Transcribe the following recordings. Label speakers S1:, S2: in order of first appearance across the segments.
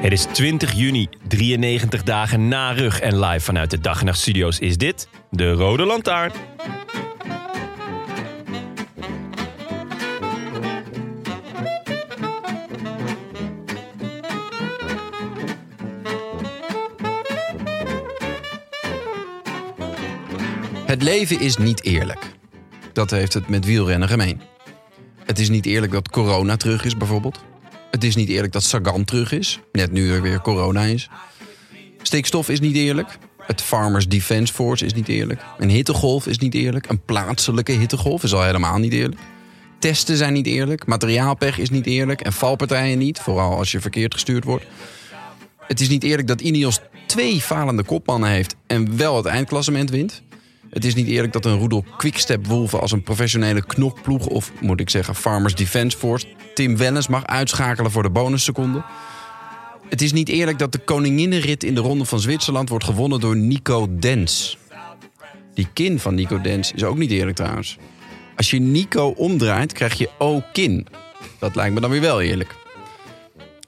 S1: Het is 20 juni, 93 dagen na rug en live vanuit de Dag en Nacht Studio's is dit de Rode Lantaarn.
S2: Het leven is niet eerlijk. Dat heeft het met wielrennen gemeen. Het is niet eerlijk dat corona terug is, bijvoorbeeld. Het is niet eerlijk dat Sagan terug is, net nu er weer corona is. Stikstof is niet eerlijk. Het Farmers Defence Force is niet eerlijk. Een hittegolf is niet eerlijk. Een plaatselijke hittegolf is al helemaal niet eerlijk. Testen zijn niet eerlijk. Materiaalpech is niet eerlijk. En valpartijen niet, vooral als je verkeerd gestuurd wordt. Het is niet eerlijk dat Ineos twee falende kopmannen heeft en wel het eindklassement wint. Het is niet eerlijk dat een roedel quickstep wolven als een professionele knokploeg of moet ik zeggen Farmers Defence Force Tim Wellens mag uitschakelen voor de bonusseconde. Het is niet eerlijk dat de koninginnenrit in de ronde van Zwitserland wordt gewonnen door Nico Dens. Die kin van Nico Dens is ook niet eerlijk trouwens. Als je Nico omdraait, krijg je O-kin. Dat lijkt me dan weer wel eerlijk.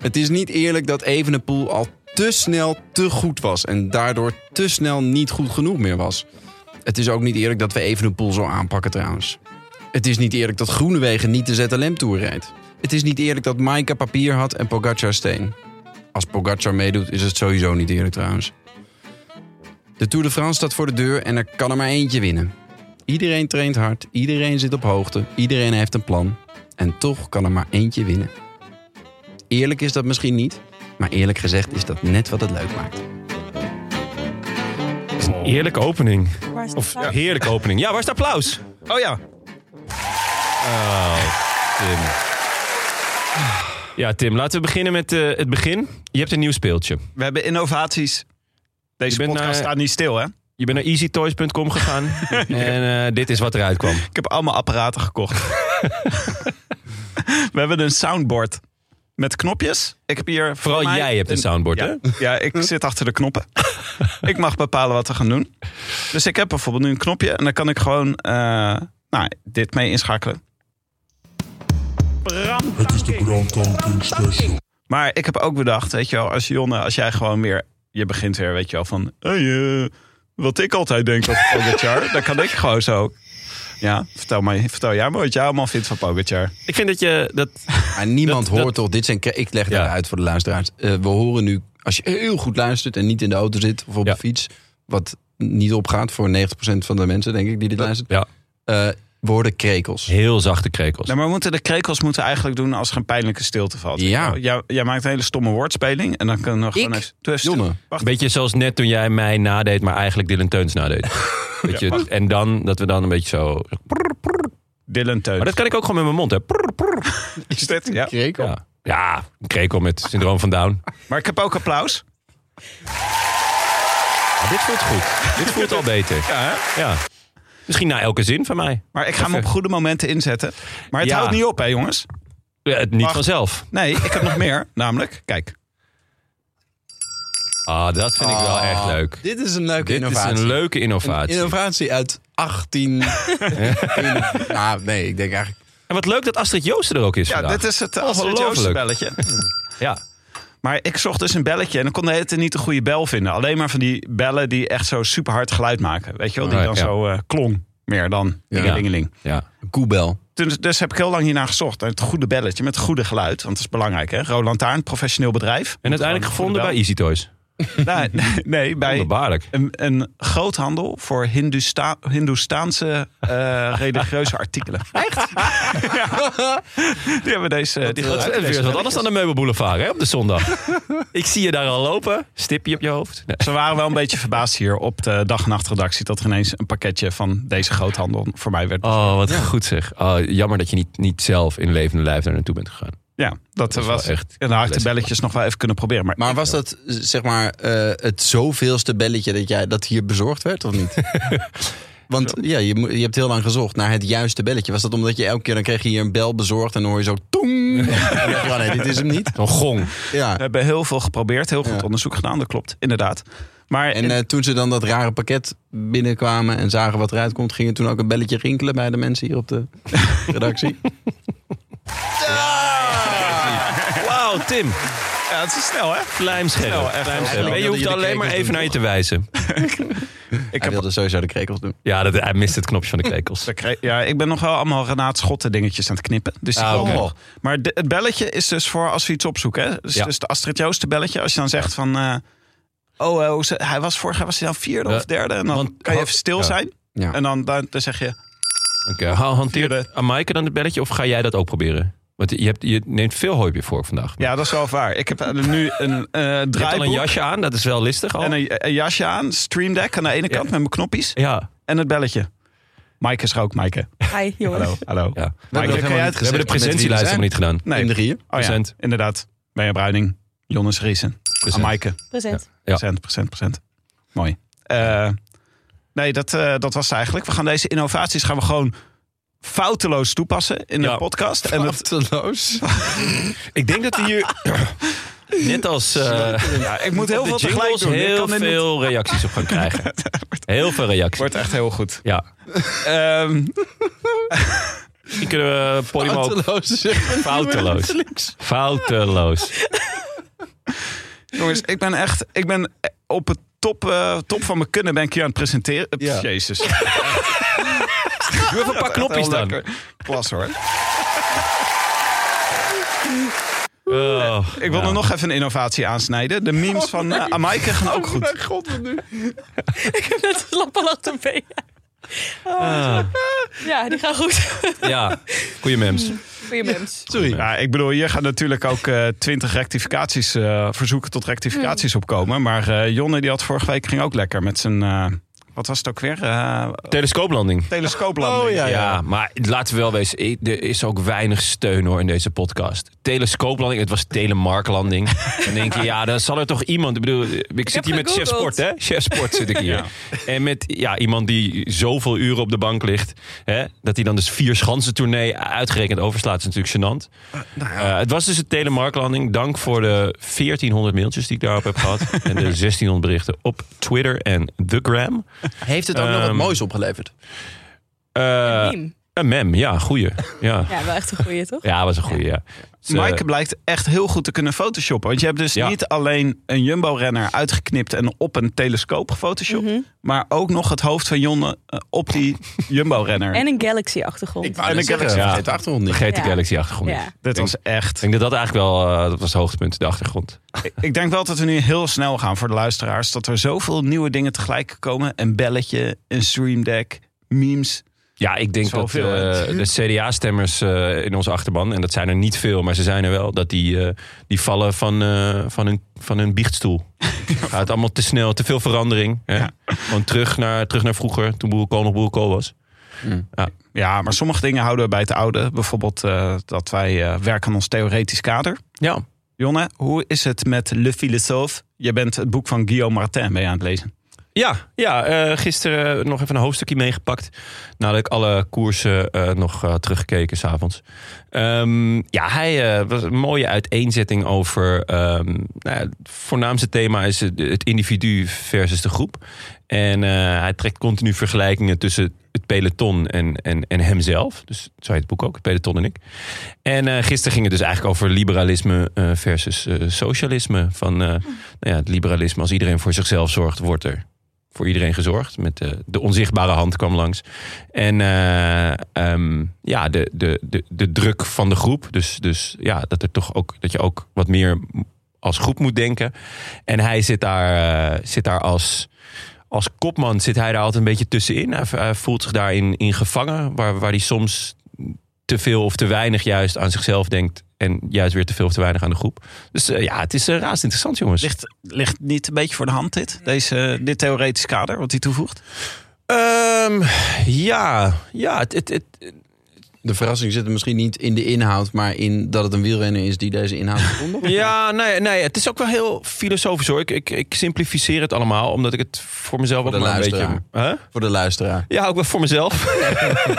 S2: Het is niet eerlijk dat Evenepoel al te snel te goed was en daardoor te snel niet goed genoeg meer was. Het is ook niet eerlijk dat we Evenepoel zo aanpakken trouwens. Het is niet eerlijk dat Groenewegen niet de ZLM Tour rijdt. Het is niet eerlijk dat Maika papier had en Pogacar steen. Als Pogacar meedoet is het sowieso niet eerlijk trouwens. De Tour de France staat voor de deur en er kan er maar eentje winnen. Iedereen traint hard, iedereen zit op hoogte, iedereen heeft een plan. En toch kan er maar eentje winnen. Eerlijk is dat misschien niet, maar eerlijk gezegd is dat net wat het leuk maakt.
S1: Het is een eerlijke opening.
S3: Waar is de
S1: Of
S3: plaat?
S1: heerlijke opening. Ja, waar is het applaus? Oh ja. Oh, Tim. Ja, Tim, laten we beginnen met eh, het begin. Je hebt een nieuw speeltje.
S4: We hebben innovaties. Deze
S1: Je bent
S4: podcast
S1: naar-
S4: staat niet stil, hè?
S1: Je bent naar easytoys.com gegaan en eh, dit is wat eruit kwam.
S4: Ik heb allemaal apparaten gekocht. we hebben een soundboard met knopjes. Ik heb hier
S1: Vooral
S4: voor mij
S1: jij hebt een soundboard,
S4: ja,
S1: hè?
S4: Ja, ik zit achter de knoppen. ik mag bepalen wat we gaan doen. Dus ik heb bijvoorbeeld nu een knopje en dan kan ik gewoon eh, nou, dit mee inschakelen.
S5: Het is de Brandtanking Special.
S4: Maar ik heb ook bedacht, weet je wel, als Jonne, als jij gewoon weer, je begint weer, weet je wel, van, hey, eh, wat ik altijd denk over Pogacar, dan kan ik gewoon zo. Ja, vertel, mij, vertel jij maar wat jij allemaal vindt van Pogacar.
S1: Ik vind dat je... Dat,
S2: Maar niemand
S1: Dat- dat-
S2: hoort toch, dit zijn, ik leg het
S1: Ja.
S2: uit voor de luisteraars. Eh, we horen nu, als je heel goed luistert en niet in de auto zit of op
S1: Ja.
S2: de fiets, wat niet opgaat voor 90% van de mensen, denk ik, die dit luistert,
S1: ja,
S2: eh, worden krekels.
S1: heel zachte krekels.
S4: Nou, maar we moeten de krekels moeten eigenlijk doen als er een pijnlijke stilte valt.
S2: Ja.
S4: Jij, jij maakt een hele stomme woordspeling en dan kunnen we gewoon
S2: Ik?
S4: even... Dus,
S2: Jonne.
S4: Wacht,
S1: Beetje zoals net toen jij mij nadeed, maar eigenlijk Dylan Teuns nadeed. Weet je, dus- en dan dat we dan een beetje zo.
S4: Dylan Teun.
S1: Maar dat kan ik ook gewoon met mijn mond, hè? Prrr, prrr.
S4: is dit? Ja.
S2: Krekel?
S1: Ja, ja een krekel met syndroom van Down.
S4: Maar ik heb ook applaus.
S1: Maar dit voelt goed. Dit voelt al beter.
S4: Ja, hè?
S1: Ja. Misschien na elke zin van mij.
S4: Maar ik ga hem op goede momenten inzetten. Maar het
S1: Ja.
S4: houdt niet op, hè, jongens?
S1: Ja, het niet
S4: Wacht.
S1: vanzelf.
S4: Nee, ik heb nog meer. Namelijk, kijk.
S1: Ah, dat vind ik wel echt leuk.
S2: Dit is een leuke
S1: Dit
S2: innovatie.
S1: is een leuke
S2: Een
S1: innovatie.
S2: innovatie uit 18... nou, nee, ik denk eigenlijk...
S1: En wat leuk dat Astrid Joosten er ook is
S4: Ja,
S1: vandaag.
S4: dit is het
S1: Ongelooflijk.
S4: Astrid belletje.
S1: Ja.
S4: Maar ik zocht dus een belletje en ik kon de hele tijd niet de goede bel vinden. Alleen maar van die bellen die echt zo super hard geluid maken. Weet je wel, die
S1: Oh,
S4: dan
S1: ja.
S4: zo eh, klonk. Meer dan
S2: Ja.
S4: dingelingeling.
S1: ja.
S2: Een koebel.
S4: Dus, dus heb ik heel lang hiernaar gezocht. Het goede belletje met het goede geluid. Want dat is belangrijk, hè? Roland Taarn, professioneel bedrijf.
S1: En uiteindelijk gevonden bij Easy Toys.
S4: nee, nee, nee, bij
S1: Wonderbaarlijk.
S4: een, een groothandel voor Hindusta Hindoestaanse eh, religieuze artikelen. Echt? ja. Die hebben deze... die
S1: Dat
S4: gebruiken
S1: is
S4: deze
S1: weer wat anders dan de meubelboulevard hè, op de zondag. Ik zie je daar al lopen. Stipje op je hoofd. Nee.
S4: Ze waren wel een beetje verbaasd hier op de dag- en nachtredactie... dat er ineens een pakketje van deze groothandel voor mij werd.
S1: Oh, wat goed zeg. Oh, jammer dat je niet, niet zelf in levende lijf daar naartoe bent gegaan.
S4: Ja, dat,
S1: is wel
S4: was
S1: echt
S4: echt. En dan had ik de
S1: classic.
S4: belletjes nog wel even kunnen proberen. Maar,
S2: Maar was dat eh, zeg maar eh, het zoveelste belletje dat jij dat hier bezorgd werd of niet? Want ja, je, moet- je hebt heel lang gezocht naar het juiste belletje. Was dat omdat je elke keer dan kreeg je hier een bel bezorgd en dan hoor je zo tong. En dan dacht je, oh nee, dit is hem niet.
S1: Zo'n gong.
S2: Ja.
S4: we hebben heel veel geprobeerd, heel goed
S2: Ja.
S4: onderzoek gedaan, dat klopt, inderdaad. Maar
S2: En eh, toen ze dan dat rare pakket binnenkwamen en zagen wat eruit komt, ging er toen ook een belletje rinkelen bij de mensen hier op de redactie.
S1: Wauw, Tim.
S4: ja, het is snel, hè?
S1: Vlijmscherp.
S4: Nou, echt.
S1: Vlijmscherp. En je
S2: wilde
S1: hoeft
S2: je de
S1: alleen maar
S2: krekels
S1: even
S2: doen,
S1: naar je te wijzen.
S4: Ik
S2: Hij
S4: heb,
S2: wilde sowieso de krekels doen.
S1: Ja, dat, hij mist het knopje van de krekels.
S4: dat kre- ja, ik ben nog wel allemaal Renaat Schotten dingetjes aan het knippen. Dus die
S1: Ah,
S4: komen
S1: oké.
S4: nog. Maar de- het belletje is dus voor als we iets opzoeken. Hè? Dus,
S1: Ja.
S4: dus de Astrid Joosten belletje. Als je dan zegt van... eh, oh, eh, hoe ze- hij was vorig jaar was hij dan vierde
S1: Ja.
S4: of derde. En dan
S1: Want-
S4: kan je even stil
S1: Ja.
S4: zijn.
S2: Ja.
S4: En dan, dan, dan zeg je...
S1: Oké, ha- hanteert
S4: Vierde.
S1: aan Maaike dan het belletje of ga jij dat ook proberen? Want je, hebt, je neemt veel hooi op je vork vandaag.
S4: Ja, dat is wel waar. Ik heb eh, nu een eh
S1: Je hebt al een
S4: draaiboek.
S1: jasje aan, dat is wel listig al.
S4: En een, een jasje aan, Stream Deck aan de ene kant met mijn knoppies
S1: Ja,
S4: en het belletje. Maaike is er ook, Maaike.
S3: Hi, jongens.
S4: Hallo, hallo.
S1: ja. We
S2: nog
S4: Maaike,
S2: helemaal
S4: kan
S2: niet
S4: jij het
S2: gezegd.
S1: hebben de
S2: met wie we
S1: presentielijst
S2: zijn.
S1: helemaal niet gedaan.
S2: In
S4: Nee,
S2: drieën.
S4: oh, ja.
S1: Present.
S4: inderdaad. Benja Bruining, Jonas Riesen, aan
S1: Present.
S4: Maaike.
S3: Present.
S1: Ja.
S4: Procent, procent, procent. Mooi. Eh, nee, dat, eh, dat was het eigenlijk. We gaan deze innovaties gaan we gewoon fouteloos toepassen in de
S1: Ja.
S4: podcast. En het,
S2: Achterloos.
S1: Ik denk dat we hier, net als eh
S4: ja, ik moet heel
S1: de
S4: veel tegelijk
S1: jingles,
S4: doen. Ik
S1: heel
S4: kan dit niet-
S1: veel reacties op gaan krijgen. Heel veel reacties.
S4: Wordt echt heel goed.
S1: Ja,
S4: Ehm,
S1: misschien kunnen we Podimo ook
S2: Achterloos.
S1: fouteloos. Fouteloos.
S4: Jongens, ik ben echt. Ik ben op het top, eh, top van mijn kunnen ben ik hier aan het presenteren. Pff,
S2: Ja.
S4: Jezus. Doe even een
S1: paar knopjes dan.
S4: Klas hoor.
S1: Oh,
S4: Ik wil
S1: nou.
S4: er nog even een innovatie aansnijden. De memes
S2: Oh,
S4: van eh Amaike gaan ook goed.
S3: Ik heb net een lap al achter me.
S1: Ah,
S3: Oh, Ja, die gaan goed.
S1: ja, goeie mems.
S3: Goeie mens.
S2: Sorry.
S4: Ja, ik bedoel, hier gaan natuurlijk ook eh, twintig rectificaties, eh, verzoeken tot rectificaties opkomen. Maar eh, Jonne die had vorige week ging ook lekker met zijn, eh, wat was het ook weer? Eh
S1: Telescooplanding.
S4: telescooplanding.
S2: Oh, ja.
S1: Ja, maar laten we wel wezen, i- er is ook weinig steun hoor in deze podcast. Telescooplanding, het was telemarklanding. Dan denk je, ja, dan zal er toch iemand... Ik bedoel, ik, zit
S3: heb
S1: hier met chef
S3: gegoogeld.
S1: sport, hè? Chef sport zit ik hier. En met ja, iemand die zoveel uren op de bank ligt... Hè, dat hij dan dus vier schansen tournee uitgerekend overslaat, is natuurlijk gênant. Eh, het was dus een telemarklanding. Dank voor de 1400 mailtjes die ik daarop heb gehad. en de 1600 berichten op Twitter en The Gram.
S2: Heeft het ook nog wat
S1: Ehm,
S2: moois opgeleverd?
S1: Eh,
S3: Meme.
S1: een mem, ja, goeie. Ja.
S3: Ja, wel echt een goeie, toch?
S1: Ja, was een goede. Ja. Dus, eh,
S4: Maaike blijkt echt heel goed te kunnen photoshoppen. Want je hebt dus
S1: Ja.
S4: niet alleen een Jumbo-renner uitgeknipt en op een telescoop gefotoshopt.
S2: Mhm.
S4: Maar ook nog het hoofd van Jonne eh, op die Jumbo-renner.
S3: En een Galaxy-achtergrond.
S2: wou
S4: en
S2: net
S4: ik heb
S2: zeggen,
S4: het-
S1: ja.
S2: vergeet de achtergrond niet.
S1: vergeet de
S3: Ja.
S1: Galaxy achtergrond.
S3: Ja.
S4: Dit was
S1: Ik
S4: echt.
S1: denk dat dat eigenlijk wel eh, dat was het hoogtepunt, de achtergrond.
S4: Ik denk wel dat we nu heel snel gaan voor de luisteraars. Dat er zoveel nieuwe dingen tegelijk komen. Een belletje, een stream deck, memes.
S1: Ja, ik denk
S4: Zo
S1: dat
S4: veel,
S1: eh,
S4: hè?
S1: de CDA-stemmers eh, in onze achterban, en dat zijn er niet veel, maar ze zijn er wel, dat die, eh, die vallen van, eh, van, hun, van hun biechtstoel. Gaat allemaal te snel, te veel verandering. Hè? Gewoon terug naar, terug naar vroeger, toen Boerenkool nog Boerenkool was.
S4: Ja, maar sommige dingen houden we bij het oude. Bijvoorbeeld eh, dat wij eh, werken aan ons theoretisch kader.
S1: Ja,
S4: Jonne, hoe is het met Le Philosophe? Je bent het boek van Guillaume Martin ben je aan het lezen.
S1: Ja, ja eh, gisteren eh, nog even een hoofdstukje meegepakt. Nadat ik alle koersen eh, nog eh, teruggekeken s'avonds. Ehm ja, hij eh, was een mooie uiteenzetting over. ehm, nou ja, het voornaamste thema is het, het individu versus de groep. En eh, hij trekt continu vergelijkingen tussen het peloton en, en, en hemzelf. Dus zo heet het boek ook, het peloton en ik. En eh, gisteren ging het dus eigenlijk over liberalisme eh, versus eh, socialisme. Van eh, nou ja, het liberalisme, als iedereen voor zichzelf zorgt, wordt er voor iedereen gezorgd. Met de, de onzichtbare hand kwam langs. En eh, ehm, ja, de, de, de, de druk van de groep. Dus, dus ja, dat, er toch ook, dat je ook wat meer als groep moet denken. En hij zit daar, eh, zit daar als, als kopman zit hij daar altijd een beetje tussenin. Hij, hij voelt zich daarin in gevangen, waar, waar hij soms te veel of te weinig juist aan zichzelf denkt. En juist weer te veel of te weinig aan de groep. Dus eh, ja, het is eh, razend interessant, jongens.
S4: Ligt, ligt niet een beetje voor de hand dit? Deze, dit theoretisch kader wat hij toevoegt?
S1: Ehm, ja, ja het, het, het,
S2: De verrassing zit er misschien niet in de inhoud, maar in dat het een wielrenner is die deze inhoud gevonden.
S1: Ja, nee, nee, het is ook wel heel filosofisch hoor. Ik, ik, ik simplificeer het allemaal, omdat ik het voor mezelf
S2: de
S1: ook maar een beetje...
S2: luisteraar.
S1: Huh?
S2: Voor de luisteraar.
S1: Ja, ook wel voor mezelf.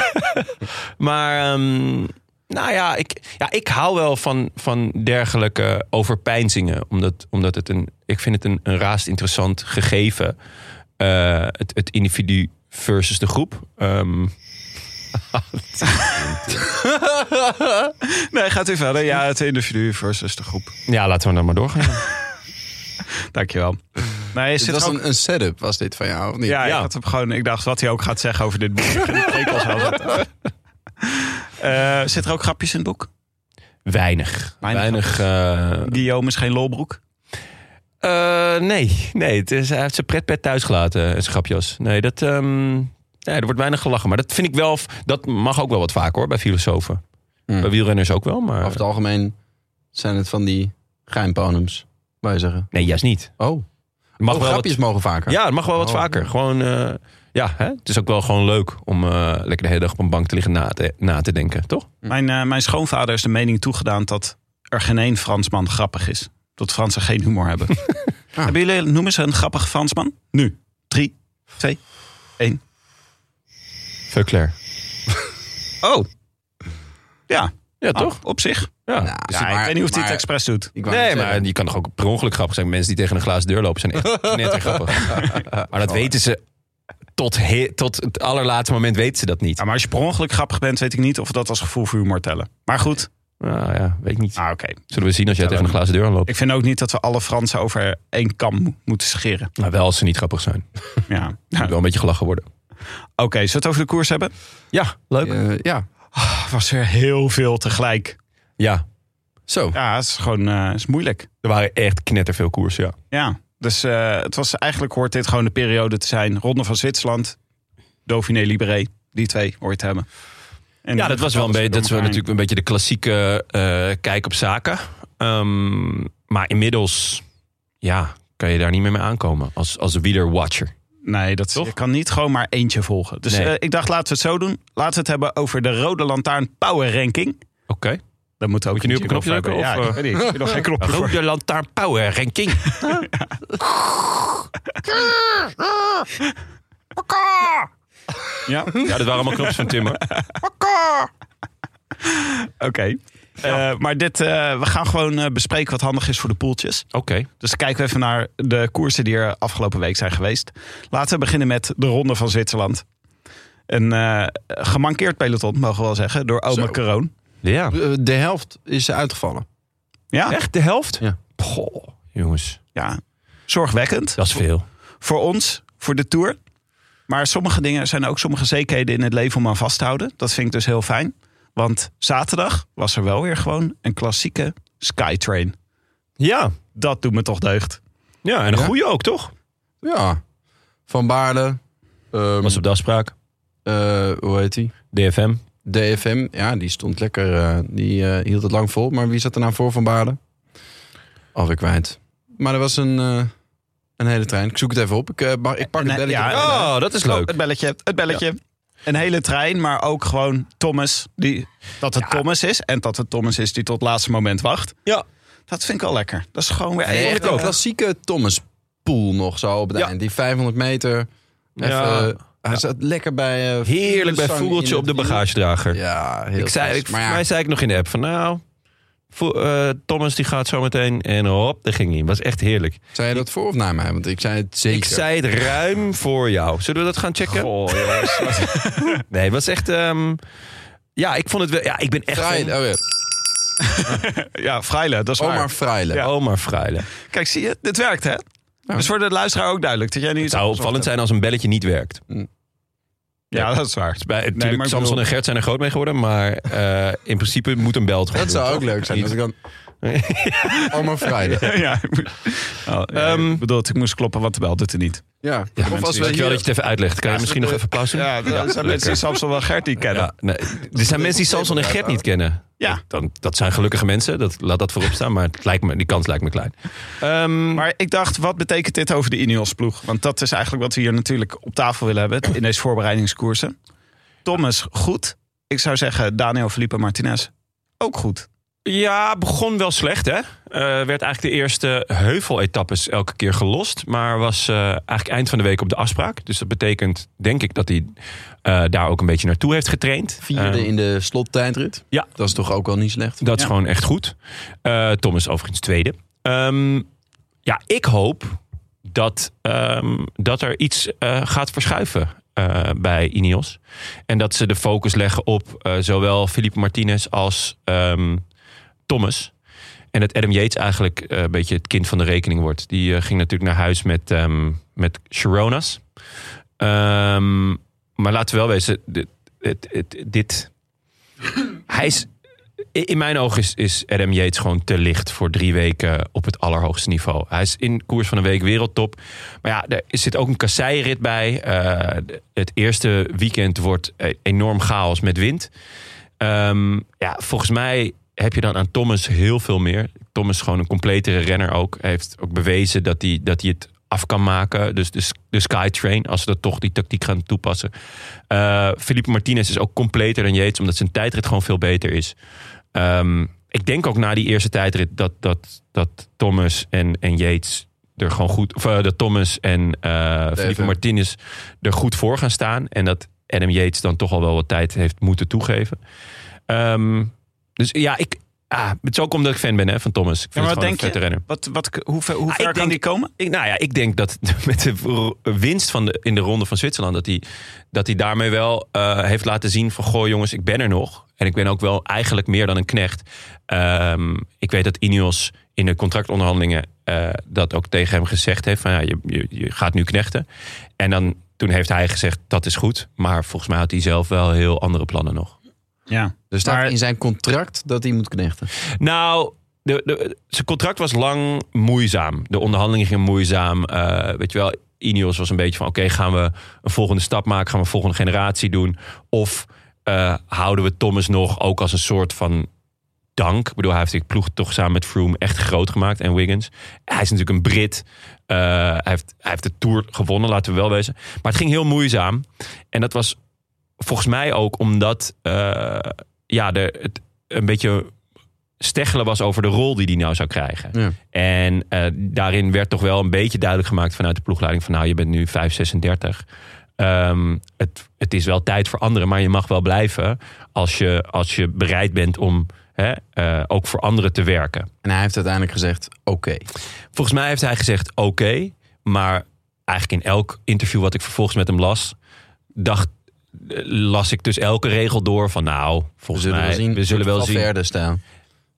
S1: maar ehm, nou ja ik, ja, ik hou wel van, van dergelijke overpeinzingen. Omdat, omdat het een, ik vind het een, een raast interessant gegeven. Eh, het, het individu versus de groep. Ehm,
S4: Nee, gaat u verder. Ja, het individu versus de groep.
S1: ja, laten we dan maar doorgaan.
S4: Dankjewel. Nee, is
S2: Dus
S4: dit
S2: dat was
S4: ook...
S2: een, een setup, was dit van jou? Of niet?
S4: Ja,
S1: ja.
S4: Ik, had hem gewoon, ik dacht wat hij ook gaat zeggen over dit boek. Ik ging het tekels wel zetten. Eh, zit er ook grapjes in het boek?
S1: Weinig.
S4: Weinig.
S1: Weinig. eh,
S4: Guillaume is geen lolbroek.
S1: Eh, nee, nee het is, hij heeft zijn pretpet thuis gelaten en zijn grapjas. Nee, dat, ehm, nee, er wordt weinig gelachen. Maar dat vind ik wel, dat mag ook wel wat vaker hoor, bij filosofen.
S2: Hmm.
S1: Bij wielrenners ook wel, maar...
S2: Over het algemeen zijn het van die geheimponems, wou je zeggen.
S1: Nee, juist niet.
S2: Oh,
S1: Het mag
S2: oh,
S1: wel
S2: grapjes
S1: wat,
S2: mogen vaker.
S1: ja, het mag wel wat
S2: Oh.
S1: vaker. Gewoon, eh, ja, hè? het is ook wel gewoon leuk om eh, lekker de hele dag op een bank te liggen na te, na te denken, toch?
S4: Mijn, eh, mijn schoonvader is de mening toegedaan dat er geen één Fransman grappig is. Dat Fransen geen humor hebben. Ah. Hebben jullie, noemen ze een grappig Fransman? Nu. Drie, twee, één.
S1: Veuclair.
S4: Oh. Ja,
S1: Ja,
S4: ah,
S1: toch?
S4: op zich.
S1: Ja.
S2: Dus
S4: Ja, ik weet niet of hij het expres doet.
S2: Ik wou
S1: Nee,
S2: net
S1: maar
S2: zeggen.
S1: je kan toch ook per ongeluk grappig zijn. Mensen die tegen een glazen deur lopen zijn echt net grappig. Maar dat weten ze tot, he- tot het allerlaatste moment weten ze dat niet.
S4: Ja, maar als je per ongeluk grappig bent, weet ik niet of we dat als gevoel voor humor tellen. Maar goed.
S1: Nou ja, weet ik niet.
S4: Ah, oké.
S1: Zullen we zien als jij tegen een glazen deur loopt.
S4: Ik vind ook niet dat we alle Fransen over één kam mo- moeten scheren.
S1: Maar Nou, wel als ze niet grappig zijn. Moet
S4: Ja. Ja.
S1: wel een beetje gelachen worden.
S4: Oké, zullen we het over de koers hebben?
S1: Ja, leuk. Ja.
S2: Eh, ja,
S4: Ah, was er heel veel tegelijk.
S2: zo.
S4: Ja, het is gewoon eh, het is moeilijk.
S1: er waren echt knetterveel koersen, ja.
S4: Ja, dus eh, het was, eigenlijk hoort dit gewoon de periode te zijn. Ronde van Zwitserland, Dauphiné Libéré. Die twee hoort hebben. En
S1: ja, dat was wel een beetje, dat is wel
S4: elkaar
S1: natuurlijk een beetje de klassieke eh, kijk op zaken. Ehm, maar inmiddels, ja, kan je daar niet meer mee aankomen als, als wielerwatcher.
S4: heen. Nee, dat,
S1: Toch?
S4: je kan niet gewoon maar eentje volgen. Dus
S1: Nee.
S4: eh, ik dacht, laten we het zo doen. Laten we het hebben over de Rode Lantaarn Power Ranking.
S1: Oké.
S4: Dan moet, ook
S1: Moet je nu op een knopje
S4: jingle voor
S1: drukken,
S4: hebben.
S1: of, eh,
S4: Ja, ik weet niet. Ik heb nog geen knopje voor.
S1: Rode lantaarn power, ranking.
S4: Ja, oké.
S1: Ja, dat waren allemaal knopjes van Timmer.
S4: Eh, maar dit, eh, we gaan gewoon eh, bespreken wat handig is voor de poeltjes.
S1: Oké.
S4: Dus kijken we even naar de koersen die er afgelopen week zijn geweest. Laten we beginnen met de Ronde van Zwitserland. Een eh, gemankeerd peloton, mogen we wel zeggen, door Oma
S2: Zo.
S4: Caron.
S1: Ja.
S2: Eh, De helft is uitgevallen.
S4: Ja,
S1: Echt de helft?
S2: Ja.
S1: Goh, jongens.
S4: ja, zorgwekkend
S1: Dat is veel.
S4: voor ons, voor de Tour. Maar sommige dingen zijn ook sommige zekerheden in het leven om aan vast te houden. Dat vind ik dus heel fijn. Want zaterdag was er wel weer gewoon een klassieke Skytrain.
S1: Ja.
S4: Dat doet me toch deugd.
S1: Ja, en een
S2: Ja.
S1: goede ook, toch?
S2: Ja. Van Baarden. ehm,
S1: Was op de afspraak.
S2: eh, hoe heet hij?
S1: DFM.
S2: DFM. Ja, die stond lekker. eh, die eh, hield het lang vol. Maar wie zat er nou voor Van Baarden? Alweer kwijt. Maar er was een, eh, een hele trein. Ik zoek het even op. Ik, eh, mag- ik pak het
S4: Nee,
S2: belletje.
S4: ja,
S2: erbij.
S1: Oh, dat is
S4: Oh,
S1: leuk.
S4: het belletje, het belletje. Een hele trein, maar ook gewoon Thomas. Die, dat het Thomas is en dat het Thomas is die tot het laatste moment wacht.
S1: Ja.
S4: Dat vind ik wel lekker. Dat is gewoon weer...
S2: Nee,
S4: heel-
S2: echt een klassieke Thomas Poel nog zo op het
S1: Ja.
S2: eind. Die 500 meter. Even, eh,
S1: Ja.
S2: Hij zat lekker bij... eh,
S1: Heerlijk bij
S2: Vogelsang
S1: Vogeltje
S2: in
S1: op de
S2: het wiel.
S1: bagagedrager.
S2: Ja, heel
S1: ik zei,
S2: fris.
S1: ik,
S2: Maar ja,
S1: Mij zei ik nog in de app van nou... Vo- eh, Thomas die gaat zo meteen en hop, daar ging hij. Was echt heerlijk.
S2: zei je dat voor of na mij? Want ik zei het zeker.
S1: Ik zei het ruim voor jou. Zullen we dat gaan checken? nee, het was echt... ehm, ja, ik vond het wel... Ja, ik ben echt...
S2: Freile,
S1: Omar
S2: oh ja,
S4: Ja, Freile, dat is waar.
S2: Omar Freile.
S4: Ja.
S1: Omar Freile.
S4: Kijk, zie je? Dit werkt, hè? Dus voor de luisteraar ook duidelijk. Dat jij nu
S1: Het
S4: iets
S1: zou
S4: opgezocht
S1: opvallend zijn als een belletje niet werkt.
S4: hebt. Ja, dat is waar.
S1: Bij, natuurlijk,
S4: maar ik
S1: Samson
S4: bedoel-
S1: en Gert zijn er groot mee geworden, maar eh, in principe moet een bel het gewoon
S2: Dat zou
S1: doen,
S2: ook
S1: toch?
S2: leuk zijn. Als ik dan Arme vrijdag.
S4: ja, ik moet- Oh, ja,
S1: Ehm,
S4: ik bedoel, ik moest kloppen, want de bel doet er niet.
S2: Ja. of als we
S1: Dankjewel
S2: hier...
S1: dat je het even uitlegt. Kan je misschien nog even pauze?
S4: Ja, dat zijn mensen die Samson wel Gert niet kennen.
S1: Ja, nee. Er zijn mensen die Samson en Gert niet kennen.
S4: Ja.
S1: Dan, dat zijn gelukkige mensen, dat, laat dat voorop staan. Maar het lijkt me, die kans lijkt me klein. Ehm,
S4: Maar ik dacht, wat betekent dit over de Ineos-ploeg? Want dat is eigenlijk wat we hier natuurlijk op tafel willen hebben in deze voorbereidingskoersen. Thomas, goed. Ik zou zeggen, Daniel Felipe Martinez, ook goed.
S1: ja, begon wel slecht, hè? Eh, werd eigenlijk de eerste heuveletappes elke keer gelost. Maar was eh, eigenlijk eind van de week op de afspraak. Dus dat betekent, denk ik, dat hij eh, daar ook een beetje naartoe heeft getraind.
S2: Vierde
S1: Ehm,
S2: in de slottijdrit.
S1: Ja.
S2: Dat is toch ook wel niet slecht.
S1: Dat is
S4: Ja.
S1: gewoon echt goed. Eh Thomas overigens tweede. Ehm, ja, ik hoop dat, ehm, dat er iets eh, gaat verschuiven eh, bij Ineos. En dat ze de focus leggen op eh, zowel Felipe Martinez als ehm, Thomas. En dat Adam Yates eigenlijk eh, een beetje het kind van de rekening wordt. Die eh, ging natuurlijk naar huis met, ehm, met Sharonas. Ehm, maar laten we wel wezen, dit, dit, dit, dit- hij is, in in mijn ogen is, is Adam Yates gewoon te licht voor drie weken op het allerhoogste niveau. Hij is in koers van een week wereldtop. Maar ja, er zit ook een kasseirit bij. Eh, het eerste weekend wordt eh, enorm chaos met wind. Ehm, ja, volgens mij heb je dan aan Thomas heel veel meer. Thomas is gewoon een completere renner ook. Hij heeft ook bewezen dat hij, dat hij het af kan maken. Dus de, s- de Skytrain, als ze dat toch die tactiek gaan toepassen. Eh Felipe Martinez is ook completer dan Yates, omdat zijn tijdrit gewoon veel beter is. Ehm, ik denk ook na die eerste tijdrit dat, dat, dat Thomas en, en Yates er gewoon goed... Of eh, dat Thomas en eh Felipe
S2: Even.
S1: Martinez er goed voor gaan staan. En dat Adam Yates dan toch al wel wat tijd heeft moeten toegeven. Ehm, dus ja, ik, ah, het is ook omdat ik fan ben hè, van Thomas. Ik
S4: Ja,
S1: vind
S4: maar
S1: het
S4: wat
S1: gewoon
S4: denk
S1: een vette
S4: je?
S1: renner.
S4: Wat, wat, hoe ver, hoe
S1: Ah,
S4: ver
S1: ik
S4: kan
S1: denk-
S4: die komen?
S1: Ik, nou ja, ik denk dat met de ro- winst van de, in de ronde van Zwitserland... dat hij dat hij daarmee wel eh, heeft laten zien van... goh jongens, ik ben er nog. En ik ben ook wel eigenlijk meer dan een knecht. Ehm, ik weet dat Ineos in de contractonderhandelingen... eh, dat ook tegen hem gezegd heeft van ja, je, je, je gaat nu knechten. En dan, toen heeft hij gezegd dat is goed. Maar volgens mij had hij zelf wel heel andere plannen nog.
S4: Ja.
S2: Er staat
S4: Maar-
S2: in zijn contract dat hij moet knechten.
S1: Nou, de, de, zijn contract was lang moeizaam. De onderhandelingen gingen moeizaam. Eh, weet je wel, Ineos was een beetje van... oké, gaan we een volgende stap maken? Gaan we een volgende generatie doen? Of eh, houden we Thomas nog ook als een soort van dank? Ik bedoel, hij heeft die ploeg toch samen met Froome echt groot gemaakt. En Wiggins. Hij is natuurlijk een Brit. Eh, hij, heeft, hij heeft de Tour gewonnen, laten we wel wezen. Maar het ging heel moeizaam. En dat was volgens mij ook omdat... eh, ja, de, het een beetje steggelen was over de rol die hij nou zou krijgen.
S2: Ja.
S1: En eh, daarin werd toch wel een beetje duidelijk gemaakt vanuit de ploegleiding van nou, je bent nu 5, 36. Ehm, het, het is wel tijd voor anderen, maar je mag wel blijven als je, als je bereid bent om hè, eh, ook voor anderen te werken.
S2: En hij heeft uiteindelijk gezegd, oké.
S1: Volgens mij heeft hij gezegd oké, maar eigenlijk in elk interview wat ik vervolgens met hem las, dacht, eh, las ik dus elke regel door van nou,
S2: We
S1: volgens
S2: zullen
S1: mij,
S2: wel zien.
S1: we zullen wel zien.
S2: verder staan.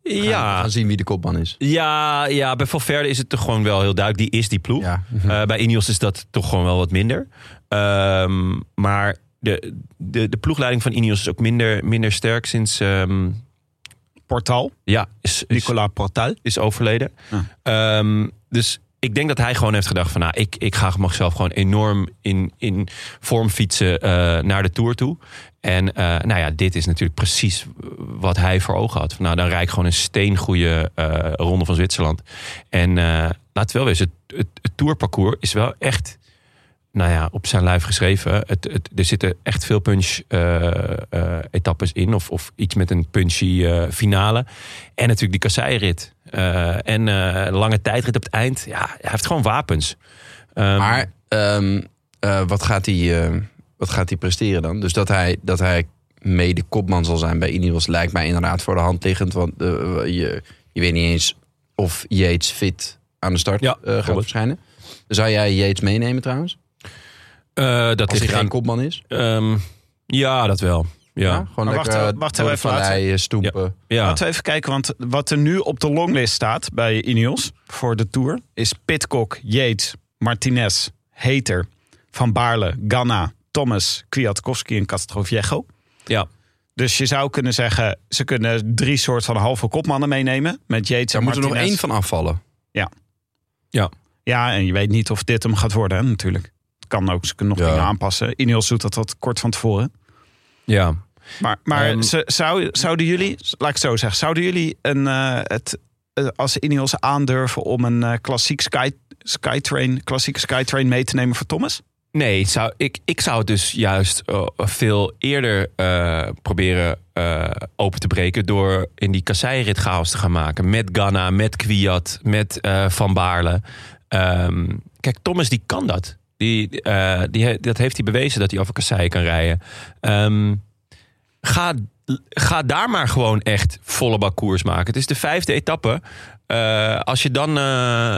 S2: Gaan,
S1: Ja,
S2: gaan zien wie de kopman is.
S1: ja, ja, bij Valverde is het toch gewoon wel heel duidelijk. Die is die ploeg.
S2: Ja.
S4: Mhm.
S1: Eh, bij Ineos is dat toch gewoon wel wat minder. Ehm, maar de, de, de ploegleiding van Ineos is ook minder, minder sterk sinds... ehm,
S4: Portal,
S1: ja, is, is,
S4: Nicolas Portal.
S1: is overleden. Ehm, dus ik denk dat hij gewoon heeft gedacht van... Nou, ik, ik ga mezelf gewoon enorm in, in vorm fietsen eh, naar de Tour toe. En eh, nou ja, dit is natuurlijk precies wat hij voor ogen had. Van, nou, dan rijd ik gewoon een steengoede eh, ronde van Zwitserland. En eh laten we wel wezen, het, het, het tourparcours is wel echt... Nou ja, op zijn lijf geschreven. Het, het, er zitten echt veel punch-etappes in. Of, of iets met een punchy eh, finale. En natuurlijk die kasseirit. Eh, en eh, lange tijdrit op het eind. Ja, hij heeft gewoon wapens. Ehm,
S2: Maar ehm, eh, wat, gaat hij, eh, wat gaat hij presteren dan? Dus dat hij, dat hij mede kopman zal zijn bij Ineos lijkt mij inderdaad voor de hand liggend. Want eh, je, je weet niet eens of Yates fit aan de start
S1: Ja,
S2: eh, gaat
S1: klopt.
S2: verschijnen. Zou jij Yates meenemen trouwens?
S1: eh, dat
S2: Als
S1: is
S2: hij geen
S1: geen...
S2: kopman is?
S1: ehm, ja, dat wel.
S2: Ja,
S1: Ja,
S2: gewoon
S4: Maar wacht
S2: lekker eh,
S4: even- wacht
S2: door de
S4: even, laten we-
S2: valleien stoempen.
S1: ja.
S4: Laten we even kijken, want wat er nu op de longlist staat bij Ineos voor de Tour... is Pitcock, Yates, Martinez, Heter, Van Baarle, Ganna, Thomas, Kwiatkowski en Castroviejo.
S1: ja.
S4: Dus je zou kunnen zeggen, ze kunnen drie soort van halve kopmannen meenemen. Met Yates
S2: Daar
S4: en
S2: moet er nog
S4: Martinez.
S2: één van afvallen.
S4: Ja, en je weet niet of dit hem gaat worden hè, natuurlijk. Het kan ook, ze kunnen nog
S2: Ja.
S4: dingen aanpassen. Ineos doet dat wat kort van tevoren.
S1: Ja.
S4: Maar, maar
S1: Ehm,
S4: ze- zou, zouden jullie, laat ik het zo zeggen, zouden jullie een, eh, het, eh, als Ineos aandurven om een eh, klassiek sky, skytrain, klassieke skytrain mee te nemen voor Thomas?
S1: Nee, het zou, ik, ik zou het dus juist eh, veel eerder eh, proberen eh, open te breken... door in die kasseirit chaos te gaan maken. Met Ganna, met Kwiat, met eh, Van Baarle. Ehm, kijk, Thomas die kan dat. Die, eh, die, he- dat heeft hij bewezen dat hij over kassei kan rijden. Ehm, ga, ga daar maar gewoon echt volle bak koers maken. Het is de vijfde etappe. Eh, als je dan eh, eh,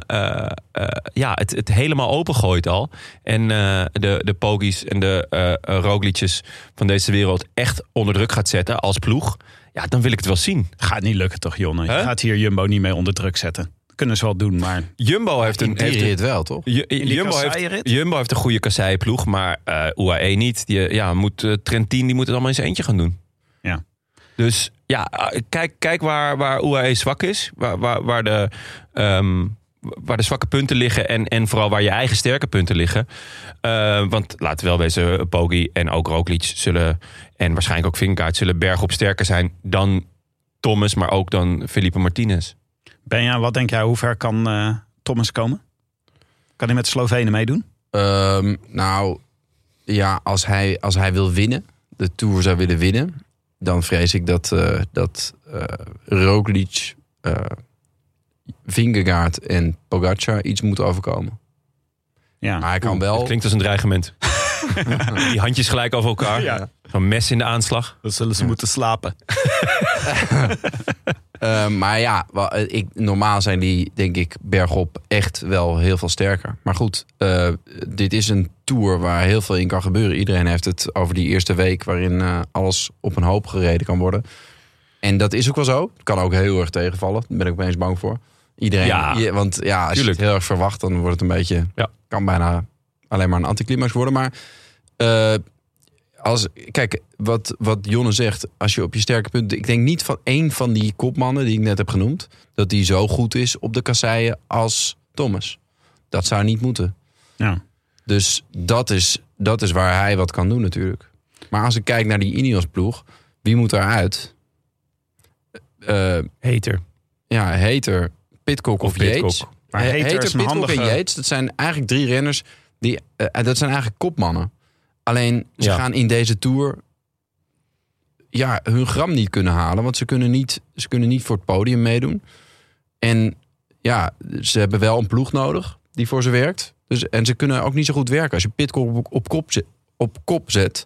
S1: eh, ja, het, het helemaal opengooit al... en eh, de, de pogies en de eh eh, Roglicjes van deze wereld... echt onder druk gaat zetten als ploeg... ja, dan wil ik het wel zien.
S4: Gaat niet lukken toch, Jonne? Je
S1: Hè?
S4: gaat hier Jumbo niet mee onder druk zetten. Kunnen ze wel doen, maar
S1: Jumbo heeft
S2: In
S1: een,
S2: die
S1: heeft een-
S2: rit wel, toch?
S1: Ju- Jumbo, heeft,
S4: kasseienrit?
S1: Jumbo heeft een goede kasseiploeg, maar eh UAE niet. Die, ja, moet, eh, Trentin die moet het allemaal in zijn eentje gaan doen.
S4: Ja.
S1: Dus ja, eh, kijk, kijk waar, waar UAE zwak is. Waar, waar, waar, de, ehm, waar de zwakke punten liggen en, en vooral waar je eigen sterke punten liggen. Eh, want laten we wel wezen, Poggi en ook Roglic zullen... en waarschijnlijk ook Vingegaard zullen bergop sterker zijn dan Thomas... maar ook dan Felipe Martinez.
S4: Benja, wat denk jij, hoe ver kan eh, Thomas komen? Kan hij met de Slovenen meedoen?
S2: Ehm, nou, ja, als hij, als hij wil winnen, de Tour zou willen winnen... dan vrees ik dat, eh dat eh Roglic, eh Vingegaard en Pogacar iets moeten overkomen.
S4: Ja.
S2: Maar hij kan
S1: Dat
S2: wel...
S1: Oh, klinkt als een dreigement. Die handjes gelijk over elkaar.
S4: Ja.
S1: Zo'n mes in de aanslag.
S4: Dan zullen ze moeten slapen.
S2: Eh, maar ja, wa- eh, ik, normaal zijn die, denk ik, bergop echt wel heel veel sterker. Maar goed, eh, dit is een tour waar heel veel in kan gebeuren. Iedereen heeft het over die eerste week waarin eh, alles op een hoop gereden kan worden. En dat is ook wel zo. Het kan ook heel erg tegenvallen. Daar ben ik opeens bang voor. Iedereen,
S1: Ja.
S2: je- want ja, als
S1: Tuurlijk.
S2: je het heel erg verwacht, dan wordt het een beetje...
S1: Ja.
S2: Kan bijna alleen maar een anticlimax worden. Maar eh, als, kijk, wat, wat Jonne zegt, als je op je sterke punten... Ik denk niet van één van die kopmannen die ik net heb genoemd... dat die zo goed is op de kasseien als Thomas. Dat zou niet moeten.
S4: Ja.
S2: Dus dat is, dat is waar hij wat kan doen natuurlijk. Maar als ik kijk naar die Ineos-ploeg, wie moet daaruit? Eh,
S1: Hater.
S2: ja, Hater, Pitcock of,
S1: Of Pidcock.
S2: Yates.
S4: Maar
S2: He-
S4: Hater is een
S2: Pitcock
S4: handige-
S2: en Yates, dat zijn eigenlijk drie renners. Die, eh, dat zijn eigenlijk kopmannen. Alleen, ze
S1: Ja.
S2: gaan in deze Tour ja, hun gram niet kunnen halen. Want ze kunnen niet, ze kunnen niet voor het podium meedoen. En ja, ze hebben wel een ploeg nodig die voor ze werkt. Dus, en ze kunnen ook niet zo goed werken. Als je Pitcock op, op, kop, zet, op kop zet...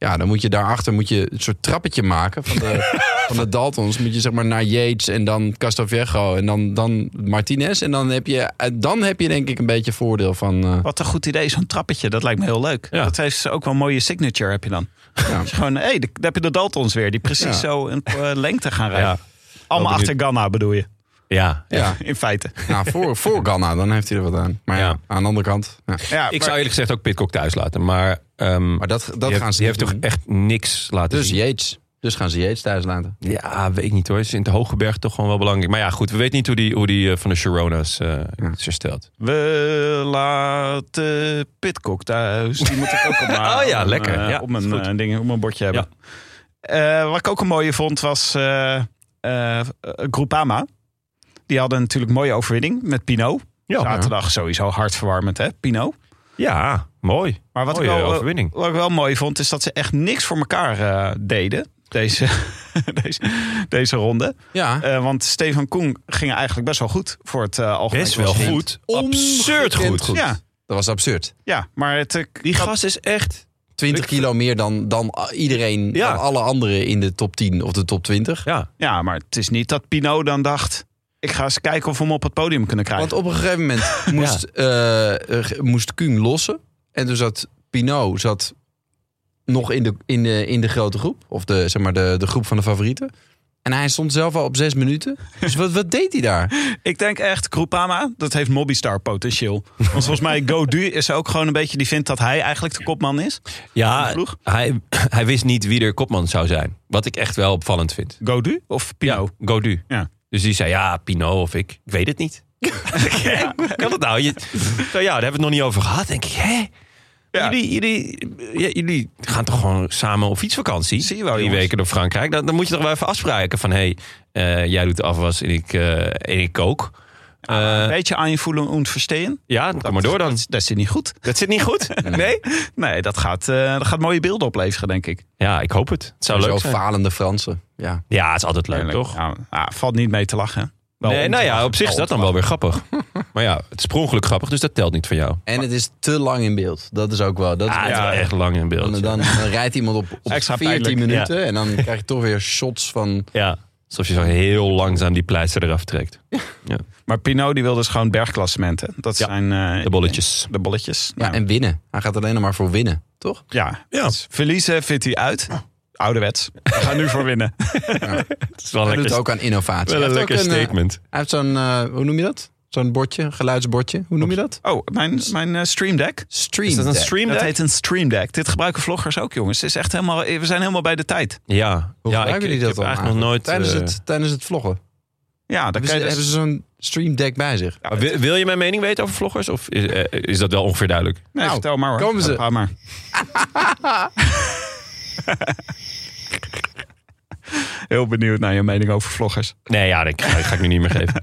S2: Ja, dan moet je daarachter moet je een soort trappetje maken van de, van de Daltons. Moet je zeg maar naar Yates en dan Castaviejo en dan, dan Martinez. En dan heb, je, eh, dan heb je denk ik een beetje voordeel van... eh,
S4: Wat een goed idee, zo'n trappetje. Dat lijkt me heel leuk.
S1: Ja.
S4: Dat heeft ook wel een mooie signature, heb je dan.
S2: Ja.
S4: Dus gewoon, hé, hey, daar heb je de Daltons weer. Die precies
S2: Ja.
S4: zo een eh, lengte gaan rijden.
S1: Ja.
S4: Allemaal
S1: wel
S4: achter Ganna bedoel je,
S1: Ja.
S2: ja,
S4: in feite.
S2: nou, voor, voor Ghana, dan heeft hij er wat aan. Maar ja,
S1: Ja.
S2: aan de andere kant... Ja.
S4: Ja,
S1: Ik
S4: maar-
S1: zou eerlijk gezegd ook Pitcock thuis laten. Maar, ehm,
S2: Maar dat, dat
S1: die
S2: gaan
S1: heeft,
S2: ze
S1: die heeft
S2: niet
S1: toch
S2: doen.
S1: echt niks laten
S2: Dus
S1: zien.
S2: Yates. Dus gaan ze Yates thuis laten.
S1: Ja, weet ik niet hoor. Is in het Hoge Berg toch gewoon wel belangrijk. Maar ja, goed. We weten niet hoe die, hoe die eh, van de Sharonas eh is hersteld.
S4: We laten Pitcock thuis. Die moet ik ook op mijn,
S1: Oh ja,
S4: op mijn,
S1: lekker.
S4: eh,
S1: Ja,
S4: op, mijn,
S1: is goed.
S4: eh, ding, op mijn bordje hebben. Eh, wat ik ook een mooie vond was eh eh, eh, Groupama. Die hadden natuurlijk een mooie overwinning met Pino.
S1: Ja.
S4: Zaterdag sowieso hartverwarmend, hè, Pino.
S1: Ja, mooi.
S4: Maar wat ik,
S1: Mooie
S4: wel, eh,
S1: overwinning.
S4: wat ik wel mooi vond, is dat ze echt niks voor elkaar eh, deden. Deze, deze, deze ronde.
S2: Ja,
S4: Eh, want Stefan Koen ging eigenlijk best wel goed voor het eh algemeen.
S1: Best wel
S4: klassement.
S1: goed. Absurd
S2: Ongekend
S1: goed.
S2: goed.
S4: Ja,
S2: dat was absurd.
S4: ja, maar het, eh,
S1: Die
S4: dat-
S1: gast is echt...
S2: 20 kilo meer dan, dan iedereen,
S1: Ja.
S2: dan alle anderen in de top 10 of de top 20.
S1: Ja.
S4: Ja, maar het is niet dat Pino dan dacht... ik ga eens kijken of we hem op het podium kunnen krijgen.
S2: Want op een gegeven moment moest, eh, eh, moest Kuhn lossen. En toen zat Pinot zat nog in de, in de, in de grote groep. Of de, zeg maar de, de groep van de favorieten. En hij stond zelf al op zes minuten. Dus wat, wat deed hij daar?
S4: Ik denk echt, Groupama, dat heeft Mobbystar potentieel. Want volgens mij, Godu is ook gewoon een beetje... die vindt dat hij eigenlijk de kopman is.
S1: Ja,
S4: Ploeg?
S1: hij, hij wist niet wie er kopman zou zijn. Wat ik echt wel opvallend vind.
S4: Godu of Pino?
S1: Ja, Godu.
S4: Ja.
S1: Dus die zei, ja, Pino of ik. Ik weet het niet. Ja, hoe kan dat nou? Je, nou ja, daar hebben we het nog niet over gehad. denk ik, hè?
S4: Ja.
S1: Jullie, jullie, ja, jullie gaan toch gewoon samen op fietsvakantie?
S4: Zie je wel,
S1: Drie
S4: jongens.
S1: weken door Frankrijk. Dan, dan moet je toch wel even afspraken van... hé, hey, eh, jij doet de afwas en ik, eh, en ik kook. Eh,
S4: Beetje aan je voelen en verstehen.
S1: ja, kom maar door dan.
S4: Dat, dat zit niet goed.
S1: Dat zit niet goed? Nee?
S4: Nee, dat gaat, eh, dat gaat mooie beelden opleveren, denk ik.
S1: Ja, ik hoop het. Het zou
S2: Zo
S1: leuk zijn.
S2: falende Fransen. Ja.
S1: Ja, het is altijd leuk,
S4: Eerlijk.
S1: toch?
S4: Ja, ja, valt niet mee te lachen. Wel
S1: nee,
S4: om
S1: nou
S4: te
S1: ja,
S4: lachen.
S1: op zich is dat dan wel weer grappig. Maar ja, het is per ongeluk grappig, dus dat telt niet voor jou.
S2: En het is te lang in beeld. Dat is ook wel. Dat is
S1: Ah,
S2: wel-
S1: het is wel echt lang in
S2: dan,
S1: beeld.
S2: dan, dan rijdt iemand op, op
S4: Extra
S2: 14
S4: pijnlijk,
S2: minuten. En dan krijg je toch weer shots van...
S1: Ja, alsof je zo heel langzaam die pleister eraf trekt.
S4: Maar Pino die wil dus gewoon bergklassementen. Dat
S1: Ja,
S4: zijn... eh,
S1: De bolletjes.
S4: De bolletjes.
S2: Ja,
S4: Nou,
S2: en winnen. Hij gaat alleen nog maar voor winnen, toch?
S4: ja.
S1: Ja.
S4: Dus verliezen vindt hij uit.
S2: Ah.
S4: Ouderwets. We gaan nu voor winnen.
S1: Het is wel
S2: Hij
S1: een
S2: doet
S1: lekker,
S2: ook aan innovatie.
S1: wel een
S2: Hij heeft
S1: lekker
S2: ook een, eh,
S1: statement.
S2: Hij heeft zo'n, eh, hoe noem je dat? Zo'n bordje, geluidsbordje. Hoe noem je dat?
S4: Oh, mijn, mijn eh, Stream Deck.
S2: Stream
S1: Is dat een
S2: Deck.
S1: stream
S4: Dat
S1: deck?
S4: heet een Stream Deck. Dit gebruiken vloggers ook, jongens. Het Is echt helemaal, we zijn helemaal bij de tijd.
S1: Ja,
S2: Hoe
S1: ja ik,
S2: gebruiken
S1: ik
S2: die dat
S1: heb
S2: dan
S1: eigenlijk nog nooit...
S2: Tijdens,
S1: eh,
S2: het, tijdens het vloggen.
S4: Ja, dan
S2: Hebben
S4: kan
S2: ze,
S4: je dus-
S2: hebben ze zo'n stream deck bij zich.
S1: maar wil, wil je mijn mening weten over vloggers? Of is, eh, is dat wel ongeveer duidelijk?
S4: Nee,
S2: Nou,
S4: vertel maar hoor.
S2: komen ze.
S4: Ga maar. Heel benieuwd naar je mening over vloggers.
S1: Nee, ja, dat ga, ga ik nu niet meer geven.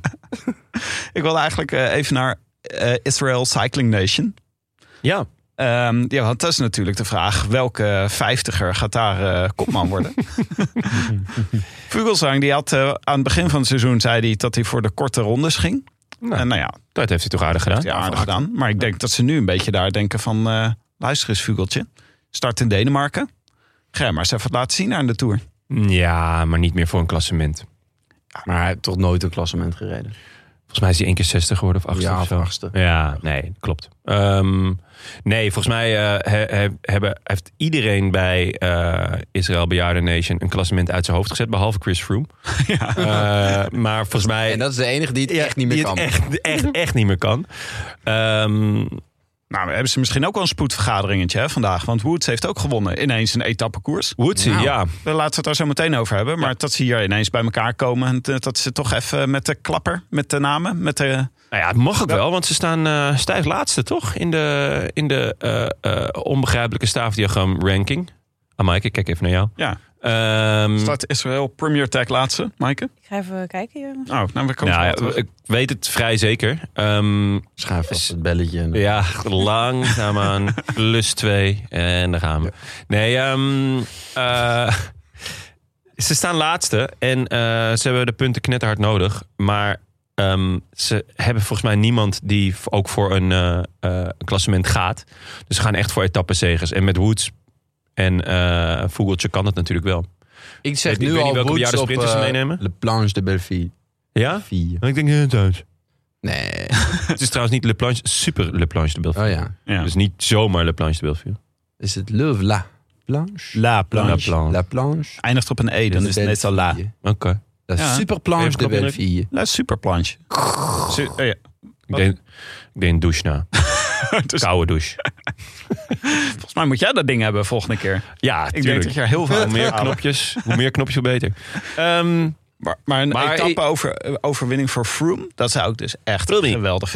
S4: Ik wil eigenlijk eh, even naar eh, Israel Cycling Nation.
S1: Ja,
S4: Ehm, ja, want dat is natuurlijk de vraag. Welke vijftiger gaat daar eh, kopman worden? Vugelsang die had eh, aan het begin van het seizoen zei hij dat hij voor de korte rondes ging.
S1: Nou.
S2: eh,
S4: en nou ja,
S1: dat heeft hij toch aardig gedaan?
S4: ja, aardig gedaan. Maar ik denk dat ze nu een beetje daar denken van... eh, luister eens, Vugeltje. Start in Denemarken. Ga je maar eens even laten zien aan de Tour.
S1: Ja, maar niet meer voor een klassement.
S2: Maar hij heeft toch nooit een klassement gereden.
S1: Volgens mij is hij één keer 60 geworden of 80
S2: Ja,
S1: of
S2: of
S1: zo.
S2: achtste.
S1: Ja, nee, klopt. Ehm, nee, volgens mij eh, he- he- hebben, heeft iedereen bij eh, Israël Bejaarden Nation een klassement uit zijn hoofd gezet, behalve Chris Froome. Eh, maar volgens mij.
S2: En dat is de enige die het
S1: Ja,
S2: echt niet meer
S1: die
S2: kan.
S1: het Echt, echt, echt niet meer kan. Ehm,
S4: Nou, maar hebben ze misschien ook wel een spoedvergaderingetje hè, vandaag. Want Woods heeft ook gewonnen. Ineens een etappekoers.
S1: Woodsy,
S2: Nou.
S1: ja.
S4: Daar laten we het daar zo meteen over hebben. Maar dat ze hier ineens bij elkaar komen. En eh, dat ze toch even met de klapper, met de namen, met de...
S1: Nou ja, het mag ook wel, want ze staan eh, stijf laatste, toch? In de, in de eh, eh, onbegrijpelijke staafdiagram ranking. Ah, Maaike, ik kijk even naar jou.
S4: Ja,
S1: Ehm,
S4: start Israël Premier Tech laatste, Maaike.
S3: Ik ga even kijken, jongens.
S4: Oh, nou, we komen zo
S1: nou,
S4: wel
S1: ja,
S4: terug.
S1: ik weet het vrij zeker. Ehm,
S2: Schuif vast het belletje. en-
S1: Ja, langzaamaan. Plus twee. En daar gaan we. Nee, ehm, eh, ze staan laatste. En eh, ze hebben de punten knetterhard nodig. Maar ehm, ze hebben volgens mij niemand die v- ook voor een eh, eh, een klassement gaat. Dus ze gaan echt voor etappenzegers. En met Woods en eh Vogeltje kan dat natuurlijk wel.
S2: Ik zeg
S1: Ik weet
S2: nu
S1: niet
S2: al
S1: welke
S2: Woods
S1: bejaarde
S2: op
S1: sprinters ze
S2: eh,
S1: meenemen.
S2: Le Planche de Belleville.
S1: Ja?
S2: Vier.
S1: Ik denk het
S2: Nee.
S1: Het is trouwens niet Le Planche, super Le Planche de Bellevue.
S2: Oh ja.
S4: Ja.
S1: Dus niet zomaar Le Planche de Bellevue.
S2: Is het Le La Planche?
S4: La
S1: La
S4: Planche.
S1: Planche.
S2: La Planche.
S4: Eindigt op een E, dan is het net al La.
S1: Oké.
S2: La
S4: Ja.
S2: Super Planche de
S1: Kun je hem
S2: Belleville.
S4: La Super Planche. Su- oh ja.
S1: Ik deed, ik deed een douche na.
S4: Dus
S1: Koude douche.
S4: volgens mij moet jij dat ding hebben volgende keer.
S1: Ja,
S4: Ik denk dat je er heel veel
S1: Hoe meer knopjes, hoe meer knopjes, hoe beter. Ehm,
S4: Maar, maar een E-
S1: Maar
S4: etappe over, eh, overwinning voor Froome, dat zou ik dus echt
S1: Froomey.
S4: geweldig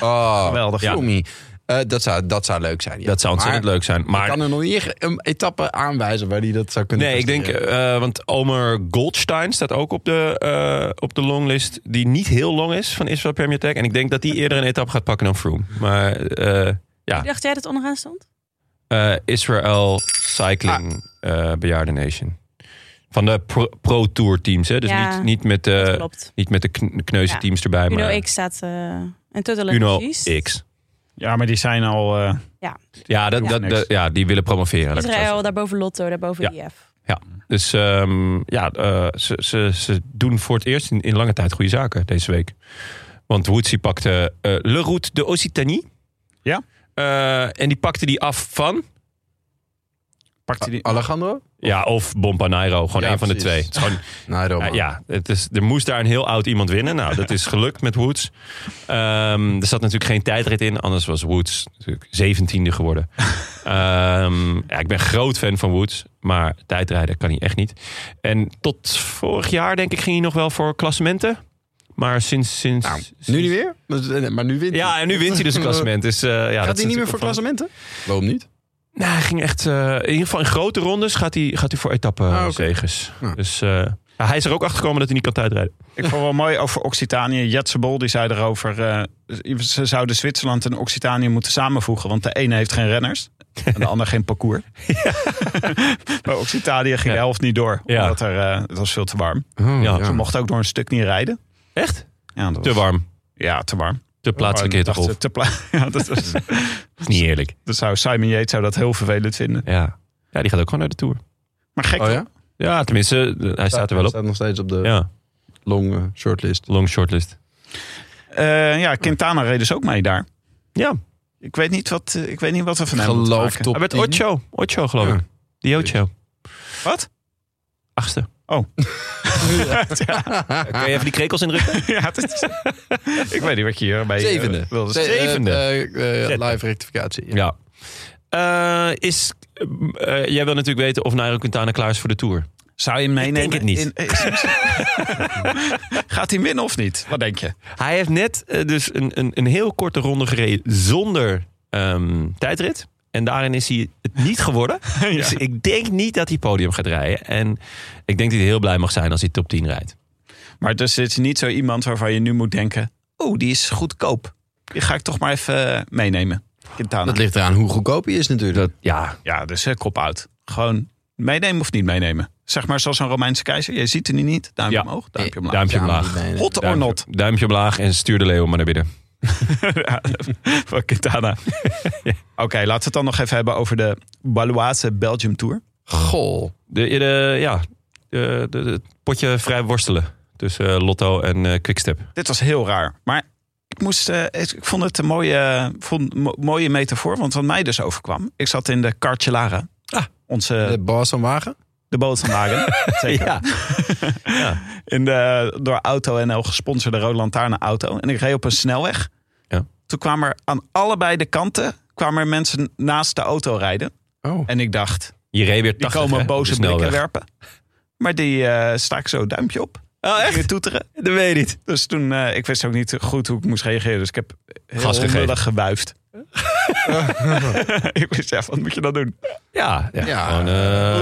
S2: Oh,
S4: Geweldig. Ja.
S2: Tommy. Eh, dat, zou, dat zou leuk zijn. ja.
S1: dat zou ontzettend
S2: Maar
S1: leuk zijn.
S2: Ik
S1: Maar
S2: kan er nog niet een etappe aanwijzen waar hij dat zou kunnen
S1: nee, ik denk,
S2: presteren.
S1: eh, want Omer Goldstein staat ook op de, eh, op de longlist. Die niet heel long is van Israel Premier Tech. En ik denk dat die eerder een etappe gaat pakken dan Froome. Maar eh, ja,
S3: Dacht jij dat onderaan stond?
S1: eh, Israel Cycling eh Bejaarden Nation. Van de pro, pro Tour teams. Hè? Dus
S3: Ja,
S1: niet, niet, met de,
S3: Klopt.
S1: niet met de kn- kneuze
S3: Ja.
S1: teams erbij.
S3: Uno
S1: maar
S3: X staat eh en Tuttle
S1: Uno
S3: precies.
S1: X.
S4: Ja, maar die zijn al... eh,
S1: Ja, dat,
S4: Ja.
S1: dat, dat- ja, die willen promoveren. laat ik het zo
S3: Israël, daarboven Lotto, daarboven E IF.
S1: zeggen. Dus ehm, ja, eh, ze, ze, ze doen voor het eerst in, in lange tijd goede zaken deze week. Want Woodsy pakte eh, Le Route de Occitanie.
S4: Ja.
S1: Eh, en die pakte die af van
S4: Pakte die...
S2: Alejandro?
S1: Ja, of Bompanairo. Gewoon
S2: Ja,
S1: een van de
S2: precies.
S1: twee.
S2: Nou,
S1: Het is gewoon,
S2: Nee, Roma.
S1: ja, ja, het is, er moest daar een heel oud iemand winnen. Nou, dat is gelukt met Woods. Ehm, er zat natuurlijk geen tijdrit in. Anders was Woods natuurlijk 17e geworden. Ehm, ja, ik ben groot fan van Woods. Maar tijdrijden kan hij echt niet. En tot vorig jaar, denk ik, ging hij nog wel voor klassementen. Maar sinds... sinds
S2: Nou,
S1: sinds-
S2: nu niet meer? Maar- Maar nu wint hij.
S1: Ja, en nu wint hij dus een klassement. Dus, eh, ja, dat is
S2: Gaat hij niet meer
S1: natuurlijk
S2: voor
S1: opvallend.
S2: klassementen? Waarom niet?
S1: Nou, hij ging echt. eh, in ieder geval in grote rondes gaat hij, gaat hij voor
S2: Ah,
S1: etappenzegers.
S2: oké.
S1: zegers.
S2: Ja.
S1: Dus eh, ja, hij is er ook achter gekomen dat hij niet kan tijdrijden.
S4: Ik vond wel mooi over Occitanië. Jetsebol die zei erover. eh, ze zouden Zwitserland en Occitanië moeten samenvoegen. Want de ene heeft geen renners. En de ander geen parcours. maar Occitanië ging
S1: Ja.
S4: de helft niet door.
S1: Ja.
S4: Omdat er, eh, het was veel te warm.
S2: Oh,
S1: ja.
S4: Ze mochten ook door een stuk niet rijden.
S1: Echt?
S4: Ja, dat was-
S1: Te warm.
S4: Ja, te warm.
S1: Te plaatselijke
S4: Dacht
S1: hittegolf.
S4: ze, te pla- ja, dat, was-
S1: Dat is niet eerlijk.
S4: dat zou Simon Yates zou dat heel vervelend vinden.
S1: Ja. ja, die gaat ook gewoon naar de Tour.
S4: Maar gek.
S2: Oh ja?
S1: Ja, tenminste, de- hij staat eh, er wel op.
S2: staat nog steeds op de
S1: Ja,
S2: long eh, shortlist.
S1: long shortlist.
S4: Eh, ja, Quintana reed dus ook mee daar.
S1: Ja,
S4: Ik weet niet wat, eh, ik weet niet wat we van hem moeten
S2: Geloof
S4: maken.
S2: top
S1: hij werd
S2: 10.
S1: Ocho. Ocho, geloof
S2: Ja.
S1: ik. Die Ocho.
S4: Wat?
S1: Achtste.
S2: Ah,
S1: Kan je even die krekels indrukken?
S4: ja, het is- ik weet niet wat je hierbij eh,
S2: Zevende.
S4: wilde
S2: Ze- eh,
S1: Zevende.
S2: eh, eh,
S1: Zette.
S2: live rectificatie.
S1: ja. Eh, is, eh, eh, jij wil natuurlijk weten of Nairo Quintana klaar is voor de Tour.
S4: Zou je hem meenemen?
S1: denk het niet.
S4: in- eh, Gaat hij winnen of niet? Wat denk je?
S1: Hij heeft net eh, dus een, een, een heel korte ronde gereden zonder ehm, tijdrit. En daarin is hij het niet geworden. Dus ik denk niet dat hij podium gaat rijden. En ik denk dat hij heel blij mag zijn als hij top 10 rijdt.
S4: Maar dus dit is niet zo iemand waarvan je nu moet denken... oh, die is goedkoop. Die ga ik toch maar even eh, meenemen. Quintana.
S2: Dat ligt eraan hoe goedkoop hij is natuurlijk.
S1: Dat, ja,
S4: Ja, dus eh, kop uit. Gewoon meenemen of niet meenemen. Zeg maar zoals een Romeinse keizer. Je ziet hem niet. Duimpje
S1: Ja.
S4: omhoog, Eh, duimpje omlaag.
S1: duimpje
S2: Ja, maar
S1: omlaag.
S2: die benen.
S4: Hot or
S1: Duimpje,
S4: not.
S1: duimpje omlaag en stuur de leeuw maar naar binnen.
S4: Ja, van Quintana. Oké, laten we het dan nog even hebben over de Baloise Belgium Tour.
S2: Goh.
S1: De, eh, de- ja, de, de- de- het potje vrij worstelen tussen eh, Lotto en eh, Quickstep.
S4: Dit was heel raar. Maar ik, moest, eh, ik vond het een mooie, vond, mo- mooie metafoor. Want wat mij dus overkwam. Ik zat in de Cartelara.
S1: Ah.
S4: Onze,
S2: De baas van Wagen?
S4: de bootwagen. Zeker.
S1: Ja.
S4: In de door Auto NL gesponsorde Rode Lantaarne auto. En ik reed op een snelweg.
S1: Ja.
S4: Toen kwamen er aan allebei de kanten kwamen er mensen naast de auto rijden.
S2: Oh.
S4: En ik dacht,
S1: Je reed weer
S4: die
S1: 80 hè, Dus
S4: komen
S1: op de
S4: boze
S1: snelweg.
S4: blikken werpen. Maar die eh, sta ik zo een duimpje op.
S1: Oh, echt?
S4: Weer toeteren.
S1: Dat weet je niet.
S4: Dus toen, eh, ik wist ook niet goed hoe ik moest reageren. Dus ik heb heel
S1: Gas gegeven.
S4: onwillig gewuifd. ik wist, ja, wat moet je dan doen?
S1: Ja, ja,
S2: Ja.
S1: gewoon eh,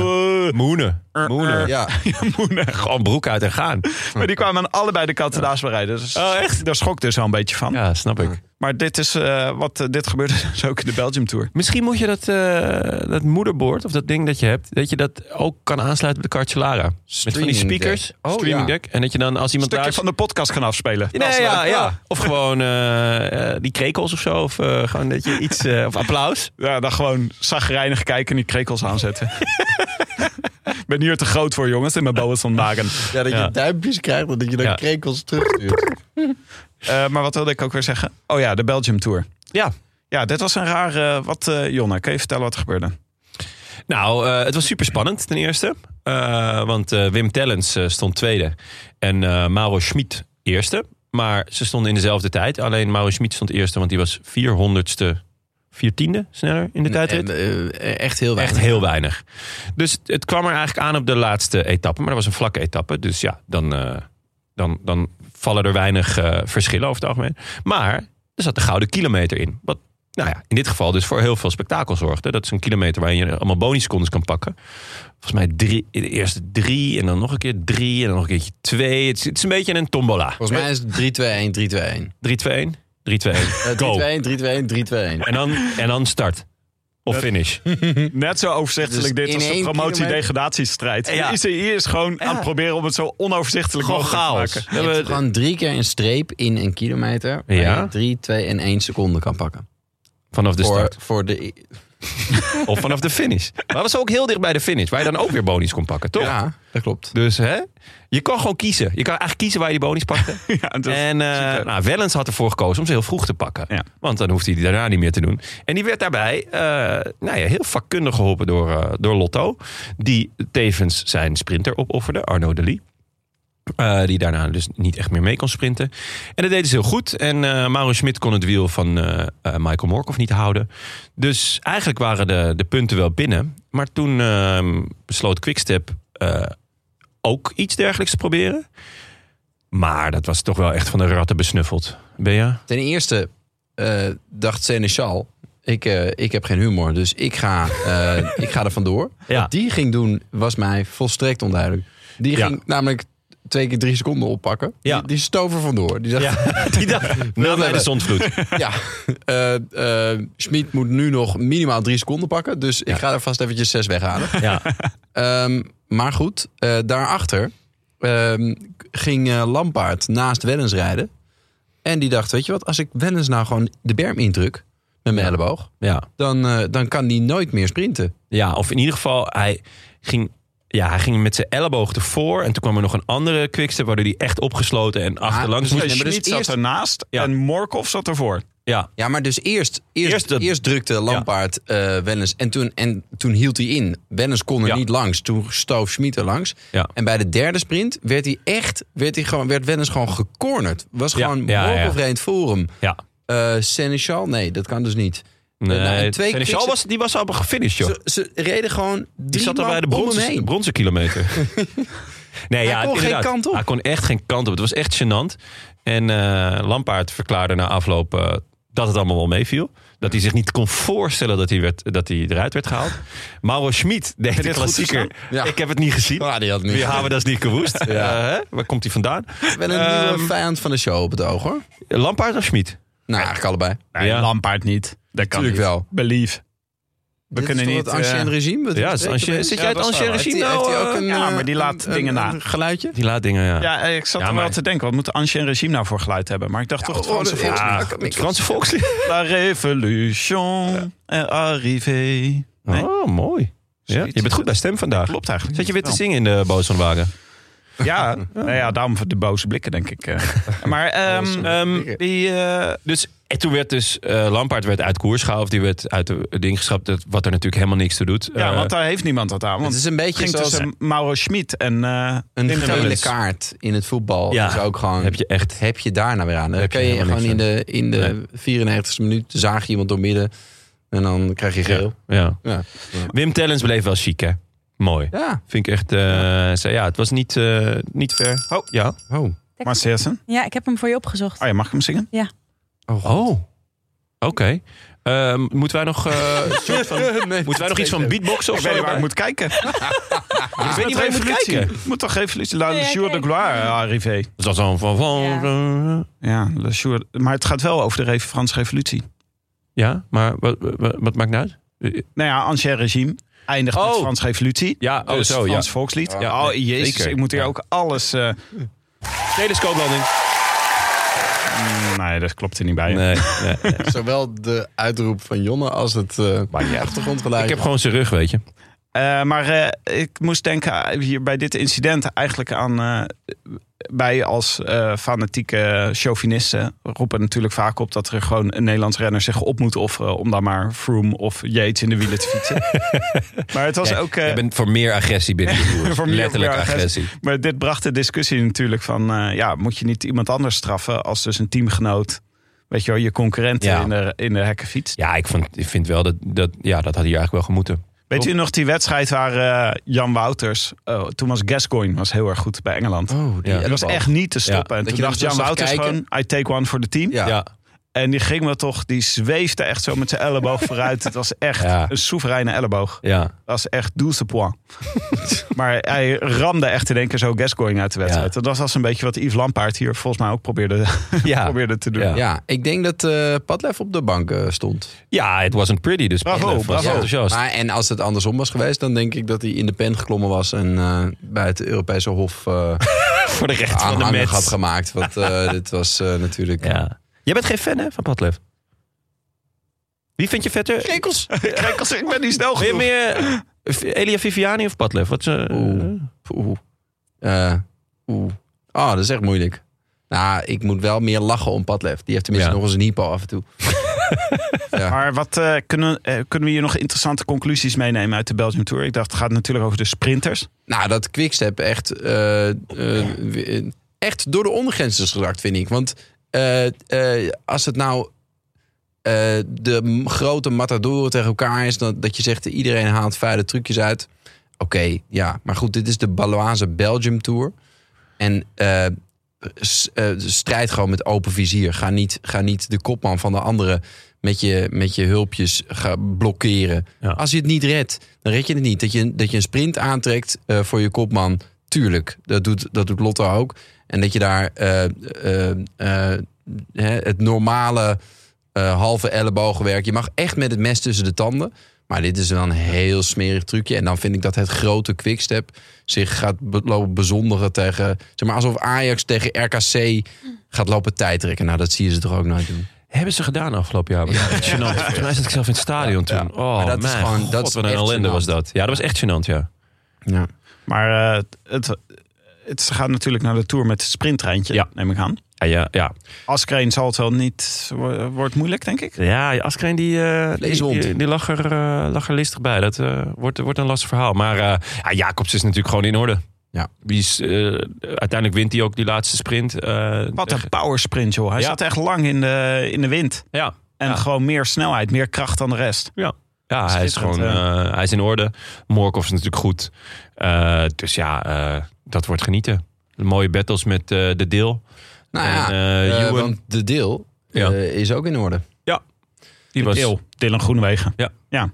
S4: Eh,
S1: moenen.
S4: eh,
S1: Moenen.
S2: Ja.
S4: moenen.
S1: Gewoon broek uit en gaan.
S4: Maar die kwamen aan allebei de kanten naast me rijden. Dus
S1: Oh, echt?
S4: Daar schrok ik dus wel een beetje van.
S1: Ja, snap ik.
S4: Maar dit, is, eh, wat, eh, dit gebeurde dus ook in de Belgium Tour.
S1: Misschien moet je dat, eh, dat moederbord of dat ding dat je hebt, dat je dat ook kan aansluiten op de Cartelara. Met van die
S2: Streaming
S1: speakers,
S2: deck. Oh,
S1: streaming
S2: ja.
S1: deck. En dat je dan als iemand
S4: Stukje
S1: daar.
S4: van de podcast gaan afspelen. Dat is
S1: Nee, ja,
S4: leuk.
S1: ja. Of gewoon eh, eh, die krekels of zo. Of eh, gewoon dat je iets. eh, of applaus.
S4: Ja, dan gewoon zagrijnig kijken en die krekels aanzetten. Ik ben hier te groot voor, jongens, in mijn boas van Magen.
S2: ja, dat je
S1: Ja.
S2: duimpjes krijgt en dat je dan
S1: Ja.
S2: krekels terugstuurt.
S4: Eh, maar wat wilde ik ook weer zeggen? Oh ja, de Belgium Tour.
S1: Ja.
S4: Ja, dit was een raar... eh, wat, eh Jonne, kan je vertellen wat er gebeurde?
S1: Nou, eh, het was super spannend ten eerste. Eh, want eh, Wim Tellens eh, stond tweede en eh, Mauro Schmid eerste. Maar ze stonden in dezelfde tijd. Alleen Mauro Schmid stond eerste, want die was 400ste, 14e sneller in de tijdrit.
S2: En, eh, echt heel weinig.
S1: Echt heel weinig. Dus het- het kwam er eigenlijk aan op de laatste etappe. Maar dat was een vlakke etappe. Dus ja, dan, eh, dan, dan vallen er weinig eh, verschillen over het algemeen. Maar er zat de gouden kilometer in. Wat nou ja, in dit geval dus voor heel veel spektakel zorgde. Dat is een kilometer waarin je allemaal bonussecondes kan pakken. Volgens mij drie, de eerste drie en dan nog een keer drie en dan nog een keertje twee. Het is, het is een beetje een tombola.
S2: Volgens mij is het
S1: 3,
S2: 3-2-1, 3-2-1.
S1: 2, 1. 3, 2, 1.
S2: Eh,
S1: Go.
S2: 3-2-1, 3-2-1, 3-2-1.
S1: En dan, en dan start. Of finish.
S4: Net zo overzichtelijk
S2: Dus
S4: dit
S2: in
S4: als de
S2: één
S4: promotie-degradatiestrijd.
S1: Ja.
S4: De ICI is gewoon aan het proberen om het zo onoverzichtelijk
S1: Gewoon
S4: mogelijk
S1: chaos.
S4: te maken.
S1: We
S2: Je hebt
S1: hebben-
S2: gewoon drie keer een streep in een kilometer. Waar
S1: Ja.
S2: je 3, 2 en 1 seconde kan pakken.
S1: Vanaf de
S2: voor,
S1: start.
S2: voor de...
S1: Of vanaf de finish. Maar was ook heel dicht bij de finish. Waar je dan ook weer bonies kon pakken, toch?
S2: Ja, dat klopt.
S1: Dus hè, je kan gewoon kiezen. Je kan eigenlijk kiezen waar je die bonies pakte.
S4: Ja, dat is
S1: en eh,
S4: super.
S1: nou, Wellens had ervoor gekozen om ze heel vroeg te pakken.
S4: Ja.
S1: Want dan hoefde hij die daarna niet meer te doen. En die werd daarbij eh, nou ja, heel vakkundig geholpen door, eh, door Lotto. Die tevens zijn sprinter opofferde, Arno de Lee. Eh, die daarna dus niet echt meer mee kon sprinten. En dat deden ze heel goed. En eh Mauro Schmidt kon het wiel van eh, eh, Michael Morkov niet houden. Dus eigenlijk waren de, de punten wel binnen. Maar toen ehm, besloot Quickstep eh, ook iets dergelijks te proberen. Maar dat was toch wel echt van de ratten besnuffeld. Ben je?
S2: Ten eerste eh, dacht Seneschal... Ik, eh, ik heb geen humor, dus ik ga, eh, ik ga er vandoor.
S1: Ja.
S2: Wat die ging doen, was mij volstrekt onduidelijk. Die
S1: Ah. Ja.
S2: ging namelijk twee keer drie seconden oppakken.
S1: Ja.
S2: Die, die stoof er vandoor. Die dacht,
S1: Die dacht, na bij de zondvloed.
S2: Ja, eh eh, Schmid moet nu nog minimaal drie seconden pakken. Dus ik ga er vast eventjes zes weghalen.
S1: Ja.
S2: Ehm, maar goed, eh, daarachter ehm, ging eh, Lampaard naast Wellens rijden. En die dacht, weet je wat, als ik Wellens nou gewoon de berm indruk met mijn elleboog...
S1: Ja.
S2: Dan, eh, dan kan die nooit meer sprinten.
S1: ja, of in ieder geval, hij ging, ja, hij ging met zijn elleboog ervoor. En toen kwam er nog een andere quickstep, waardoor hij echt opgesloten en achterlangs
S2: precies.
S1: moest.
S2: Ja, maar dus
S4: Schmid zat
S2: eerst-
S4: ernaast
S1: Ja.
S4: en Morkov zat ervoor.
S1: Ja,
S2: Ja, maar dus eerst, eerst,
S1: Eerst dat-
S2: eerst, drukte Lampaard eh, Wellens. En toen, en toen hield hij in. Wellens kon er
S1: Ja.
S2: niet langs. Toen stoof Schmid er langs.
S1: ja.
S2: En bij de derde sprint werd hij echt, werd, hij gewoon, werd Wellens gewoon gecornerd. Was
S1: Ja,
S2: gewoon
S1: ja,
S2: ja,
S1: ja.
S2: forum.
S1: ja.
S2: Eh Seneschal, nee, dat kan dus niet.
S1: Nee,
S2: nou, en twee
S1: Seneschal
S2: quickstep-
S1: was, die was al gefinished, joh.
S2: Ze, ze reden gewoon drie
S1: Die zat al
S2: man
S1: bij de
S2: om hem
S1: bronzen,
S2: heen.
S1: bronzen kilometer. nee, ja,
S2: kon geen
S1: inderdaad.
S2: kant op.
S1: Hij kon echt geen kant op. Het was echt gênant. En eh, Lampaard verklaarde na afloop eh, dat het allemaal wel meeviel. Dat hij zich niet kon voorstellen dat hij, werd, dat hij eruit werd gehaald. Mauro Schmid deed de
S4: dit goed
S1: klassieker.
S2: Ja.
S1: Ik heb het niet gezien.
S2: Ah, die had niet.
S1: Wie hebben dat niet gewoest? Eh, hè? Waar komt hij vandaan?
S2: Wel een nieuwe
S1: Ehm.
S2: vijand van de show op het oog, hoor.
S1: Lampaard of Schmid?
S2: Nou, eigenlijk allebei.
S4: Nee,
S1: Ja.
S4: Lampaard niet. Dat kan
S2: Tuurlijk
S4: niet.
S2: wel.
S4: Believe. We
S2: Dit
S4: kunnen
S2: is toch
S4: niet...
S2: Het
S4: eh,
S2: ancien regime. wat
S1: Ja,
S2: we
S1: het is
S2: spreken?
S1: ancien- zit jij
S4: Ja,
S1: het
S4: dat is
S1: ancien
S4: wel waar.
S1: regime
S2: Heeft hij-
S1: nou?
S2: heeft hij ook
S1: eh,
S2: een,
S4: ja,
S2: eh,
S4: maar die laat
S2: een-
S4: dingen
S2: een-
S4: na.
S2: een geluidje?
S1: Die laat dingen, ja.
S4: Ja, eh, ik zat
S1: Ja,
S4: er wel
S1: maar-
S4: te denken. Wat moet de ancien regime nou voor geluid hebben? Maar ik dacht toch het Franse
S2: oh,
S4: volkslied.
S2: ja.
S1: Ah, het Franse volkslied.
S4: La révolution est arrivée. Nee?
S1: Oh, mooi. Ja, je bent goed bij stem vandaag.
S4: Klopt eigenlijk.
S1: Zat je weer te
S4: Wel.
S1: zingen in de boos van de wagen?
S4: Ja, nou ja, daarom voor de boze blikken, denk ik. eh. maar ehm,
S1: Ehm,
S2: Zeker.
S1: die, eh, dus, en toen werd dus eh Lampaard werd uit koers gehaald. Die werd uit de- het ding geschrapt. dat- Wat er natuurlijk helemaal niks toe doet.
S4: ja,
S1: Eh,
S4: want daar heeft niemand wat aan. Want
S2: Het is een
S4: het
S2: beetje
S4: ging
S2: zoals
S4: tussen Mauro Schmid en eh,
S2: een
S4: Tim
S2: gele
S4: Gellens.
S2: kaart in het voetbal.
S1: Ja.
S2: Is ook gewoon,
S1: heb je echt.
S2: heb je daar nou weer aan? Dan
S1: Heb
S2: kan
S1: je
S2: je,
S1: helemaal
S2: gewoon in
S1: niks
S2: de, in de 94ste minuut zaag je iemand doormidden. En dan krijg je geel.
S1: Ja.
S2: Ja.
S1: Wim Tellens bleef wel chic, hè? Mooi.
S2: Ja.
S1: Vind ik echt. eh, zei, ja, het was niet, eh, niet ver.
S4: Oh.
S1: ja.
S2: Oh.
S4: Marciassen.
S3: Ja, ik heb hem voor je opgezocht.
S1: Ah,
S4: Oh ja, mag ik hem zingen?
S1: Oh. Oké. Ehm, moeten wij nog. eh, een soort van- moeten wij nog iets van beatboxen of
S4: Ik
S1: zo?
S4: weet niet
S1: erbij?
S4: waar ik moet kijken.
S1: Ik weet niet waar je moet kijken.
S4: Ik moet toch revolutie. La
S3: Nee, ja,
S4: Jour de
S3: kijk.
S4: Gloire eh, arrivée.
S1: Dat is dan van. van
S4: Ja, Le Jour. Maar het gaat wel over de re- Franse revolutie.
S1: Ja, maar wat, wat, wat maakt nou uit?
S4: Nou ja, ancien regime eindigt
S1: Oh.
S4: met Franse revolutie.
S1: Ja, oh
S4: Dus
S1: zo, ja.
S4: Frans volkslied.
S1: Ja,
S4: oh, jezus,
S1: zeker.
S4: ik moet hier
S1: Ja.
S4: ook alles... eh,
S1: Telescooplanding.
S4: nee, dat klopt er niet bij.
S1: Nee, nee.
S2: Zowel de uitroep van Jonne als het eh, achtergrondgeluid.
S1: Ik heb gewoon zijn rug, weet je.
S4: Eh, maar eh, ik moest denken eh, hier bij dit incident eigenlijk aan... eh, wij als eh, fanatieke chauvinisten roepen natuurlijk vaak op... dat er gewoon een Nederlands renner zich op moet offeren... om dan maar Froome of Yates in de wielen te fietsen. maar het was
S1: Jij-
S4: ook... eh,
S1: Jij bent voor meer agressie binnen de koers.
S4: Voor meer-
S1: Letterlijk
S4: meer
S1: agressie.
S4: agressie. Maar dit bracht de discussie natuurlijk van... eh, ja, moet je niet iemand anders straffen als dus een teamgenoot... weet je wel, je concurrent
S1: Ja.
S4: in, de, in de hekken fietst.
S1: Ja, ik, vond, ik vind wel dat, dat... Ja, dat had hij eigenlijk wel gemoeten.
S4: Weet u nog die wedstrijd waar eh, Jan Wouters... eh, toen was Gascoigne was heel erg goed bij Engeland.
S2: Oh, die
S1: Ja.
S4: Het was echt niet te stoppen. En
S2: Dat
S4: toen
S2: je
S4: dacht
S2: dan
S4: Jan
S2: zo zag
S4: Wouters
S2: kijken.
S4: gewoon... I take one for the team.
S2: Ja.
S1: Ja.
S4: En die ging wel toch... die zweefde echt zo met zijn elleboog vooruit. Het was echt
S1: Ja.
S4: een soevereine elleboog.
S1: Ja.
S4: Dat was echt 12 point. maar hij ramde echt in één keer zo Gascoigne uit de wedstrijd.
S1: Ja.
S4: Dat was een beetje wat Yves Lampaard hier volgens mij ook probeerde,
S1: Ja.
S4: probeerde te doen.
S1: Ja.
S2: Ja, ik denk dat eh Padlef op de bank eh, stond.
S1: ja, it wasn't pretty. Dus
S4: Bravo,
S1: Padlef was
S4: bravo.
S1: enthousiast.
S2: Maar, en als het andersom was geweest, dan denk ik dat hij in de pen geklommen was en eh, bij het Europese Hof eh
S1: voor de recht van de
S2: aanhanger had
S1: match.
S2: gemaakt. Want eh, dit was eh, natuurlijk.
S1: Ja. Jij bent geen fan, hè, van Padlef? Wie vind je vetter?
S2: Krekels.
S4: Kijk, als ik ben niet snel
S1: Ben je
S4: genoeg.
S1: meer eh, Elia Viviani of Padlef? Wat, eh,
S2: Oeh. Oeh. Eh, oeh. Oh, dat is echt moeilijk. Nou, ik moet wel meer lachen om Padlef. Die heeft tenminste
S1: Ja.
S2: nog eens een hypo af en toe.
S4: Maar wat eh, kunnen, eh, kunnen we hier nog interessante conclusies meenemen uit de Belgium Tour? Ik dacht, het gaat natuurlijk over de sprinters.
S2: Nou, dat Quickstep echt, eh, eh, we- echt door de ondergrens is geraakt, vind ik. Want eh, eh, als het nou eh, de m- grote matadoren tegen elkaar is... Dan, dat je zegt, iedereen haalt vuile trucjes uit. Oké, ja. Maar goed, dit is de Baloise Belgium Tour. En eh, s- eh, strijd gewoon met open vizier. Ga niet, ga niet de kopman van de andere met je, met je hulpjes ga blokkeren.
S1: Ja.
S2: Als je het niet redt, dan red je het niet. Dat je, dat je een sprint aantrekt eh, voor je kopman, tuurlijk. Dat doet, dat doet Lotte ook. En dat je daar eh, eh, eh, hè, het normale eh, halve ellebogenwerk... Je mag echt met het mes tussen de tanden. Maar dit is wel een heel smerig trucje. En dan vind ik dat het grote quickstep zich gaat be- lopen bezondigen tegen... Zeg maar alsof Ajax tegen RKC gaat lopen tijdrekken. Nou, dat zie je ze toch ook nooit doen.
S1: Hebben ze gedaan afgelopen jaar? Ja. Gênant. Volgens mij zat ik zelf in het stadion toen. Oh, dat
S2: Maar dat is
S1: mijn
S2: gewoon-
S1: God,
S2: dat is
S1: wat een
S2: echt
S1: ellende
S2: gênant.
S1: was dat. Ja, dat was echt gênant, ja.
S2: Ja.
S4: Maar eh, het, het, ze gaan natuurlijk naar de Tour met het sprinttreintje,
S1: Ja.
S4: neem ik aan.
S1: Ja, ja, ja.
S4: Askreen zal het wel niet... wo- Wordt moeilijk, denk ik.
S1: ja Askreen die, eh, die,
S2: Vleeshond.
S1: die, die lag, er, eh, lag er listig bij. Dat eh, wordt, wordt een lastig verhaal. Maar eh, ja, Jacobs is natuurlijk gewoon in orde.
S2: Ja.
S1: Die is, eh, uiteindelijk wint hij ook die laatste sprint. eh,
S4: Wat een powersprint, joh. Hij
S1: Ja.
S4: zat echt lang in de, in de wind.
S1: Ja,
S4: En
S1: Ja.
S4: gewoon meer snelheid, meer kracht dan de rest.
S1: Ja, hij is gewoon
S4: Schitterend,
S1: eh, hij is in orde. Morkov is natuurlijk goed. Eh, dus ja, eh, dat wordt genieten. Mooie battles met eh, de deel.
S2: Nou ja,
S1: en, eh,
S2: eh,
S1: Ewan,
S2: want de deel
S1: Ja.
S2: eh, is ook in orde.
S1: die, was,
S4: Deel. Dylan Groenewegen.
S2: Ja.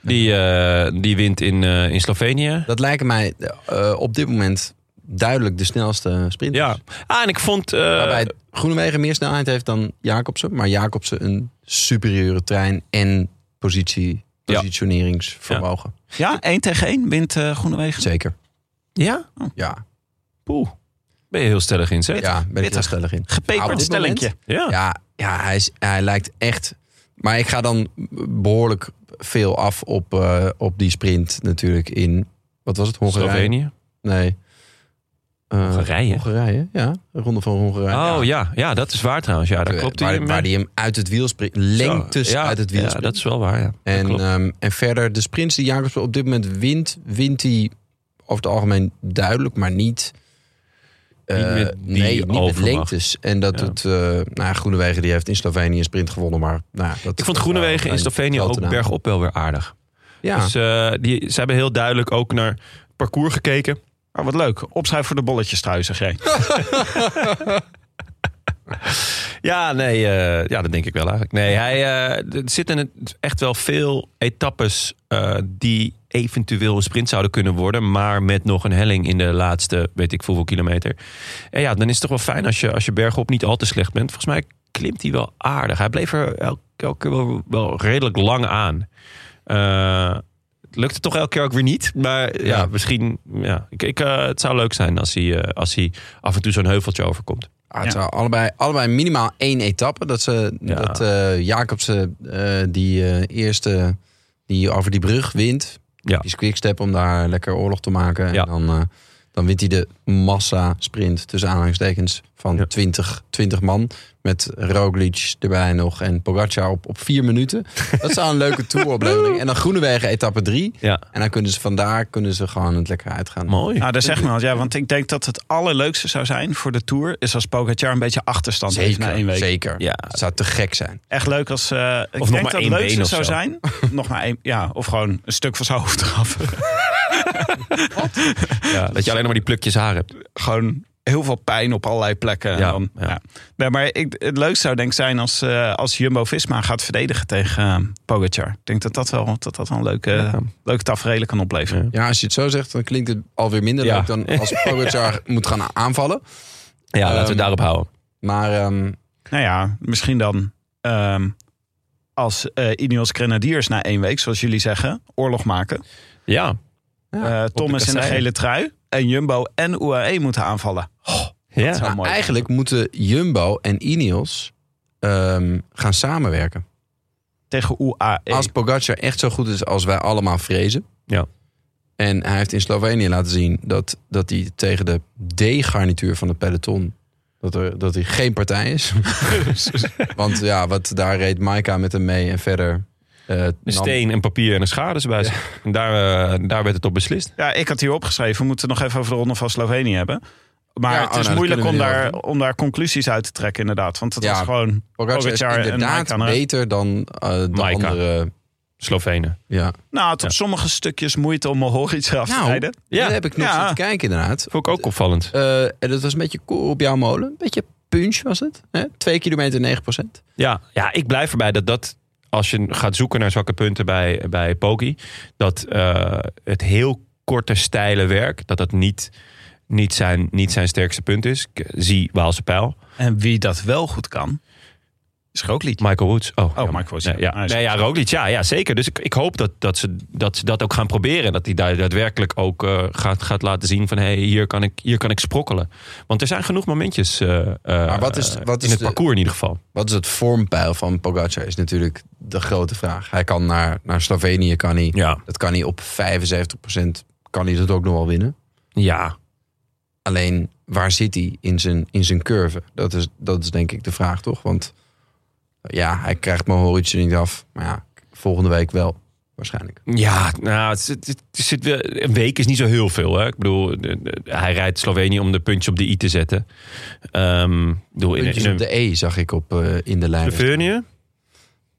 S1: die, eh, die wint in, eh, in Slovenië.
S2: Dat lijken mij eh, op dit moment duidelijk de snelste sprinters.
S1: Ja, ah, en ik vond... eh,
S2: Waarbij Groenewegen meer snelheid heeft dan Jacobsen. Maar Jacobsen een superieure trein en positie,
S1: Ja.
S2: positioneringsvermogen.
S4: Ja, één tegen één wint eh Groenewegen.
S2: Zeker.
S1: ja,
S2: Ja,
S1: poeh. Ben je heel stellig in, zeg.
S2: ja ben ik heel
S4: pittig.
S2: stellig in.
S4: Gepeperd
S2: Ah, op dit
S4: stellingje.
S2: moment?
S1: Ja.
S2: Ja, ja hij, is, hij lijkt echt... Maar ik ga dan behoorlijk veel af op, eh, op die sprint natuurlijk in... Wat was het? Hongarije?
S1: Slovenië.
S2: Nee. Eh,
S1: Hongarije?
S2: Hongarije, ja. De ronde van Hongarije.
S1: Oh ja, ja, dat is waar trouwens. Ja, dat klopt.
S2: Eh, Waar,
S1: hij
S2: waar die hem uit het wiel springt. Lengtes
S1: ja,
S2: uit het wiel
S1: Ja,
S2: springt.
S1: dat is wel waar, ja. Dat
S2: en,
S1: klopt.
S2: ehm, en verder, de sprints die Jacobs op dit moment wint... wint hij over het algemeen duidelijk, maar niet... eh,
S1: Niet met die
S2: nee, niet
S1: overmacht.
S2: met lengtes. En dat
S1: Ja.
S2: het... eh nou, ja, Groenewegen die heeft in Slovenië een sprint gewonnen, maar... Nou, ja, dat,
S1: ik vond Groenewegen in Slovenië ook
S2: berg.
S1: bergop wel weer aardig.
S2: Ja,
S1: Dus eh, die, ze hebben heel duidelijk ook naar het parcours gekeken.
S4: Maar Oh, wat leuk. Opschrijf voor de bolletjes trouwens, zeg jij.
S1: Ja, nee, eh, ja, dat denk ik wel eigenlijk. Nee, hij, eh, er zitten het- echt wel veel etappes eh, die eventueel een sprint zouden kunnen worden. Maar met nog een helling in de laatste, weet ik hoeveel kilometer. En ja, dan is het toch wel fijn als je, als je bergop niet al te slecht bent. Volgens mij klimt hij wel aardig. Hij bleef er elke, elke keer wel, wel redelijk lang aan. Eh, het lukte toch elke keer ook weer niet. Maar ja,
S2: Ja.
S1: misschien, ja, ik, ik, eh, het zou leuk zijn als hij, eh, als hij af en toe zo'n heuveltje overkomt.
S2: Ah, het
S4: Ja.
S2: zou allebei, allebei minimaal één etappe. Dat, ze,
S1: Ja.
S2: dat eh, Jacobsen eh, die eh, eerste die over die brug wint.
S1: Ja.
S2: Die is quickstep om daar lekker oorlog te maken.
S1: Ja.
S2: En dan, eh, dan wint hij de massa sprint tussen aanhalingstekens van
S1: Ja.
S2: 20, 20 man. Met Roglic erbij nog en Pogacar op, op vier minuten. Dat zou een leuke toeroplevering. En dan Groenewegen etappe drie.
S1: Ja,
S2: En dan kunnen ze vandaar kunnen ze gewoon het lekker uitgaan.
S1: mooi.
S4: Nou, daar zeg maar wat. Ja, want ik denk dat het allerleukste zou zijn voor de Tour... is als Pogacar een beetje achterstand heeft na één
S2: Zeker,
S4: week.
S2: zeker.
S1: Ja.
S2: Het zou te gek zijn.
S4: Echt leuk als... eh, ik
S1: nog
S4: denk
S1: maar
S4: dat
S1: één
S4: het leukste
S1: been of
S4: zou
S1: zo.
S4: zijn... nog maar één... Ja, of gewoon een stuk van zijn hoofd eraf.
S1: Ja, dat je alleen nog maar die plukjes haar hebt.
S4: gewoon heel veel pijn op allerlei plekken. En
S1: Ja,
S4: dan,
S1: ja.
S4: ja. Nee, maar ik, het leukste zou denk ik zijn als, eh, als Jumbo-Visma gaat verdedigen tegen eh, Pogacar. Ik denk dat dat wel, dat dat wel een leuke,
S1: Ja.
S4: leuke tafereel kan opleveren.
S2: Ja, als je het zo zegt, dan klinkt het alweer minder
S1: Ja.
S2: leuk dan als Pogacar moet gaan aanvallen.
S1: Ja, laten we het
S2: Ehm,
S1: daarop houden.
S2: Maar ehm,
S4: Nou ja, misschien dan ehm, als eh Ineos Grenadiers na één week, zoals jullie zeggen, oorlog maken.
S1: Ja.
S2: Ja,
S4: Eh, Thomas in de
S1: kasseien.
S4: gele trui en Jumbo en UAE moeten aanvallen.
S1: ja.
S4: zou
S2: nou,
S4: mooi
S2: eigenlijk moeten Jumbo en Ineos ehm, gaan samenwerken.
S4: tegen E. UAE.
S2: Als Pogacar echt zo goed is als wij allemaal vrezen.
S1: Ja.
S2: En hij heeft in Slovenië laten zien dat, dat hij tegen de D-garnituur van het peloton. Dat, er, dat hij geen partij is. Want ja, wat, daar reed Maika met hem mee en verder. eh,
S1: Een
S2: nam-
S1: steen en papier en een schades bij zich. En daar, eh, daar werd het op beslist.
S4: Ja, ik had hier opgeschreven. We moeten het nog even over de Ronde van Slovenië hebben. Maar
S2: Ja, oh,
S4: het
S2: nou,
S4: is
S2: dat
S4: moeilijk om
S2: kunnen we niet
S4: daar,
S2: over
S4: om daar conclusies uit te trekken, inderdaad. Want het
S2: Ja.
S4: was gewoon...
S2: Pogacar is
S4: Pogacar en
S2: inderdaad
S4: Maika, hè?
S2: beter dan eh, de
S1: Maika.
S2: andere.
S1: Slovenen.
S2: Ja.
S4: Nou, tot
S1: Ja.
S4: sommige stukjes moeite om mijn horizon af te
S2: Nou,
S4: rijden.
S1: Ja.
S2: Daar heb ik nog
S4: Ja.
S2: zitten kijken inderdaad.
S1: Vond ik ook opvallend.
S2: Eh, en dat was een beetje koor op jouw molen. Een beetje punch was het. Hè? Twee kilometer 9 procent.
S1: Ja, ja, ik blijf erbij dat dat... Als je gaat zoeken naar zwakke punten bij, bij Poki... dat eh, het heel korte, steile werk... dat dat niet, niet, zijn, niet zijn sterkste punt is. Ik eh, zie Waalse Pijl.
S4: En wie dat wel goed kan, is Roglic.
S1: Michael Woods. Oh, jammer.
S4: Michael Woods,
S1: Nee,
S4: ja.
S1: ja.
S4: Hij is-
S1: Nee, ja, Roglic, ja, ja, zeker. Dus ik, ik hoop dat, dat, ze, dat ze dat ook gaan proberen. En dat hij daar daadwerkelijk ook eh, gaat, gaat laten zien van... hé, hey, hier, kan ik, hier kan ik sprokkelen. Want er zijn genoeg momentjes eh, eh,
S2: wat is- wat is
S1: in het
S2: de-
S1: parcours in ieder geval.
S2: Wat is het vormpeil van Pogacar is natuurlijk de grote vraag. Hij kan naar, naar Slovenië, kan hij,
S1: Ja,
S2: dat kan hij op 75% kan hij dat ook nog wel winnen.
S1: ja.
S2: Alleen, waar zit hij in zijn, in zijn curve? Dat is, dat is denk ik de vraag, toch? Want ja, hij krijgt Mohoric er niet af. Maar ja, volgende week wel, waarschijnlijk.
S1: Ja, nou, het, zit- het zit wel- een week is niet zo heel veel. Hè? Ik bedoel, de- de- hij rijdt Slovenië om de puntjes op de i te zetten. Ehm, ik bedoel, in,
S2: Puntjes
S1: in
S2: op de E zag ik op, eh, in de lijn.
S1: Slovenië?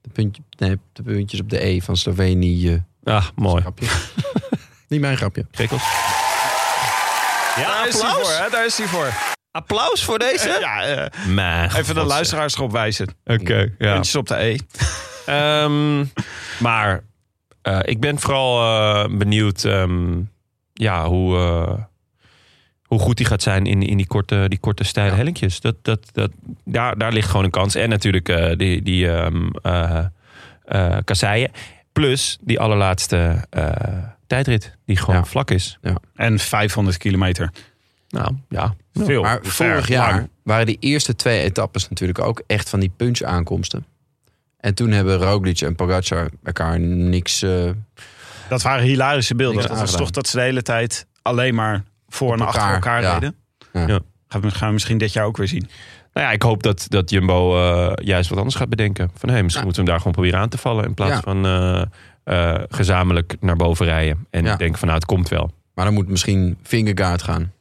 S2: De, puntje, nee, de puntjes op de E van Slovenië.
S1: Ah, mooi.
S2: Grapje. niet mijn grapje.
S1: Prikkels. Ja,
S4: Daar is hij voor,
S1: applaus.
S4: hè? Daar is hij voor.
S1: Applaus voor deze?
S4: Ja, eh,
S1: Maar,
S4: even de luisteraars erop wijzen.
S1: Oké, ja.
S4: Puntjes op de E.
S1: Ehm, maar eh, ik ben vooral eh, benieuwd ehm, ja, hoe, eh, hoe goed die gaat zijn in, in die korte, die korte steile hellinkjes. Dat, dat, dat, daar, daar ligt gewoon een kans. En natuurlijk eh, die, die ehm, eh, eh, kasseien. Plus die allerlaatste eh, tijdrit, die gewoon
S2: Ja.
S1: vlak is.
S4: En 500 kilometer.
S1: Nou ja,
S4: Veel.
S2: Maar
S4: Ver,
S2: vorig jaar
S4: lang.
S2: waren die eerste twee etappes natuurlijk ook echt van die punch-aankomsten. En toen hebben Roglic en Pogacar elkaar niks... eh,
S4: Dat waren hilarische beelden.
S2: Niks
S4: Dat was
S2: aangedaan.
S4: toch dat ze de hele tijd alleen maar voor en
S2: Op
S4: achter
S2: elkaar,
S4: elkaar
S2: ja.
S4: reden.
S2: Ja.
S1: Ja.
S4: Gaan we, gaan we misschien dit jaar ook weer zien.
S1: Nou ja, ik hoop dat, dat Jumbo eh, juist wat anders gaat bedenken. Van hé, hey, misschien
S2: Ja.
S1: moeten we hem daar gewoon proberen aan te vallen. In plaats
S2: Ja.
S1: van eh, eh, gezamenlijk naar boven rijden. En
S2: Ja.
S1: ik denk van nou, het komt wel.
S2: maar dan moet misschien Fingergaard gaan.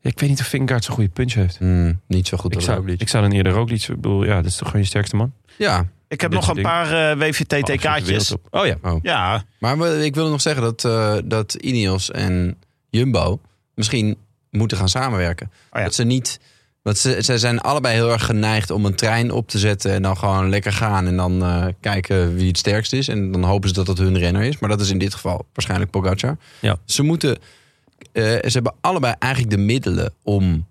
S1: Ja, ik weet niet of Vingegaard zo'n goede punch heeft.
S2: Hmm, niet zo goed
S1: Ik
S2: als
S1: zou,
S2: Roglic.
S1: ik zou dan eerder Roglic... Ik bedoel, ja, dat is toch gewoon je sterkste man?
S2: Ja,
S4: Ik heb
S1: Dit
S4: nog een
S1: soort
S4: paar eh
S1: Absoluut de wereld
S4: WVT-TK'tjes.
S1: op. Oh ja.
S4: Ja,
S2: maar we- ik wil nog zeggen dat, eh, dat Ineos en Jumbo misschien moeten gaan samenwerken.
S4: ja.
S2: Dat ze niet... Want ze, ze zijn allebei heel erg geneigd om een trein op te zetten en dan gewoon lekker gaan. En dan eh, kijken wie het sterkst is. En dan hopen ze dat dat hun renner is. Maar dat is in dit geval waarschijnlijk Pogacar.
S1: Ja.
S2: Ze moeten. eh, ze hebben allebei eigenlijk de middelen om.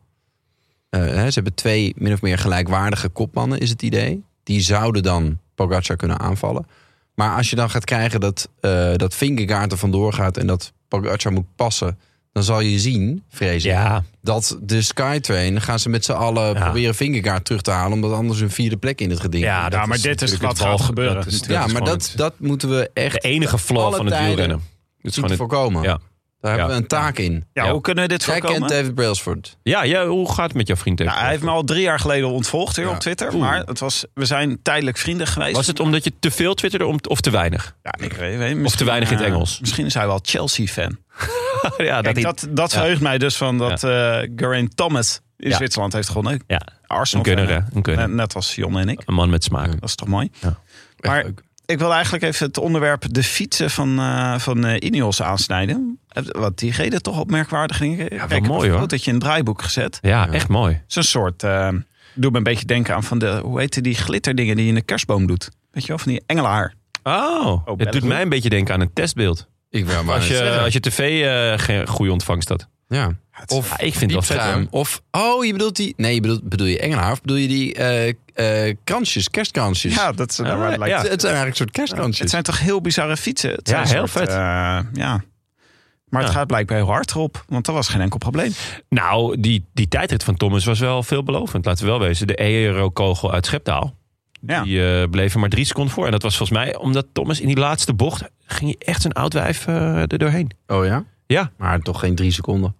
S2: eh, hè, ze hebben twee min of meer gelijkwaardige kopmannen, is het idee. Die zouden dan Pogacar kunnen aanvallen. Maar als je dan gaat krijgen dat, eh dat Vingegaard er vandoor gaat en dat Pogacar moet passen. Dan zal je zien, vrees ik,
S1: Ja,
S2: dat de Skytrain gaan ze met z'n allen
S1: Ja.
S2: proberen Vingegaard terug te halen. Omdat anders hun vierde plek in het geding
S1: Ja,
S2: komt.
S1: dat
S4: ja nou, maar
S1: is
S4: dit is
S1: natuurlijk
S4: wat
S1: het bal-
S4: gaat gebeuren.
S1: dat is-
S4: natuurlijk.
S1: dat
S2: ja, maar
S1: gewoon
S2: dat,
S1: het-
S2: dat moeten we echt
S1: de enige flaw
S2: alle
S1: van het
S2: tijden
S1: wielrennen. Dat is
S2: zien
S1: gewoon
S2: te
S1: het-
S2: voorkomen.
S1: ja.
S2: Daar hebben
S1: Ja.
S2: we een taak in.
S4: Ja,
S1: Ja. eh,
S4: hoe kunnen we dit
S2: Zij kent
S4: voorkomen?
S2: David Brailsford.
S1: ja, ja, hoe gaat het met jouw vriend?
S4: Nou, hij heeft me al drie jaar geleden ontvolgd hier
S2: Ja.
S4: op Twitter.
S2: Oeh.
S4: Maar het was, we zijn tijdelijk vrienden geweest.
S1: Was het omdat je te veel twitterde om- of te weinig?
S4: Ja, ik weet, weet-
S1: Of te
S4: misschien,
S1: weinig in het
S4: eh,
S1: Engels?
S4: misschien is hij wel Chelsea-fan.
S1: ja,
S4: Kijk,
S1: hij-
S4: dat dat verheugt mij dus van dat eh Geraint Thomas in
S1: Ja.
S4: Zwitserland heeft gewonnen.
S1: ja, een
S4: Arsenal.
S1: gunner, hè? Een
S4: Net,
S1: gunner.
S4: net als Jon en ik.
S1: Een man met smaak.
S4: Dat is toch mooi?
S2: Echt
S4: Maar-
S2: leuk.
S4: Ik wil eigenlijk even het onderwerp de fietsen van, eh van eh, Ineos aansnijden. Eh, Want die reden toch opmerkwaardig. Ja,
S1: wel mooi, hoor.
S4: Goed dat je een draaiboek gezet.
S1: Ja, echt mooi.
S4: Het is een soort. eh doe me een beetje denken aan van de. Hoe heette die glitterdingen die je in de kerstboom doet? Weet je wel, van die engelaar.
S1: Oh, het doet
S4: België.
S1: mij een beetje denken aan een testbeeld.
S2: Ik wil maar
S1: Als je, als je tv eh, geen goede ontvangst had.
S2: ja. Of
S1: Ja, ik vind dat vet.
S2: schuim.
S1: hoor.
S2: Of, oh, je bedoelt die... Nee, je bedoelt, bedoel je Engelaar of bedoel je die eh, eh, kransjes, kerstkransjes?
S4: Ja, dat is.
S1: Ah,
S4: waar het lijkt.
S1: ja.
S2: Het, het zijn eigenlijk een soort kerstkransjes.
S4: Het zijn toch heel bizarre fietsen? Het
S1: Ja,
S4: zijn een
S1: heel vet.
S4: eh, ja. Maar het
S1: Ja.
S4: gaat blijkbaar heel hard erop, want dat was geen enkel probleem.
S1: Nou, die, die tijdrit van Thomas was wel veelbelovend. Laten we wel wezen. De Eero-kogel uit Scheptaal.
S4: Ja.
S1: Die eh, bleven maar drie seconden voor. En dat was volgens mij omdat Thomas in die laatste bocht... ging hij echt zijn oud wijf eh, er doorheen.
S2: Oh ja?
S1: Ja.
S2: Maar toch geen drie seconden.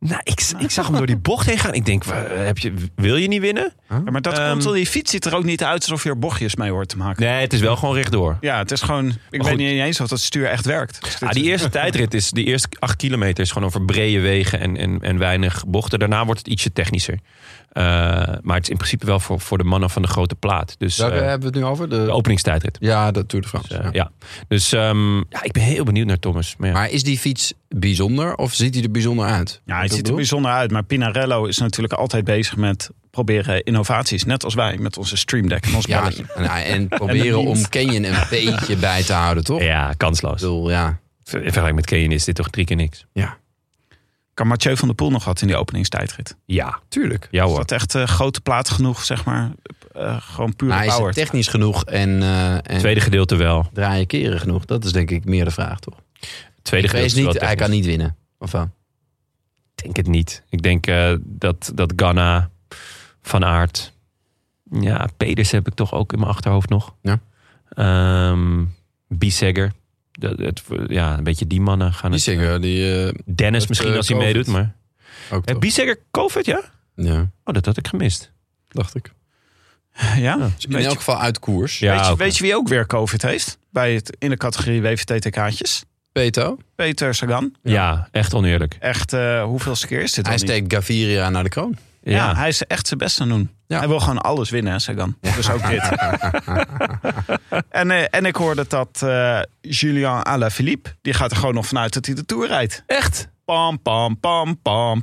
S1: Nou, ik, ik zag hem door die bocht heen gaan. Ik denk, wa- heb je, wil je niet winnen?
S4: Ja, maar dat
S1: Ehm,
S4: komt, die fiets ziet er ook niet uit alsof je er bochtjes mee hoort te maken.
S1: Nee, het is wel gewoon rechtdoor.
S4: Ja, het is gewoon... Ik
S1: goed.
S4: weet niet eens of dat stuur echt werkt. Dus dit
S1: Ah, die
S4: is-
S1: eerste tijdrit is, die eerste acht kilometer is gewoon over brede wegen en, en, en weinig bochten. Daarna wordt het ietsje technischer. Eh, maar het is in principe wel voor, voor de mannen van de grote plaat. Dus
S2: Welke
S1: eh,
S2: hebben we het nu over? De,
S1: de openingstijdrit.
S2: ja, de Tour de France.
S1: Dus, eh,
S2: ja.
S1: ja. Dus ehm, ja, ik ben heel benieuwd naar Thomas. Maar ja.
S2: Maar is die fiets bijzonder of ziet hij er bijzonder uit?
S4: Ja,
S2: Dat
S4: het ziet er
S2: bedoel-
S4: bijzonder uit. Maar Pinarello is natuurlijk altijd bezig met proberen innovaties. Net als wij met onze Stream Deck en ons
S2: Ja,
S4: brilletje.
S2: en, nou, en proberen om
S4: dienst.
S2: Canyon een beetje bij te houden, toch? Ik
S1: ja, kansloos. In
S2: bedoel, ja.
S1: vergelijking met Kenyon is dit toch drie keer niks.
S4: Kan Mathieu van der Poel nog wat in die openingstijdrit?
S1: Ja,
S2: Tuurlijk.
S1: ja
S4: Is
S1: hoor.
S4: dat echt eh, grote plaat genoeg, zeg maar? Eh, gewoon puur
S2: Maar hij Nou, is
S4: power.
S2: het technisch genoeg en, eh, en
S1: Tweede gedeelte wel.
S2: draaien keren genoeg? Dat is denk ik meer de vraag, toch?
S1: Tweede
S2: Ik
S1: gedeelte
S2: weet
S1: is wel
S2: niet, hij
S1: technisch.
S2: kan niet winnen. Of wel?
S1: Ik denk het niet. Ik denk eh, dat, dat Ghana, Van Aert... Ja, Peders heb ik toch ook in mijn achterhoofd nog.
S2: Ja.
S1: Ehm, Bissegger. Dat, het, ja, een beetje die mannen gaan
S2: Die
S1: het...
S2: zingen, die eh,
S1: Dennis
S2: dat,
S1: misschien
S2: eh,
S1: als hij
S2: Covid.
S1: meedoet, maar...
S2: ook
S1: Hey,
S2: toch?
S1: Bissegger, COVID, ja?
S2: Ja,
S1: Oh, dat had ik gemist.
S2: dacht ik.
S4: Ja?
S2: Dus in
S4: Weet,
S2: elk
S4: je,
S2: geval uit koers.
S1: Ja,
S4: weet, je,
S1: oké.
S4: weet je wie ook weer COVID heeft? Bij het, in de categorie WVT-TK'tjes?
S2: Peto,
S4: Peter Sagan.
S1: ja. echt oneerlijk.
S4: Echt, eh hoeveelste keer is dit
S2: hij
S4: al niet?
S2: steekt Gaviria naar de kroon.
S1: Ja,
S4: Ja, hij is echt zijn best aan het doen.
S2: Ja.
S4: Hij wil gewoon alles winnen, hè, Sagan. Dus ook dit. en, eh, en ik hoorde dat eh Julien Alaphilippe... die gaat er gewoon nog vanuit dat hij de Tour rijdt.
S1: echt?
S4: Pam, pam, pam, pam,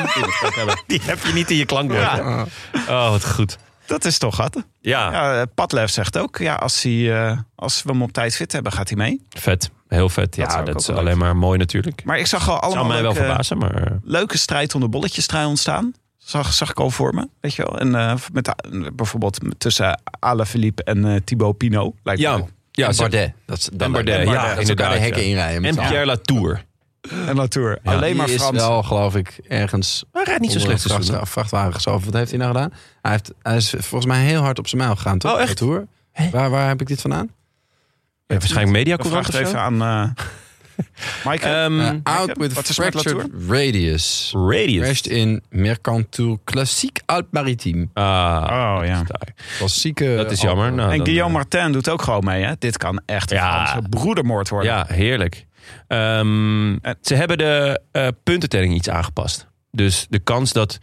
S4: Die moet ik ook hebben.
S1: Die heb je niet in je klankbord.
S4: Ja.
S1: hè? Oh, wat goed.
S4: Dat is toch gaten.
S1: Ja,
S4: Ja, eh, Padlef zegt ook... Ja, als, hij, eh, als we hem op tijd fit hebben, gaat hij mee.
S1: vet. Heel vet.
S4: Dat
S1: Ja,
S4: zou ik
S1: dat
S4: ook
S1: is
S4: wel leuk
S1: alleen maar mooi natuurlijk.
S4: Maar ik zag al
S1: zou
S4: allemaal
S1: mij wel
S4: leuke,
S1: verbazen, maar...
S4: leuke strijd onder bolletjes trui ontstaan. Zag, zag ik al voor me, weet je wel. En eh, met, eh, bijvoorbeeld tussen Alaphilippe en eh, Thibaut Pinot. Lijkt me
S1: ja
S2: en
S1: ze-
S2: Bardet. Dat, is- dan
S1: En Bardet, ja,
S2: dat ze elkaar
S1: inderdaad,
S2: de hekken
S1: ja.
S2: inrijden. met
S1: En
S2: z'n allen.
S1: Pierre Latour.
S4: En Latour. Alleen maar
S2: Die
S4: Frans.
S2: is wel, geloof ik, ergens...
S1: Hij rijdt niet zo
S2: onder
S1: slecht
S2: een
S1: seizoen.
S2: vracht- vrachtwagen geschoven. Wat heeft hij nou gedaan? Hij, heeft, hij is volgens mij heel hard op zijn muil gegaan, toch?
S1: Oh, echt?
S2: Op de Tour. Waar, waar heb ik dit vandaan?
S1: Ja, Eh, waarschijnlijk
S4: Ik
S1: mediacourant
S4: vraag
S1: of
S4: het
S1: zo.
S4: even aan eh Mike.
S1: Ehm,
S2: Eh, out
S4: Jacob,
S2: with
S4: wat is er met
S2: fractured radius.
S1: Radius.
S2: Crashed in Mercantour Classique Alp Maritime.
S1: Ah,
S4: oh ja.
S2: Klassieke...
S1: dat is jammer. Nou,
S4: En
S1: dan,
S4: Guillaume
S1: eh,
S4: Martin doet ook gewoon mee. Hè? Dit kan echt een
S1: Ja.
S4: Franse broedermoord worden.
S1: Ja, heerlijk. Ehm,
S4: En-
S1: ze hebben de eh, puntentelling iets aangepast. Dus de kans dat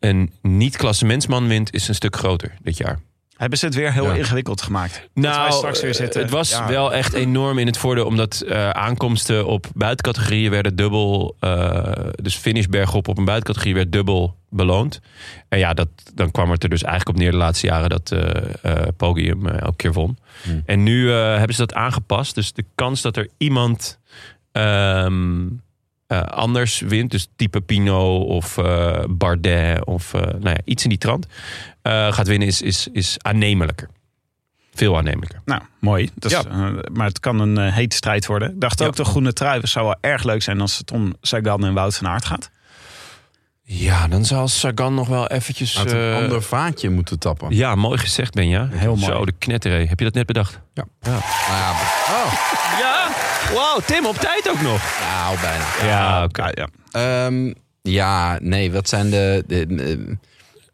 S1: een niet-klassementsman wint is een stuk groter dit jaar.
S4: Hebben ze het weer heel
S2: Ja.
S4: ingewikkeld gemaakt. dat wij
S1: Nou,
S4: straks weer
S1: eh,
S4: zitten.
S1: het was
S4: Ja.
S1: wel echt enorm in het voordeel... omdat eh, aankomsten op buitencategorieën werden dubbel... eh, dus finish bergop op een buitencategorie werd dubbel beloond. En ja, dat, dan kwam het er dus eigenlijk op neer de laatste jaren... dat eh eh, Podium eh, elke keer won.
S2: Hmm.
S1: En nu eh, hebben ze dat aangepast. Dus de kans dat er iemand ehm, eh, anders wint... dus type Pino of eh, Bardet of eh, nou ja, iets in die trant... eh, gaat winnen is, is, is aannemelijker. Veel aannemelijker.
S4: Nou, mooi. Dus,
S1: Ja.
S4: eh, maar het kan een eh, hete strijd worden. Ik dacht
S1: Ja.
S4: ook de groene trui. Het zou wel erg leuk zijn als het om Sagan en Wout van Aert gaat.
S1: Ja, dan zal Sagan nog wel eventjes...
S2: Uit een
S1: eh,
S2: ander vaatje moeten tappen.
S1: Ja, mooi gezegd ben je.
S4: Heel mooi.
S1: Zo, de knetteré. Heb je dat net bedacht?
S2: Nou ja, oh,
S1: Ja! Wauw, Tim, op tijd ook nog.
S2: nou, bijna.
S1: Ja, Ah, oké.
S4: Ja, ja.
S2: Ehm, ja, nee, wat zijn de... de, de-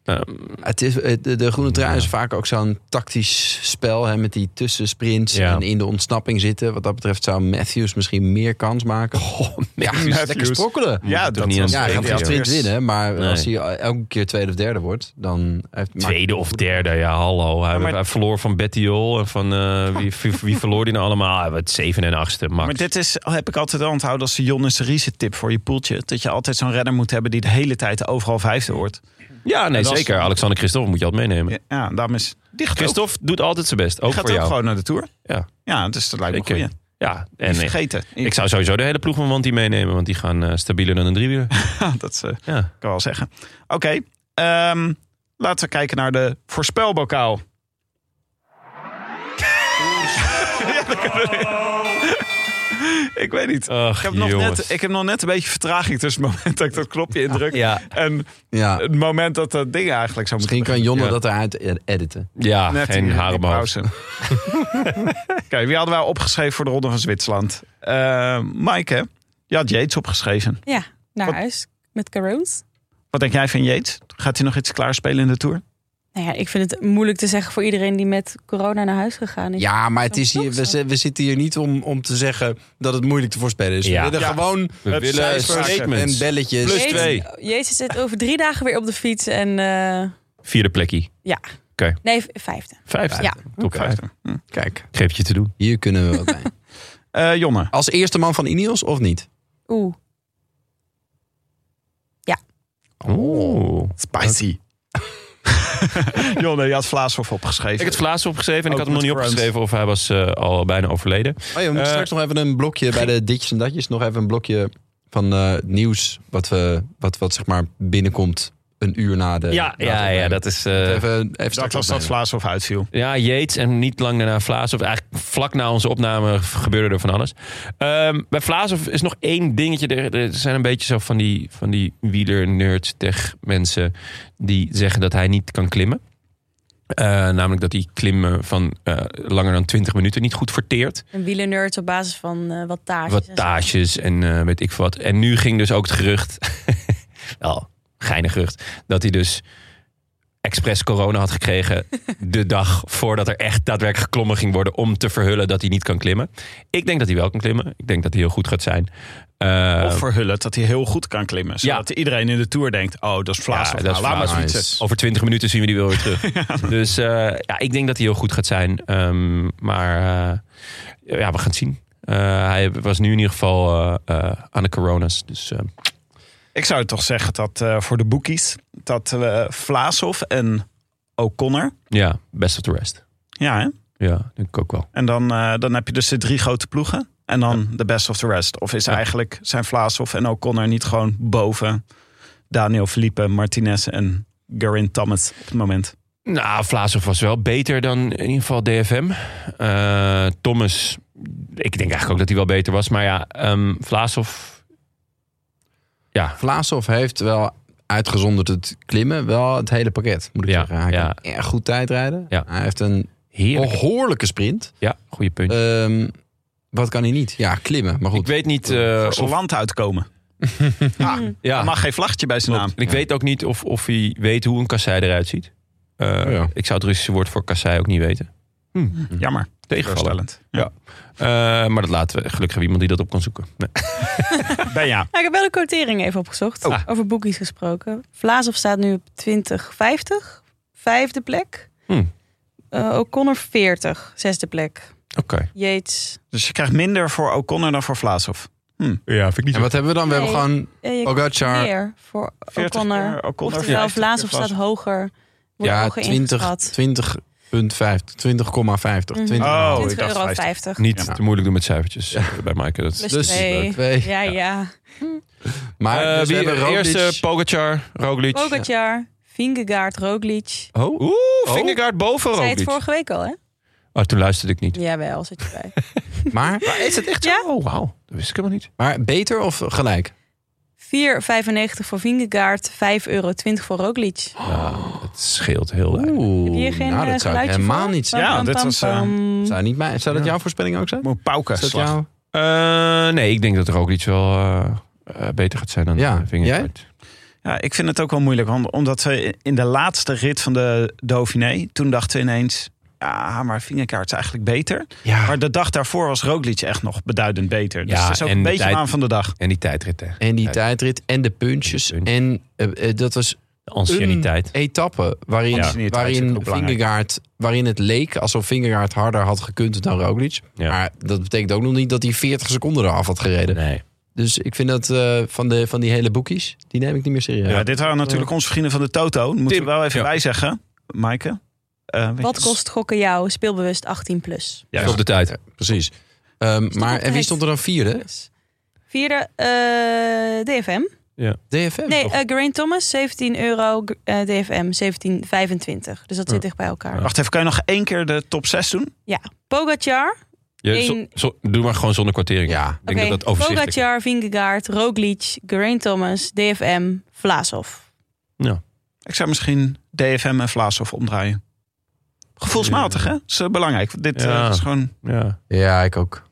S1: Ehm,
S2: het is, de, de groene trui is vaak ook zo'n tactisch spel... Hè, met die tussensprints
S1: Ja.
S2: en in de ontsnapping zitten. Wat dat betreft zou Matthews misschien meer kans maken. Oh, ja, lekker sprokkelen.
S4: Ja,
S1: het toch
S4: dat
S1: niet
S4: was-
S1: aan-
S2: Ja, hij gaat
S1: Ja.
S2: geen sprint winnen, maar
S1: Nee.
S2: als hij elke keer tweede of derde wordt, dan heeft maakt-
S1: Tweede of derde, ja, hallo. Hij,
S4: Ja, maar-
S1: hij verloor van Bettiol en van eh, wie, wie, wie verloor die nou allemaal? Hij werd zeven en achtste, max.
S4: Maar dit is, heb ik altijd al onthouden als de Jonas Riese tip voor je poeltje. Dat je altijd zo'n renner moet hebben die de hele tijd overal vijfde wordt.
S1: ja, nee,
S4: dat is-
S1: zeker. Alexander Christophe moet je altijd meenemen.
S4: Ja, ja daarom is dicht
S1: Christophe doet altijd zijn best, ook
S4: gaat
S1: voor
S4: ook
S1: jou.
S4: gewoon naar de Tour.
S1: Ja.
S4: Ja, dus dat lijkt me
S1: Zeker.
S4: goed.
S1: Ja, en
S4: En
S1: eh,
S4: vergeten.
S1: ik zou sowieso de hele ploeg van Wanty meenemen, want die gaan eh, stabieler dan een driewieler.
S4: dat eh,
S1: Ja.
S4: kan wel zeggen. Oké, ehm, laten we kijken naar de voorspelbokaal. ja, dat kan wel. Ik weet niet.
S1: Ach,
S4: ik, heb nog net,
S1: jongens.
S4: ik heb nog net een beetje vertraging tussen het moment dat ik dat knopje indruk
S1: Ja.
S4: en
S2: Ja,
S4: het moment dat dat ding eigenlijk zou moeten
S2: misschien kan Jonne
S1: Eh, Ja.
S2: dat eruit ed- editen.
S1: Ja,
S4: Net in-
S1: Ah, geen
S4: in
S1: haren op mijn hoofd.
S4: pauze. Kijk, wie hadden wij opgeschreven voor de Ronde van Zwitserland? Eh Mike, hè? Je had Yates opgeschreven.
S3: Ja, naar
S4: Wat-
S3: huis met Caroons.
S4: Wat denk jij van Yates? Gaat hij nog iets klaarspelen in de Tour?
S3: Nou ja, ik vind het moeilijk te zeggen voor iedereen die met corona naar huis gegaan is.
S2: Ja, maar het
S3: Zo'n
S2: is hier, we,
S3: klok zo.
S2: zi- we zitten hier niet om, om te zeggen dat het moeilijk te voorspellen is.
S1: Ja.
S2: We willen
S4: Ja.
S2: gewoon
S1: We
S4: Het
S1: willen
S4: cijfers
S2: en
S1: statements.
S2: belletjes.
S1: Plus
S3: Jezus-
S1: twee.
S3: Jezus zit over drie dagen weer op de fiets en eh,
S1: Vierde plekje.
S3: ja.
S1: Oké.
S3: Nee, v- vijfde.
S1: Vijfde.
S3: Ja.
S1: Top vijf.
S2: Kijk,
S1: Geef je te doen.
S2: hier kunnen we wat bij.
S4: Eh, Jonne.
S2: Als eerste man van Ineos of niet?
S3: Oeh.
S4: Oh.
S1: Oeh.
S4: Spicy. Jonne, je had Vlaashoff opgeschreven.
S1: Ik heb het Vlaas opgeschreven en
S4: Ook
S1: ik had hem nog
S4: Oh, met
S1: niet
S4: Frans.
S1: opgeschreven of hij was eh, al bijna overleden.
S2: Oh ja, we moeten
S1: Eh,
S2: straks nog even een blokje bij de ditjes en datjes. Nog even een blokje van eh, nieuws wat, we, wat, wat zeg maar binnenkomt een uur na de...
S1: Ja,
S2: na
S1: ja,
S2: de-
S1: ja, dat is... eh,
S2: Even, even
S4: dat
S2: straks
S4: was dat
S2: opnemen.
S4: Vlaashoff uitviel.
S1: ja, Yates en niet lang daarna Vlaas. Of eigenlijk vlak na onze opname gebeurde er van alles. Ehm, bij Vlaas is nog één dingetje. Er, er zijn een beetje zo van die, van die wieler-nerd-tech-mensen... die zeggen dat hij niet kan klimmen. Eh, namelijk dat hij klimmen van eh, langer dan 20 minuten niet goed verteert.
S3: Een wielernerd op basis van eh wat tages. en zo.
S1: wattages en eh, weet ik veel wat. En nu ging dus ook het gerucht, wel geinig gerucht, dat hij dus expres corona had gekregen de dag voordat er echt daadwerkelijk geklommen ging worden om te verhullen dat hij niet kan klimmen. Ik denk dat hij wel kan klimmen. Ik denk dat hij heel goed gaat zijn. Eh,
S4: Of voor Hullet, dat hij heel goed kan klimmen. Zodat iedereen in de Tour denkt, oh, dat is Vlaashoff.
S1: Ja, dat
S4: nou,
S1: is
S4: laat maar
S2: Vlaashoff.
S4: fietsen.
S1: over 20 minuten zien we die wel weer terug. Dus eh, ja, ik denk dat hij heel goed gaat zijn. Ehm, maar eh, ja, we gaan het zien. Eh, hij was nu in ieder geval eh, eh, aan de coronas. Dus eh,
S4: Ik zou toch zeggen dat eh, voor de boekies, dat eh Vlaashoff en O'Connor...
S1: ja, best of the rest.
S4: Ja, hè?
S1: Ja, denk ik ook wel.
S4: En dan, eh, dan heb je dus de drie grote ploegen. En dan de best of the rest. Of is eigenlijk zijn Vlaashoff en O'Connor niet gewoon boven Daniel Felipe, Martinez en Garin Thomas op het moment?
S1: Nou, Vlaashoff was wel beter dan in ieder geval DFM. Eh, Thomas, ik denk eigenlijk ook dat hij wel beter was. Maar ja, ehm Vlaashoff... Ja,
S2: Vlaashoff heeft wel uitgezonderd het klimmen, wel het hele pakket, moet ik
S1: Ja,
S2: zeggen. Hij
S1: ja.
S2: kan erg goed tijdrijden.
S1: Ja.
S2: Hij heeft een
S1: heerlijk.
S2: behoorlijke sprint.
S1: Ja, goede punt.
S2: Ehm, wat kan hij niet? Ja, klimmen. Maar
S1: ik
S2: goed,
S1: weet niet eh,
S4: Voor zijn
S1: of...
S4: land uitkomen. Ah,
S1: Ja,
S3: Hmm.
S4: Er mag geen vlaggetje bij zijn
S1: klopt.
S4: naam.
S1: En ik weet ook niet of, of hij weet hoe een kassei eruit ziet. Eh,
S2: Oh ja.
S1: Ik zou het Russische woord voor kassei ook niet weten.
S4: Jammer.
S1: Tegenvallen.
S4: Voorstellend.
S1: Eh, maar dat laten we. Gelukkig hebben we iemand die dat op kan zoeken. Nee.
S4: Ben ja.
S3: Nou, ik heb wel de quotering even opgezocht.
S1: Oh.
S3: Over boekies gesproken. Vlaashoff staat nu op 2050. Vijfde plek.
S1: Hmm.
S3: Eh, O'Connor 40. Zesde plek.
S1: Oké.
S3: Yates.
S4: Dus je krijgt minder voor O'Connor dan voor Vlaashoff.
S1: Ja, vind ik niet
S2: en wat hebben we dan? We
S3: Nee.
S2: hebben gewoon
S3: Eh, je
S2: Pogacar.
S3: meer voor
S4: 40
S3: O'Connor.
S4: keer eh, O'Connor,
S3: Oftewel,
S4: 50 keer
S3: Vlaashoff staat
S4: Vlaashoff.
S3: hoger. Wordt
S2: Ja, Oh,
S3: hoger
S2: 20, 20,50.
S3: ingeschat.
S2: 20,50.
S3: Mhm.
S2: 20,50.
S4: Oh, ik
S3: 20
S4: dacht
S3: euro
S4: 50.
S3: 50.
S1: Niet
S2: Ja.
S1: te moeilijk doen met cijfertjes eh, bij Maaike. Dat
S3: Plus
S2: Dus
S3: twee.
S2: twee.
S3: Ja, ja.
S2: Maar
S1: Eh,
S2: dus we
S1: wie,
S2: hebben Roglic.
S1: Eerste Pogacar, Roglic.
S3: Pogacar, Vingegaard, Roglic.
S1: Oh? Oeh, Vingegaard boven
S3: Zei het
S1: Roglic.
S3: vorige week al, hè?
S1: Oh, toen luisterde ik niet.
S3: Jawel, zit je bij.
S2: maar,
S1: Is het echt
S3: zo? Ja.
S1: Oh, wauw. Dat wist ik helemaal niet.
S2: maar beter of gelijk?
S3: 4,95 voor Vingegaard, 5,20 euro voor Roglic.
S1: Het scheelt heel erg.
S2: Oeh,
S3: Heb je hier geen
S2: nou,
S3: eh,
S2: dat zou ik
S3: geluidje
S2: helemaal
S3: voor?
S2: niet
S3: Pam,
S2: zijn.
S4: Ja,
S3: pam,
S4: dit
S3: pam,
S4: was, eh,
S3: pam.
S2: Zou, niet mijn, zou dat jouw voorspelling ook zijn?
S4: Moet pauken.
S2: Is dat
S4: slag.
S2: jouw-
S1: Eh, nee, ik denk dat Roglic wel eh, eh, beter gaat zijn dan
S2: Ja.
S1: eh, Vingegaard.
S4: Ja, ik vind het ook wel moeilijk. want- Omdat ze in de laatste rit van de Dauphiné, toen dachten we ineens... Ah, maar vingerkaart is eigenlijk beter.
S2: Ja.
S4: Maar de dag daarvoor was Roglic echt nog beduidend beter. Dus
S1: Ah. Ja,
S4: het is ook
S1: en
S4: een
S1: de
S4: beetje
S1: tijd-
S4: aan van de dag.
S1: En die tijdrit, hè.
S2: En die
S1: Ja.
S2: tijdrit en de puntjes.
S1: En de
S2: En eh, eh, dat was
S1: De anciëniteit.
S2: een etappe waarin,
S4: Ja. Anciëniteit is ook
S2: waarin,
S4: heel belangrijk.
S2: Vingegaard, waarin het leek alsof Vingegaard harder had gekund dan Roglic.
S1: Ja.
S2: Maar dat betekent ook nog niet dat hij 40 seconden eraf had gereden.
S1: Nee.
S2: Dus ik vind dat eh, van, de, van die hele boekies, die neem ik niet meer serieus.
S4: Ja, dit waren natuurlijk onze vrienden van de Toto. Moeten
S1: Tim,
S4: we wel even
S1: ja.
S4: bijzeggen. Maaike? eh, weet
S3: Wat
S4: je-
S3: kost gokken jou? Speelbewust 18 plus.
S4: Ja,
S1: Op de tijd.
S2: Precies. Ehm, maar
S3: op
S2: en wie
S3: tijd?
S2: stond er dan vierde?
S3: Vierde, eh, DFM.
S2: DFM.
S3: Nee,
S2: toch?
S3: eh Geraint Thomas, 17 euro. g- eh, DFM, 17,25. Dus dat zit dicht bij elkaar.
S4: Wacht even, kan je nog één keer de top 6 doen?
S3: Pogacar,
S1: Je,
S3: Eén-
S1: zo- zo- doe maar gewoon zonder
S3: eh,
S1: kwartering.
S2: Ja.
S1: Ik denk dat dat overzichtelijk is.
S3: Pogacar, Vingegaard, Roglic, Geraint Thomas, DFM, Vlaasov.
S4: Ik zou misschien DFM en Vlaashoff omdraaien. Gevoelsmatig, hè? Dat is eh, belangrijk. Dit eh,
S1: Ja.
S4: is gewoon...
S1: Ja.
S2: Ja, ik ook.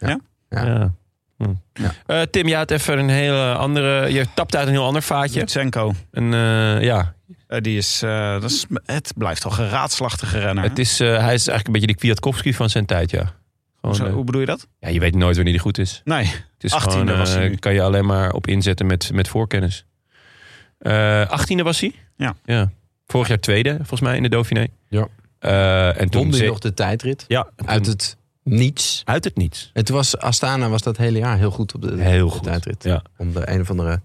S2: Ja.
S1: Ja. Hm.
S2: Ja.
S1: Eh, Tim, je had even een hele andere. Je tapt uit een heel ander vaatje.
S4: Lutsenko.
S1: Een, eh, ja.
S4: Eh, die is, eh, dat is... Het blijft toch een raadslachtige renner. hè?
S1: Het is, eh, hij is eigenlijk een beetje de Kwiatkowski van zijn tijd, ja. Gewoon,
S4: Zo,
S1: eh,
S4: hoe bedoel je dat?
S1: ja. Je weet nooit wanneer die goed is.
S4: Nee.
S1: Het is
S4: 18e
S1: gewoon, eh,
S4: was hij nu.
S1: kan je alleen maar op inzetten met, met voorkennis. Eh 18e was hij?
S4: Ja.
S1: ja. Vorig jaar tweede, volgens mij, in de Dauphiné.
S2: Ja.
S1: Eh, en toen
S2: Won
S1: ze-
S2: nog de tijdrit.
S1: Ja,
S2: Uit het niets.
S1: uit het niets.
S2: Het was, Astana was dat hele jaar heel goed op de,
S1: Heel
S2: de
S1: goed,
S2: tijdrit.
S1: ja.
S2: Om de een of andere...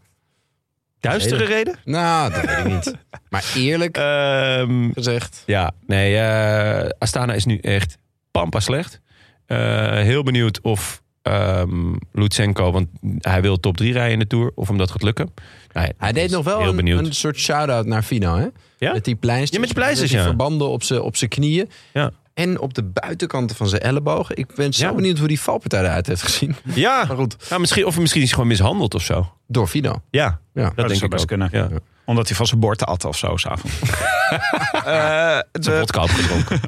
S1: Duistere
S2: Hele-
S1: reden?
S2: Nou, dat weet ik niet. Maar eerlijk
S1: Ehm,
S2: gezegd...
S1: ja, nee, eh, Astana is nu echt pampa slecht. Eh, heel benieuwd of ehm Lutsenko, want hij wil top 3 rijden in de Tour, of hem dat gaat lukken. Nou ja,
S2: Hij
S1: dat
S2: deed
S1: is
S2: nog wel
S1: heel
S2: een,
S1: benieuwd.
S2: een soort shout-out naar Fino, hè?
S1: Ja?
S2: Met die pleisters.
S1: Ja, met die pleisters,
S2: met die
S1: ja.
S2: verbanden op zijn op zijn knieën.
S1: Ja.
S2: En op de buitenkanten van zijn ellebogen. Ik ben zo
S1: Ja.
S2: benieuwd hoe die valpartij eruit heeft gezien.
S1: Ja,
S2: Maar goed,
S1: nou, misschien, of misschien is hij gewoon mishandeld of zo.
S2: door Fino.
S1: Ja, Oh,
S2: Ja.
S1: dat,
S4: dat
S1: denk
S4: zou
S1: ik
S4: best
S1: ook.
S4: kunnen.
S1: Ja.
S4: Omdat hij van zijn bord at of zo, s'avonds. Eh
S1: Zijn
S4: de,
S1: vodka opgedronken.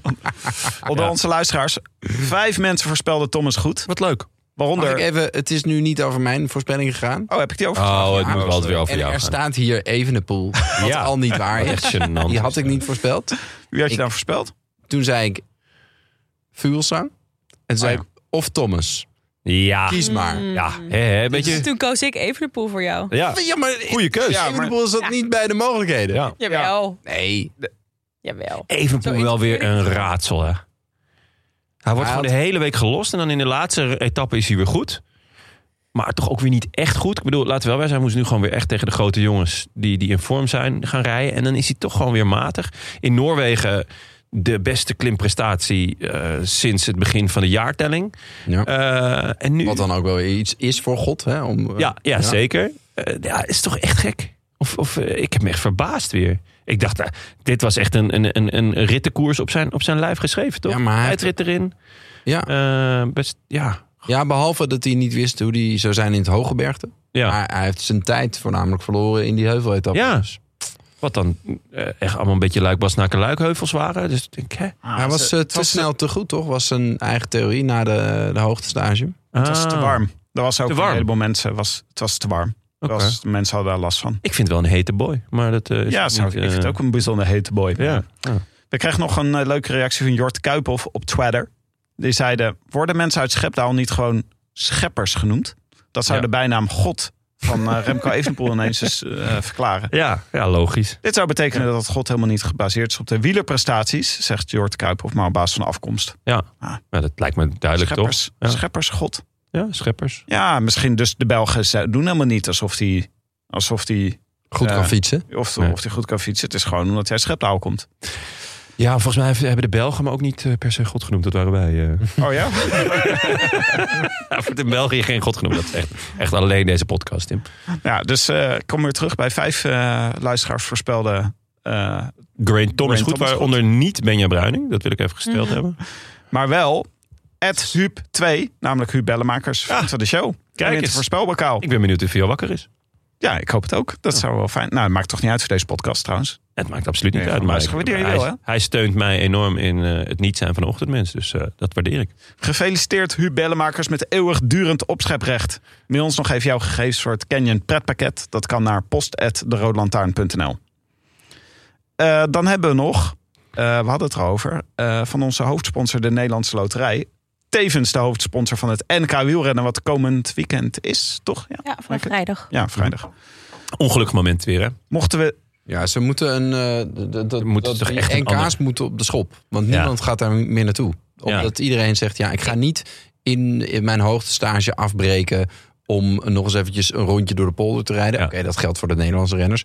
S4: onder
S1: Ja.
S4: onze luisteraars. Vijf mensen voorspelden Thomas goed.
S1: Wat leuk.
S2: Mag ik
S4: Waaronder...
S2: even, het is nu niet over mijn voorspellingen gegaan.
S4: Oh, heb ik die over?
S1: Oh, het
S2: Ja,
S1: moet wel weer over
S2: En
S1: jou
S2: er
S1: gaan.
S2: staat hier Evenepoel, wat
S1: Ja.
S2: al niet waar is.
S1: Echt gênant.
S2: Die had ik niet voorspeld.
S4: Wie had je
S2: ik-
S4: dan voorspeld?
S2: Toen zei ik Fuglsang. En toen zei
S1: Ah,
S4: ja.
S2: ik, of Thomas.
S1: Ja,
S2: Kies maar.
S1: ja. Hè, hè, weet
S3: Dus
S1: je?
S3: toen koos ik Evenepoel voor jou.
S1: Ja.
S2: Ja, maar
S1: Mm. Goeie keus.
S2: Ja, Evenepoel zat niet bij de mogelijkheden.
S1: Ja.
S3: Jawel,
S2: Nee,
S3: jawel.
S1: Evenpoel
S3: Zoiets
S1: wel weer
S3: vind ik
S1: een
S3: wel.
S1: raadsel, hè? Hij wordt
S2: Hij
S1: gewoon de
S2: had-
S1: hele week gelost. En dan in de laatste etappe is hij weer goed. Maar toch ook weer niet echt goed. Ik bedoel, laten we wel wij zijn. Hij moest nu gewoon weer echt tegen de grote jongens die, die in vorm zijn gaan rijden. En dan is hij toch gewoon weer matig. In Noorwegen de beste klimprestatie eh, sinds het begin van de jaartelling.
S2: Ja.
S1: Eh, en nu...
S2: Wat dan ook wel weer iets is voor God. Hè, om, eh,
S1: Ja, ja, zeker. Eh, ja, is toch echt gek? Of, of eh, ik heb me echt verbaasd weer. Ik dacht, nou, dit was echt een, een, een, een rittenkoers op zijn, op zijn lijf geschreven, toch?
S2: Ja, maar hij-
S1: Tijdrit erin.
S2: Ja.
S1: Eh, best, ja.
S2: Ja, behalve dat hij niet wist hoe hij zou zijn in het hogebergte.
S1: ja.
S2: Maar hij heeft zijn tijd voornamelijk verloren in die heuveletappes. Dus
S1: Ja. Wat dan eh, echt allemaal een beetje luikbasnaken luikheuvels waren. Dus ik denk, hè?
S2: hij was eh, te
S4: was-
S2: snel te goed, toch? Was zijn eigen theorie na de, de hoogtestage.
S4: Het was te
S1: Ah,
S4: warm. Er was ook
S1: Te
S4: een
S1: warm.
S4: heleboel mensen. Was, het was te warm. Er
S1: Ah, oké.
S4: Was, mensen hadden daar last van.
S1: Ik vind het wel een hete boy. Maar dat eh, is
S4: ja,
S1: niet,
S4: zou, ik
S1: eh,
S4: vind het ook een bijzonder hete boy.
S1: Ja. Ja.
S4: We kregen nog een eh, leuke reactie van Jort Kuiphoff op Twitter. Die zeiden, worden mensen uit Schepdaal niet gewoon scheppers genoemd? Dat zou
S1: Ja.
S4: de bijnaam God van eh, Remco Evenepoel ineens eens eh, verklaren.
S1: Ja, ja, logisch.
S4: Dit zou betekenen dat God helemaal niet gebaseerd is op de wielerprestaties, zegt Jort Kuiphoff, maar op basis van de afkomst.
S1: Maar dat lijkt me duidelijk,
S4: scheppers,
S1: Ja.
S4: scheppers, God.
S1: toch? Ja, scheppers.
S4: Ja, misschien dus de Belgen ze- doen helemaal niet alsof die... Alsof die
S2: Goed
S4: Ja.
S2: kan fietsen.
S4: of,
S1: Nee.
S4: of die goed kan fietsen. Het is gewoon omdat hij uit Schepdaal komt.
S1: Ja, volgens mij hebben de Belgen hem ook niet eh, per se God genoemd. Dat waren wij. eh.
S4: Oh ja?
S1: Ja, wordt in België geen god genoemd. Dat is echt, echt alleen deze podcast, Tim.
S4: Ja, dus eh, ik kom weer terug bij vijf eh, luisteraars voorspelde. eh,
S1: Grain Thomas
S4: Grain
S1: goed,
S4: Thomas
S1: waaronder niet Benja Bruining. Dat wil ik even gesteld hebben.
S4: maar wel het Huub 2, namelijk Huub Bellemakers
S1: Ah,
S4: van de show.
S1: kijk
S4: in het
S1: eens.
S4: voorspelbokaal.
S1: Ik ben benieuwd of hij al wakker is.
S4: Ja, ik hoop het ook. Dat zou wel fijn. Nou, het maakt toch niet uit voor deze podcast trouwens.
S1: Het maakt absoluut niet
S4: Nee,
S1: uit.
S4: van
S1: Maar
S4: mij is
S1: ik-
S4: gewaardeerd,
S1: hij,
S4: wel, hè?
S1: hij steunt mij enorm in eh, het niet zijn van de ochtendmens. Dus eh, dat waardeer ik.
S4: Gefeliciteerd Huub Bellemakers met eeuwigdurend opscheprecht. Mail ons nog even jouw gegevens voor het Canyon pretpakket. Dat kan naar post.deroodlantaarn.nl Eh Dan hebben we nog, eh, we hadden het erover, eh, van onze hoofdsponsor de Nederlandse Loterij. Tevens de hoofdsponsor van het NK wielrennen wat komend weekend is, toch? Ja,
S3: Ja, van
S4: Lekker.
S3: vrijdag.
S4: ja vrijdag.
S1: Ongelukkig moment weer, hè?
S4: Mochten we...
S2: Ja, ze moeten een... eh, d- d- dat-
S1: moeten
S2: dat
S1: toch
S2: die
S1: echt een
S2: NK's
S1: ander-
S2: moeten op de schop. Want
S1: Ja.
S2: niemand gaat daar meer naartoe.
S1: Ja.
S2: Omdat iedereen zegt, ja, ik ga niet in, in mijn hoogtestage afbreken... om nog eens eventjes een rondje door de polder te rijden.
S1: Ja.
S2: Oké, dat geldt voor de Nederlandse renners.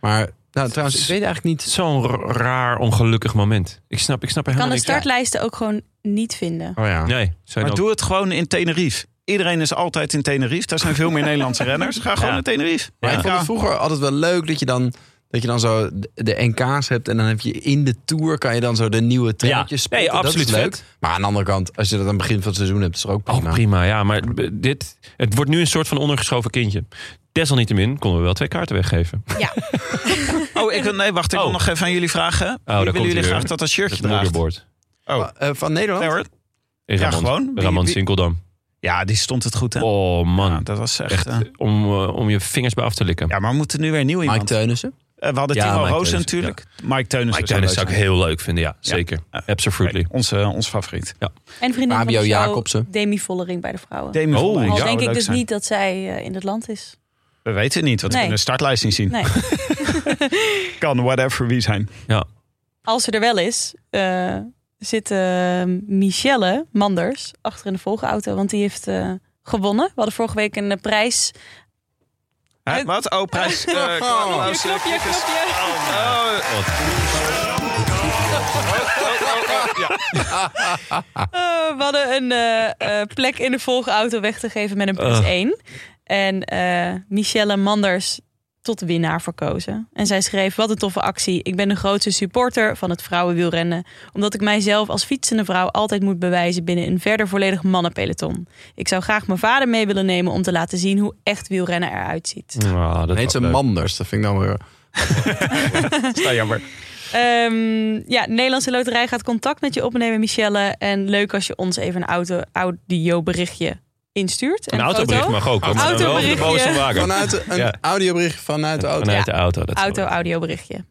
S2: Maar nou, trouwens, ik weet eigenlijk niet...
S1: Zo'n r- raar, ongelukkig moment. Ik snap, ik snap er
S3: Kan
S1: helemaal
S3: de
S1: niks aan.
S3: startlijsten ook gewoon niet vinden.
S2: Oh ja.
S1: Nee, zijn
S4: Maar
S1: ook-
S4: doe het gewoon in Tenerife. Iedereen is altijd in Tenerife. Daar zijn veel meer Nederlandse renners. Ga gewoon
S1: Ja.
S4: naar Tenerife.
S2: Maar ik vond het vroeger altijd wel leuk dat je dan Dat je dan zo de- de NK's hebt en dan heb je in de Tour kan je dan zo de nieuwe treintjes
S1: Ja.
S2: spotten.
S1: Nee, absoluut
S2: dat is leuk.
S1: vet.
S2: Maar aan de andere kant, als je dat aan het begin van het seizoen hebt, is het ook prima.
S1: Oh, prima. Ja, maar b- dit, het wordt nu een soort van ondergeschoven kindje. Desalniettemin konden we wel twee kaarten weggeven.
S4: Oh, ik, wil- nee, wacht. Ik wil
S1: Oh.
S4: nog even aan jullie vragen.
S1: daar
S4: Wie
S1: komt
S4: willen jullie
S1: hij weer.
S4: graag dat dat
S1: Het
S4: shirtje draagt?
S1: moederbord.
S4: Oh,
S2: Eh, van Nederland?
S4: nee hoor.
S1: In
S4: Ja,
S1: Ramon,
S4: gewoon. Wie-
S1: Ramon
S4: wie-
S1: Sinkeldam.
S4: Ja, die stond het goed, hè?
S1: Oh man,
S4: Ja, dat was echt...
S1: echt
S4: eh,
S1: om, eh, om je vingers bij af te likken.
S4: ja, maar we moeten nu weer nieuw
S2: Mike
S4: iemand.
S2: Teunissen?
S4: Eh, we hadden
S1: Ja,
S4: Timo
S1: Mike
S4: Roos
S1: Teunissen,
S4: natuurlijk. Mike Teunis
S1: Mike Teunis zou ik heel leuk vinden, ja, zeker.
S4: Ja.
S1: Absolutely.
S4: Onze, ons favoriet.
S3: En vriendin
S2: Fabio
S3: van de show,
S2: Jacobsen.
S3: Demi Vollering bij de vrouwen.
S4: Demi
S1: Oh,
S4: Vollering
S3: Al
S4: zou
S3: denk ik
S4: leuk
S3: dus
S4: zijn.
S3: niet dat zij eh, in het land is.
S4: We weten niet, want
S3: Nee.
S4: we kunnen de startlijst niet zien.
S3: Nee.
S4: Kan whatever wie zijn.
S3: Als ze er wel is, eh, zit eh, Michelle Manders achter in de volgauto. Want die heeft eh, gewonnen. We hadden vorige week een eh, prijs.
S4: Hè, wat? Oh, prijs. eh, Klaus, eh, Kikkers. Oh, eh,
S3: Eh, we hadden een eh, eh, plek in de volgauto weg te geven met een plus
S1: Ugh.
S3: 1. En eh, Michelle Manders tot winnaar verkozen. En zij schreef, wat een toffe actie. Ik ben de grootste supporter van het vrouwenwielrennen. Omdat ik mijzelf als fietsende vrouw altijd moet bewijzen... binnen een verder volledig mannenpeloton. Ik zou graag mijn vader mee willen nemen... om te laten zien hoe echt wielrennen eruit ziet.
S1: Ja, Ah, dat
S2: Nee,
S1: was
S2: het is een
S1: leuk.
S2: Manders. Dat vind ik dan weer...
S4: nou, jammer.
S3: Ehm, ja, Nederlandse Loterij gaat contact met je opnemen, Michelle. En leuk als je ons even een auto, audio-berichtje instuurt. En
S1: Een autobericht
S3: foto.
S1: mag ook. hoor, maar dan wel de
S3: Autoberichtje.
S1: boze van Wagen.
S2: Vanuit een
S1: Ja.
S2: audiobericht vanuit de auto.
S1: Vanuit de auto. Dat is
S3: Auto,
S1: wel leuk.
S3: audioberichtje.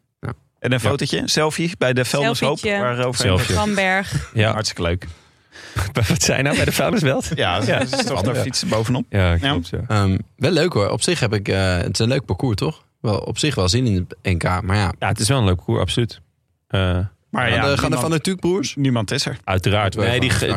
S4: En een fotootje, selfie bij de Velmers Hoop.
S3: Selfietje.
S4: Waarover
S1: Selfie.
S3: Van Berg.
S1: Ja.
S4: Hartstikke leuk.
S1: Wat zijn nou bij de vuilnisbelt?
S4: Ja,
S1: Ja.
S4: dat is toch daar fietsen bovenop.
S1: Ja,
S4: Ja.
S1: klopt. Ja.
S2: Ehm, wel leuk hoor. Op zich heb ik... eh, het is een leuk parcours, toch? Wel, op zich wel zin in het NK. Maar ja,
S1: ja, het is wel een leuke koer, absoluut. Eh,
S2: gaan
S4: Maar ja,
S2: de, gaan de
S4: niemand,
S2: Van der Tuuk broers?
S4: niemand is er.
S1: Uiteraard.
S2: Moeten we
S1: Nee, die,
S2: even
S1: ge-
S2: aan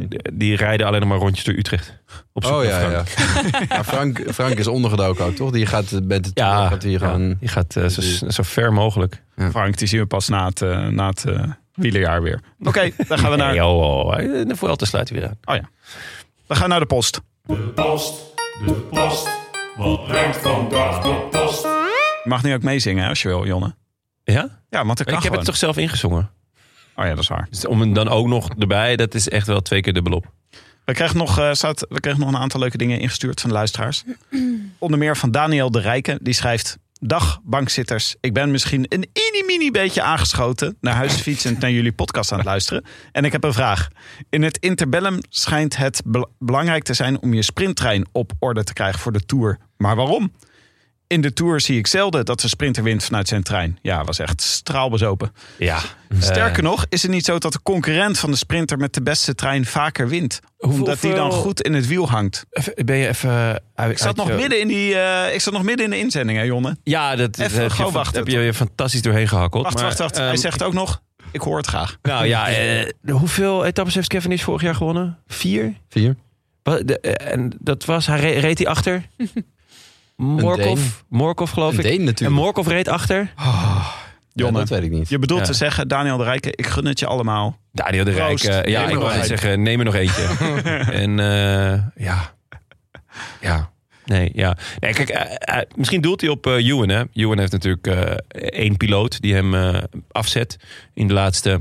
S1: die, eh, die rijden alleen nog maar rondjes door Utrecht. Op zoek
S2: Oh
S1: naar
S2: ja,
S1: Frank.
S2: ja. maar Frank, Frank is ondergedoken ook, toch? Die gaat met de
S1: Ja,
S2: gaat hier
S1: ja,
S2: gewoon...
S1: die gaat eh, zo, zo ver mogelijk.
S4: Frank, die zien we pas na het, eh, na het eh, wielerjaar weer. Oké, dan gaan we naar...
S1: Nee, oh, oh, eh, de Vuelta sluit weer aan.
S4: Dan gaan we naar de post.
S5: De post, de post. Wat brengt vandaag de post?
S4: Je mag nu ook meezingen hè, als je wil, Jonne.
S1: Ja?
S4: Ja, want
S1: Ik
S4: dat kan
S1: heb het
S4: gewoon.
S1: toch zelf ingezongen.
S4: Oh ja, dat is waar.
S1: Dus om hem dan ook nog erbij, dat is echt wel twee keer dubbelop.
S4: We kregen, nog, eh, staat, we kregen nog een aantal leuke dingen ingestuurd van de luisteraars. Onder meer van Daniel de Rijken. Die schrijft... Dag bankzitters, ik ben misschien een mini beetje aangeschoten... naar huis fietsend naar jullie podcast aan het luisteren. En ik heb een vraag. In het interbellum schijnt het bel- belangrijk te zijn... om je sprinttrein op orde te krijgen voor de Tour. Maar waarom? In de Tour zie ik zelden dat de sprinter wint vanuit zijn trein. Ja, was echt straalbezopen.
S1: Ja.
S4: Sterker nog, is het niet zo dat de concurrent van de sprinter met de beste trein vaker wint?
S1: Hoeveel-
S4: Omdat die dan goed in het wiel hangt.
S1: Even- ben je even... uit-
S4: Ik zat
S1: uit
S4: nog
S1: je-
S4: midden in, die, eh, ik zat nog midden in de inzending, hè, Jonne?
S1: Ja, dat
S4: Even
S1: dat heb, je,
S4: gewoon
S1: fan-
S4: wachten,
S1: heb je je fantastisch doorheen gehakkeld.
S4: Wacht,
S1: maar,
S4: wacht, wacht.
S1: ehm,
S4: Hij zegt ook nog, ik hoor het graag.
S1: Nou ja, eh, hoeveel etappes heeft Kevin is vorig jaar gewonnen? Vier?
S2: Vier.
S1: Wa- de- eh, en dat was, hij re- reed hij achter?
S2: Deen.
S1: Morkov, Morkov geloof
S2: Een
S1: ik.
S2: Deen
S1: En
S2: natuurlijk.
S1: Morkov reed achter.
S2: Ja,
S4: Jonne,
S2: dat weet ik niet.
S4: je bedoelt
S1: Ja.
S4: te zeggen, Daniel de Rijken, ik gun het je allemaal.
S1: Daniel de Rijk.
S4: Proost.
S1: eh,
S4: Neem
S1: ja,
S4: er
S1: ik
S4: nog
S1: wou net
S4: een.
S1: zeggen, neem er nog eentje. en eh, ja. Ja. Nee, ja. Nee, kijk, eh, eh, misschien doelt hij op eh Ewan, hè. Ewan heeft natuurlijk eh, één piloot die hem eh, afzet in de laatste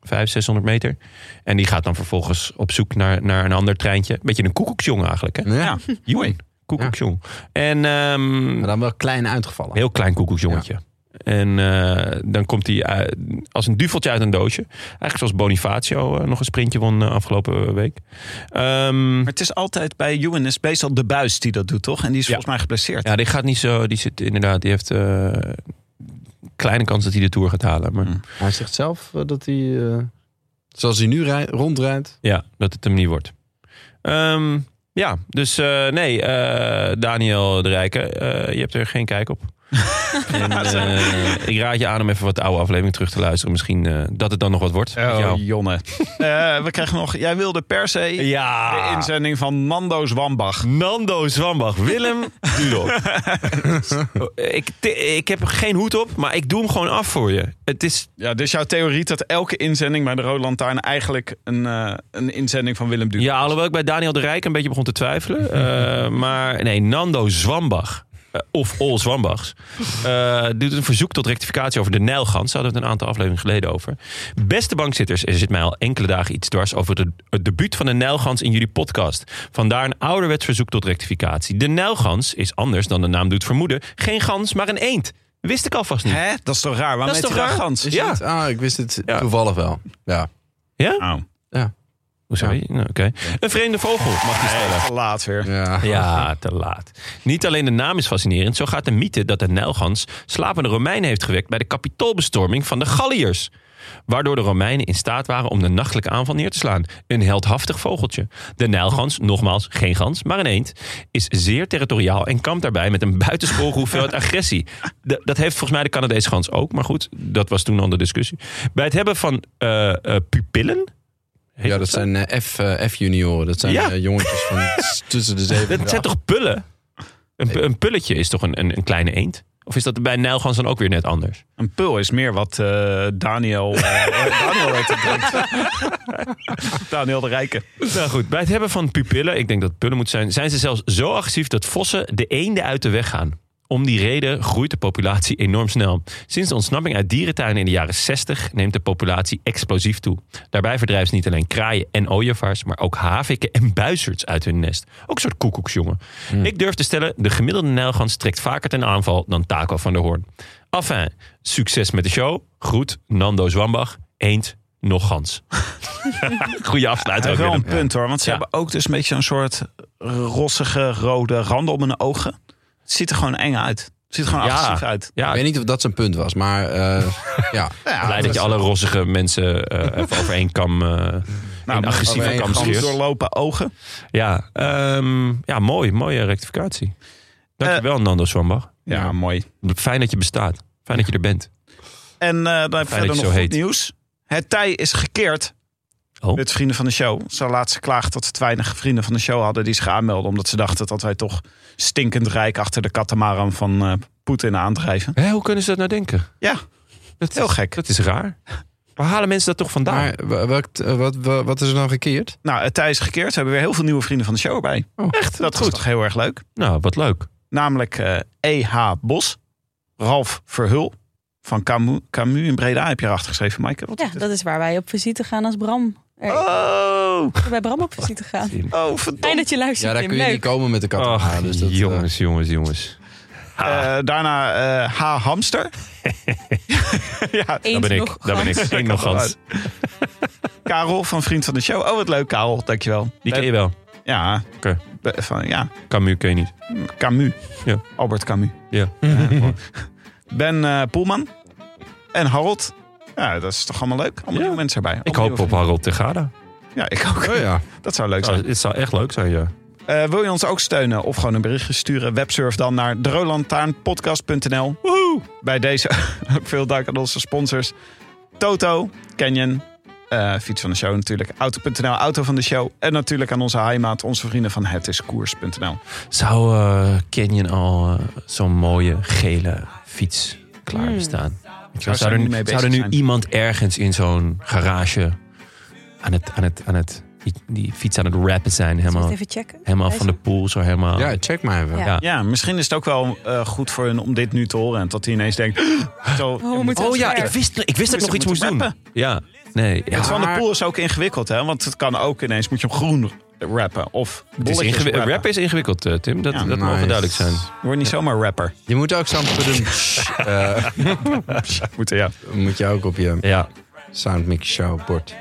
S1: 500, 600 meter. En die gaat dan vervolgens op zoek naar, naar een ander treintje. Beetje een koekoeksjong eigenlijk, hè.
S2: Ja,
S1: Ewan, koekoeksjong. En ehm,
S2: maar dan wel klein uitgevallen.
S1: Heel klein koekoeksjongetje. En eh, dan komt hij eh, als een duveltje uit een doosje. Eigenlijk zoals Bonifacio eh, nog een sprintje won eh, afgelopen week. Ehm,
S4: Maar het is altijd bij Ewan is meestal de buis die dat doet, toch? En die is
S1: Ja.
S4: volgens mij geblesseerd.
S1: ja, die gaat niet zo. Die zit inderdaad. Die heeft eh, kleine kans dat hij de tour gaat halen. Maar
S4: Hmm.
S2: Hij zegt zelf eh, dat hij... eh, zoals hij nu rij- rondrijdt.
S1: ja, dat het hem niet wordt. Ehm, ja, dus eh, nee, eh, Daniel de Rijken, eh, je hebt er geen kijk op. en, eh, ik raad je aan om even wat oude aflevering terug te luisteren. Misschien eh, dat het dan nog wat wordt. met jou.
S4: Oh, Jonne. Eh, we krijgen nog, jij wilde per se de
S1: ja.
S4: inzending van Mando Zwambach.
S1: Nando Zwambach, Willem Dudok. ik, te- ik heb geen hoed op, maar ik doe hem gewoon af voor je. Het is,
S4: Ja, dus jouw theorie dat elke inzending bij de Rode Lantaarn eigenlijk een, eh, een inzending van Willem Duur.
S1: ja, alhoewel ik bij Daniel de Rijk een beetje begon te twijfelen. Eh, maar nee, Nando Zwambach. Eh, eh, of Ol Zwambachs, eh, doet een verzoek tot rectificatie over de Nijlgans. Daar hadden we het een aantal afleveringen geleden over. Beste bankzitters, er zit mij al enkele dagen iets dwars over de, het debuut van de Nijlgans in jullie podcast. Vandaar een ouderwets verzoek tot rectificatie. De Nijlgans is anders dan de naam doet vermoeden. Geen gans, maar een eend. Wist ik alvast niet.
S4: Hè? Dat is toch raar? Waarom
S1: Dat is
S4: heet
S1: toch
S4: hij dan
S1: raar?
S4: gans?
S2: Is
S1: Ja.
S2: het? Ah, ik wist het
S1: Ja.
S2: toevallig wel. Ja.
S1: Ja?
S4: Oh,
S1: Hoezo?
S2: Ja.
S1: Nou, oké. Een vreemde vogel mag je stellen.
S4: te laat weer.
S2: ja.
S1: Ja, te laat. Niet alleen de naam is fascinerend, zo gaat de mythe dat de Nijlgans slapende Romeinen heeft gewekt bij de kapitoolbestorming van de Galliërs. Waardoor de Romeinen in staat waren om de nachtelijke aanval neer te slaan. Een heldhaftig vogeltje. De Nijlgans, nogmaals geen gans, maar een eend, is zeer territoriaal en kampt daarbij met een buitensporige hoeveelheid agressie. De- dat heeft volgens mij de Canadese gans ook, maar goed, dat was toen al de discussie. Bij het hebben van eh, eh, pupillen. Heet
S2: Ja, dat
S1: zo?
S2: zijn eh, F, eh, F-junioren. Dat zijn
S1: Ja.
S2: eh, jongetjes van s- tussen de zeven en
S1: Dat zijn
S2: de
S1: toch pullen? Een, pu- een pulletje is toch een, een, een kleine eend? Of is dat bij Nijlgans dan ook weer net anders?
S4: Een pul is meer wat eh, Daniel... eh, Daniel weet het drinkt. Daniel de Rijke.
S1: Nou goed, bij het hebben van pupillen, ik denk dat het pullen moet zijn... zijn ze zelfs zo agressief dat vossen de eenden uit de weg gaan. Om die reden groeit de populatie enorm snel. Sinds de ontsnapping uit dierentuinen in de jaren 60 neemt de populatie explosief toe. Daarbij verdrijven ze niet alleen kraaien en ooievaars, maar ook haviken en buizerds uit hun nest. Ook een soort koekoeksjongen.
S4: Hmm.
S1: Ik durf te stellen, de gemiddelde nijlgans trekt vaker ten aanval dan Taco van der Hoorn. Enfin, succes met de show. Groet, Nando Zwambach, eend, nog gans. Goeie
S4: Hij
S1: afsluiting.
S4: heeft
S1: ook,
S4: wel een
S1: Willem.
S4: punt hoor. Want ze
S1: Ja.
S4: hebben ook dus een beetje zo'n soort rossige rode randen om hun ogen. Het ziet er gewoon eng uit. Het ziet er gewoon
S1: Ja.
S4: agressief uit.
S1: Ja,
S2: Ik weet niet of dat zijn punt was, maar eh, ja.
S1: blij dat je alle rossige mensen eh even over één kam, eh
S4: Nou,
S1: één agressieve
S2: overeen
S1: kam
S2: gans
S1: scheert.
S4: doorlopen ogen.
S1: Ja, ehm, ja, mooi. Mooie rectificatie. Dankjewel, Nando Zwambach.
S4: Ja, mooi.
S1: Fijn dat je bestaat. Fijn dat je er bent.
S4: En eh, dan heb je
S1: Fijn dat
S4: verder
S1: je
S4: nog
S1: zo
S4: goed
S1: heet.
S4: nieuws. Het tij is gekeerd.
S1: Oh.
S4: Met vrienden van de show. Ze hadden laatst geklaagd dat ze te weinig vrienden van de show hadden die zich aanmelden. Omdat ze dachten dat wij toch stinkend rijk achter de katamaran van eh, Poetin aandrijven.
S1: Hé, hoe kunnen ze dat nou denken?
S4: Ja,
S1: Dat
S4: heel
S1: is,
S4: gek.
S1: Dat is raar. Waar halen mensen dat toch vandaan?
S2: Maar wa- wat, eh, wat, wa- wat is er dan gekeerd?
S4: Nou, het tij is gekeerd. We hebben weer heel veel nieuwe vrienden van de show erbij.
S1: Echt?
S4: Dat is toch heel erg leuk.
S1: Nou, wat leuk.
S4: Namelijk eh, E.H. Bos, Ralf Verhul van Camus, Camus in Breda. Heb je erachter geschreven, Maaike? Wat
S3: Ja,
S4: is dit?
S3: dat is waar wij op visite gaan als Bram. Er,
S4: Oh,
S3: Bij Bram op visite gaan.
S4: oh, verdomme.
S3: Fijn dat je luistert,
S2: Ja, daar
S3: Tim.
S2: kun je niet
S3: Leuk.
S2: komen met de kat.
S1: Och,
S2: Ja, dus dat, eh,
S1: jongens, jongens, jongens. Ah,
S4: Eh, daarna eh, H. Hamster. ja,
S1: dat
S3: Eend
S1: ben ik.
S3: nog
S1: Dat ben
S3: gans.
S1: ik. Eén nog gans.
S4: Karel van Vriend van de Show. Oh, wat leuk, Karel. Dankjewel.
S1: Die ken je wel.
S4: Ja,
S1: Oké.
S4: be- van, ja,
S1: Camus ken je niet.
S4: Camus.
S1: Ja.
S4: Albert Camus.
S1: Ja.
S4: Ben eh, Poelman. En Harold. Ja, dat is toch allemaal leuk? Allemaal
S1: Ja.
S4: nieuwe mensen erbij.
S1: Ik
S4: Allemaal
S1: hoop op
S4: nieuwe
S1: Harold Tegada.
S4: vrienden. Ja, ik ook.
S2: Oh ja.
S4: Dat zou leuk zijn.
S1: Zou- Het zou echt leuk zijn, ja.
S4: Eh, wil je ons ook steunen of gewoon een berichtje sturen? Websurf dan naar drolantaarnpodcast.nl. Bij deze ook veel dank aan onze sponsors. Toto, Canyon, eh, Fiets van de Show natuurlijk. Auto.nl, Auto van de Show. En natuurlijk aan onze heimaat, onze vrienden van hetiskoers.nl.
S1: Zou eh, Canyon al eh, zo'n mooie gele fiets klaar bestaan? Weet je wel,
S4: ze
S1: Zou,
S4: er
S1: er,
S4: niet mee
S1: zou er
S4: bezig
S1: nu
S4: zijn?
S1: iemand ergens in zo'n garage aan het, aan het, aan het, die, die fiets aan het rappen zijn?
S3: Zal ik
S1: Helemaal,
S3: het even checken?
S1: helemaal van de pool, zo helemaal. Oh
S2: ja, check maar even.
S3: Ja.
S1: Ja.
S4: Ja, misschien is het ook wel eh, goed voor hun om dit nu te horen. En dat hij ineens denkt... Zo,
S3: we moeten
S1: Oh ja,
S3: Ver.
S1: ik wist, ik wist dat ik nog
S4: Moest-
S1: iets moest
S4: moeten
S1: doen. Ja, nee. Ja.
S4: Het van de
S2: Maar-
S4: pool is ook ingewikkeld, hè? Want het kan ook ineens, moet je hem groen rappen. Of
S1: Het is
S4: bolletjes
S1: ingewi-
S4: rappen.
S1: rap is ingewikkeld, eh, Tim. Dat,
S4: Ja,
S1: dat mogen
S2: nice.
S1: duidelijk zijn.
S4: Je wordt niet zomaar rapper.
S2: Je moet ook zo'n eh
S4: Moet, ja.
S2: moet je ook op je
S1: Ja,
S2: Soundmix show bord.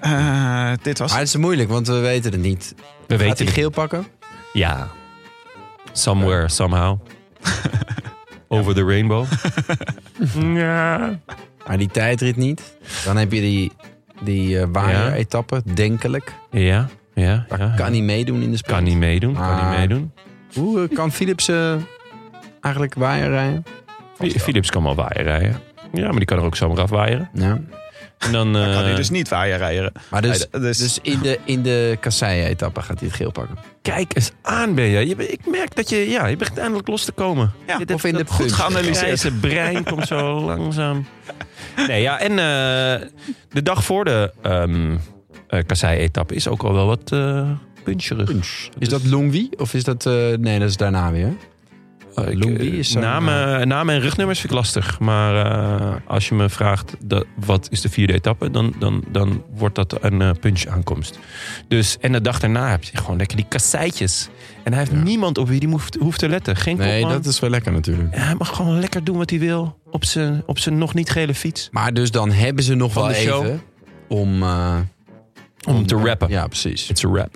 S4: Eh, dit was
S2: Maar het is moeilijk, want we weten het niet.
S1: we
S2: Gaat
S1: weten
S2: hij
S1: het.
S2: geel pakken?
S1: Ja. Somewhere, somehow. Over the rainbow. ja.
S2: Maar die tijdrit niet. Dan heb je die, die eh waaier-etappe, denkelijk.
S1: Ja, ja.
S2: Daar
S1: ja.
S2: kan hij meedoen in de sprint.
S1: Kan niet meedoen, kan niet
S2: Maar-
S1: meedoen.
S2: Hoe eh, kan Philips eh, eigenlijk waaier rijden?
S1: Fi- Philips kan wel waaien rijden. Ja, maar die kan er ook zomaar afwaaieren.
S2: Ja.
S1: En dan,
S4: Dan kan hij
S1: eh,
S4: dus niet waaien rijden.
S2: Maar dus,
S4: Nee, dus-
S2: dus... in de, in de kasseien-etappe gaat hij het geel pakken.
S1: kijk eens aan ben je. Je bent- Ik merk dat je, ja, je begint eindelijk los te komen.
S4: Ja,
S1: Je- dat-
S2: Of in de
S1: dat
S2: punch.
S4: geanalyseerd.
S1: grijze brein komt zo langzaam. Nee, ja, en eh, de dag voor de ehm eh, kassei-etappe is ook al wel wat eh puncherig.
S2: Dus- Punch. Is dat Longwy of is dat... eh, nee, dat is daarna weer.
S1: Eh, ik-
S2: Louis is zo'n, eh,
S1: namen, namen en rugnummers vind ik lastig. Maar eh, als je me vraagt dat, wat is de vierde etappe, dan, dan, dan wordt dat een eh, punch aankomst. Dus, en de dag daarna heb je gewoon lekker die kasseitjes. En hij heeft
S2: Ja.
S1: niemand op wie hij hoeft, hoeft te letten. Geen
S2: Nee,
S1: kopman.
S2: dat is wel lekker natuurlijk.
S1: En hij mag gewoon lekker doen wat hij wil op zijn, op zijn nog niet gele fiets.
S2: Maar dus dan hebben ze nog
S1: Van
S2: wel
S1: de show.
S2: even om... eh,
S1: Om, te rappen.
S2: Ja, precies.
S1: It's a rap.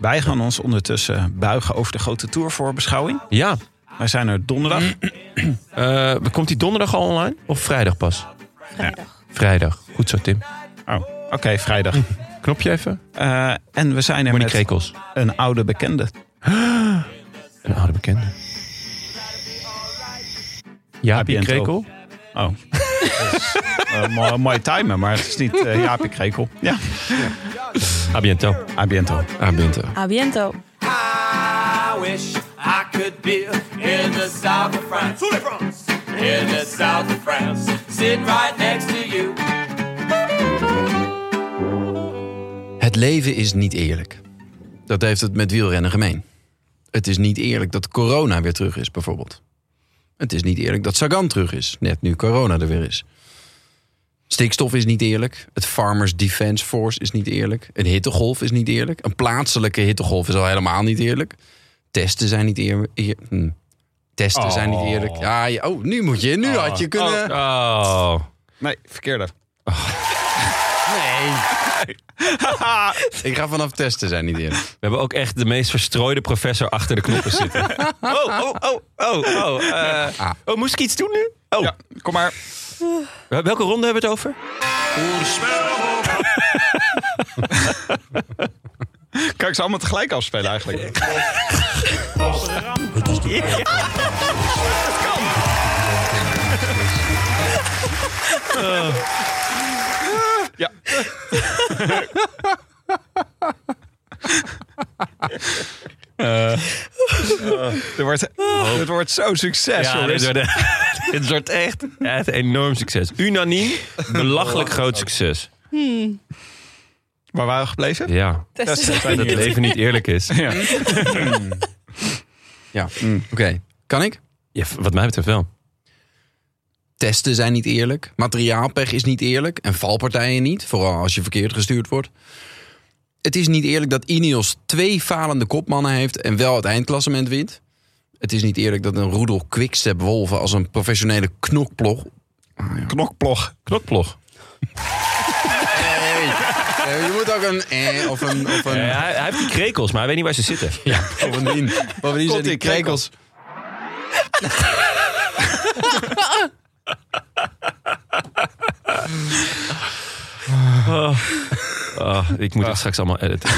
S4: Wij gaan ons ondertussen buigen over de grote tour voor beschouwing.
S1: Ja.
S4: Wij zijn er donderdag.
S2: Mm.
S1: Eh, komt die donderdag al online? Of vrijdag pas?
S3: Vrijdag.
S1: Vrijdag. Goed zo, Tim.
S4: Oh, oké, vrijdag.
S2: Mm.
S1: Knopje even.
S4: Eh, en we zijn er
S1: Monique
S4: met
S1: Krekels.
S4: een oude bekende.
S1: Een oude bekende. Jaapie
S4: Jaapie en
S1: Krekel.
S4: Oh. dat is, eh, mooi, mooi timen, maar het is niet eh Jaapie Krekel. Ja,
S1: Abiento.
S4: abiento.
S1: Ah,
S2: Abiento.
S3: Abiento.
S6: I wish I could be in the south of France. In the south of France. Sitting right next to you.
S2: Het leven is niet eerlijk. Dat heeft het met wielrennen gemeen. Het is niet eerlijk dat corona weer terug is, bijvoorbeeld. Het is niet eerlijk dat Sagan terug is, net nu corona er weer is. Stikstof is niet eerlijk. Het Farmers Defence Force is niet eerlijk. Een hittegolf is niet eerlijk. Een plaatselijke hittegolf is al helemaal niet eerlijk. Testen zijn niet eerlijk. Testen zijn niet eerlijk. Ja, je- oh, nu moet je. Nu had je kunnen.
S1: Oh.
S4: Nee, verkeerde.
S2: Ik ga vanaf testen zijn niet eerlijk.
S1: We hebben ook echt de meest verstrooide professor achter de knoppen zitten. Oh, oh, oh, oh, oh. eh,
S2: Ah.
S1: oh, moest ik iets doen nu? Oh.
S4: Ja, kom maar.
S1: Eh, Welke ronde hebben we het over?
S4: Kan ik ze allemaal tegelijk afspelen eigenlijk? Ja. Dit Eh, wordt, dit wordt zo'n succes, jongens.
S1: dit wordt, dit wordt echt, Oh. echt enorm succes. Unaniem, belachelijk groot succes.
S4: Waar waren we gebleven?
S1: Ja,
S3: Testen zijn
S1: dat het leven niet eerlijk is.
S4: Ja.
S2: Ja, mm. oké. Kan ik?
S1: Ja, wat mij betreft wel.
S2: Testen zijn niet eerlijk. Materiaalpech is niet eerlijk. En valpartijen niet. Vooral als je verkeerd gestuurd wordt. Het is niet eerlijk dat Ineos twee falende kopmannen heeft en wel het eindklassement wint. Het is niet eerlijk dat een roedel quickstep wolven als een professionele knokplog...
S4: Knokplog.
S1: Knokplog.
S2: Eh, je moet ook een eh of een... Of een,
S1: Eh, hij, hij heeft die krekels, maar hij weet niet waar ze zitten.
S2: of een dien. Bovendien zijn die
S4: Conti,
S2: krekels...
S1: Ah, Oh, ik moet het straks allemaal editen.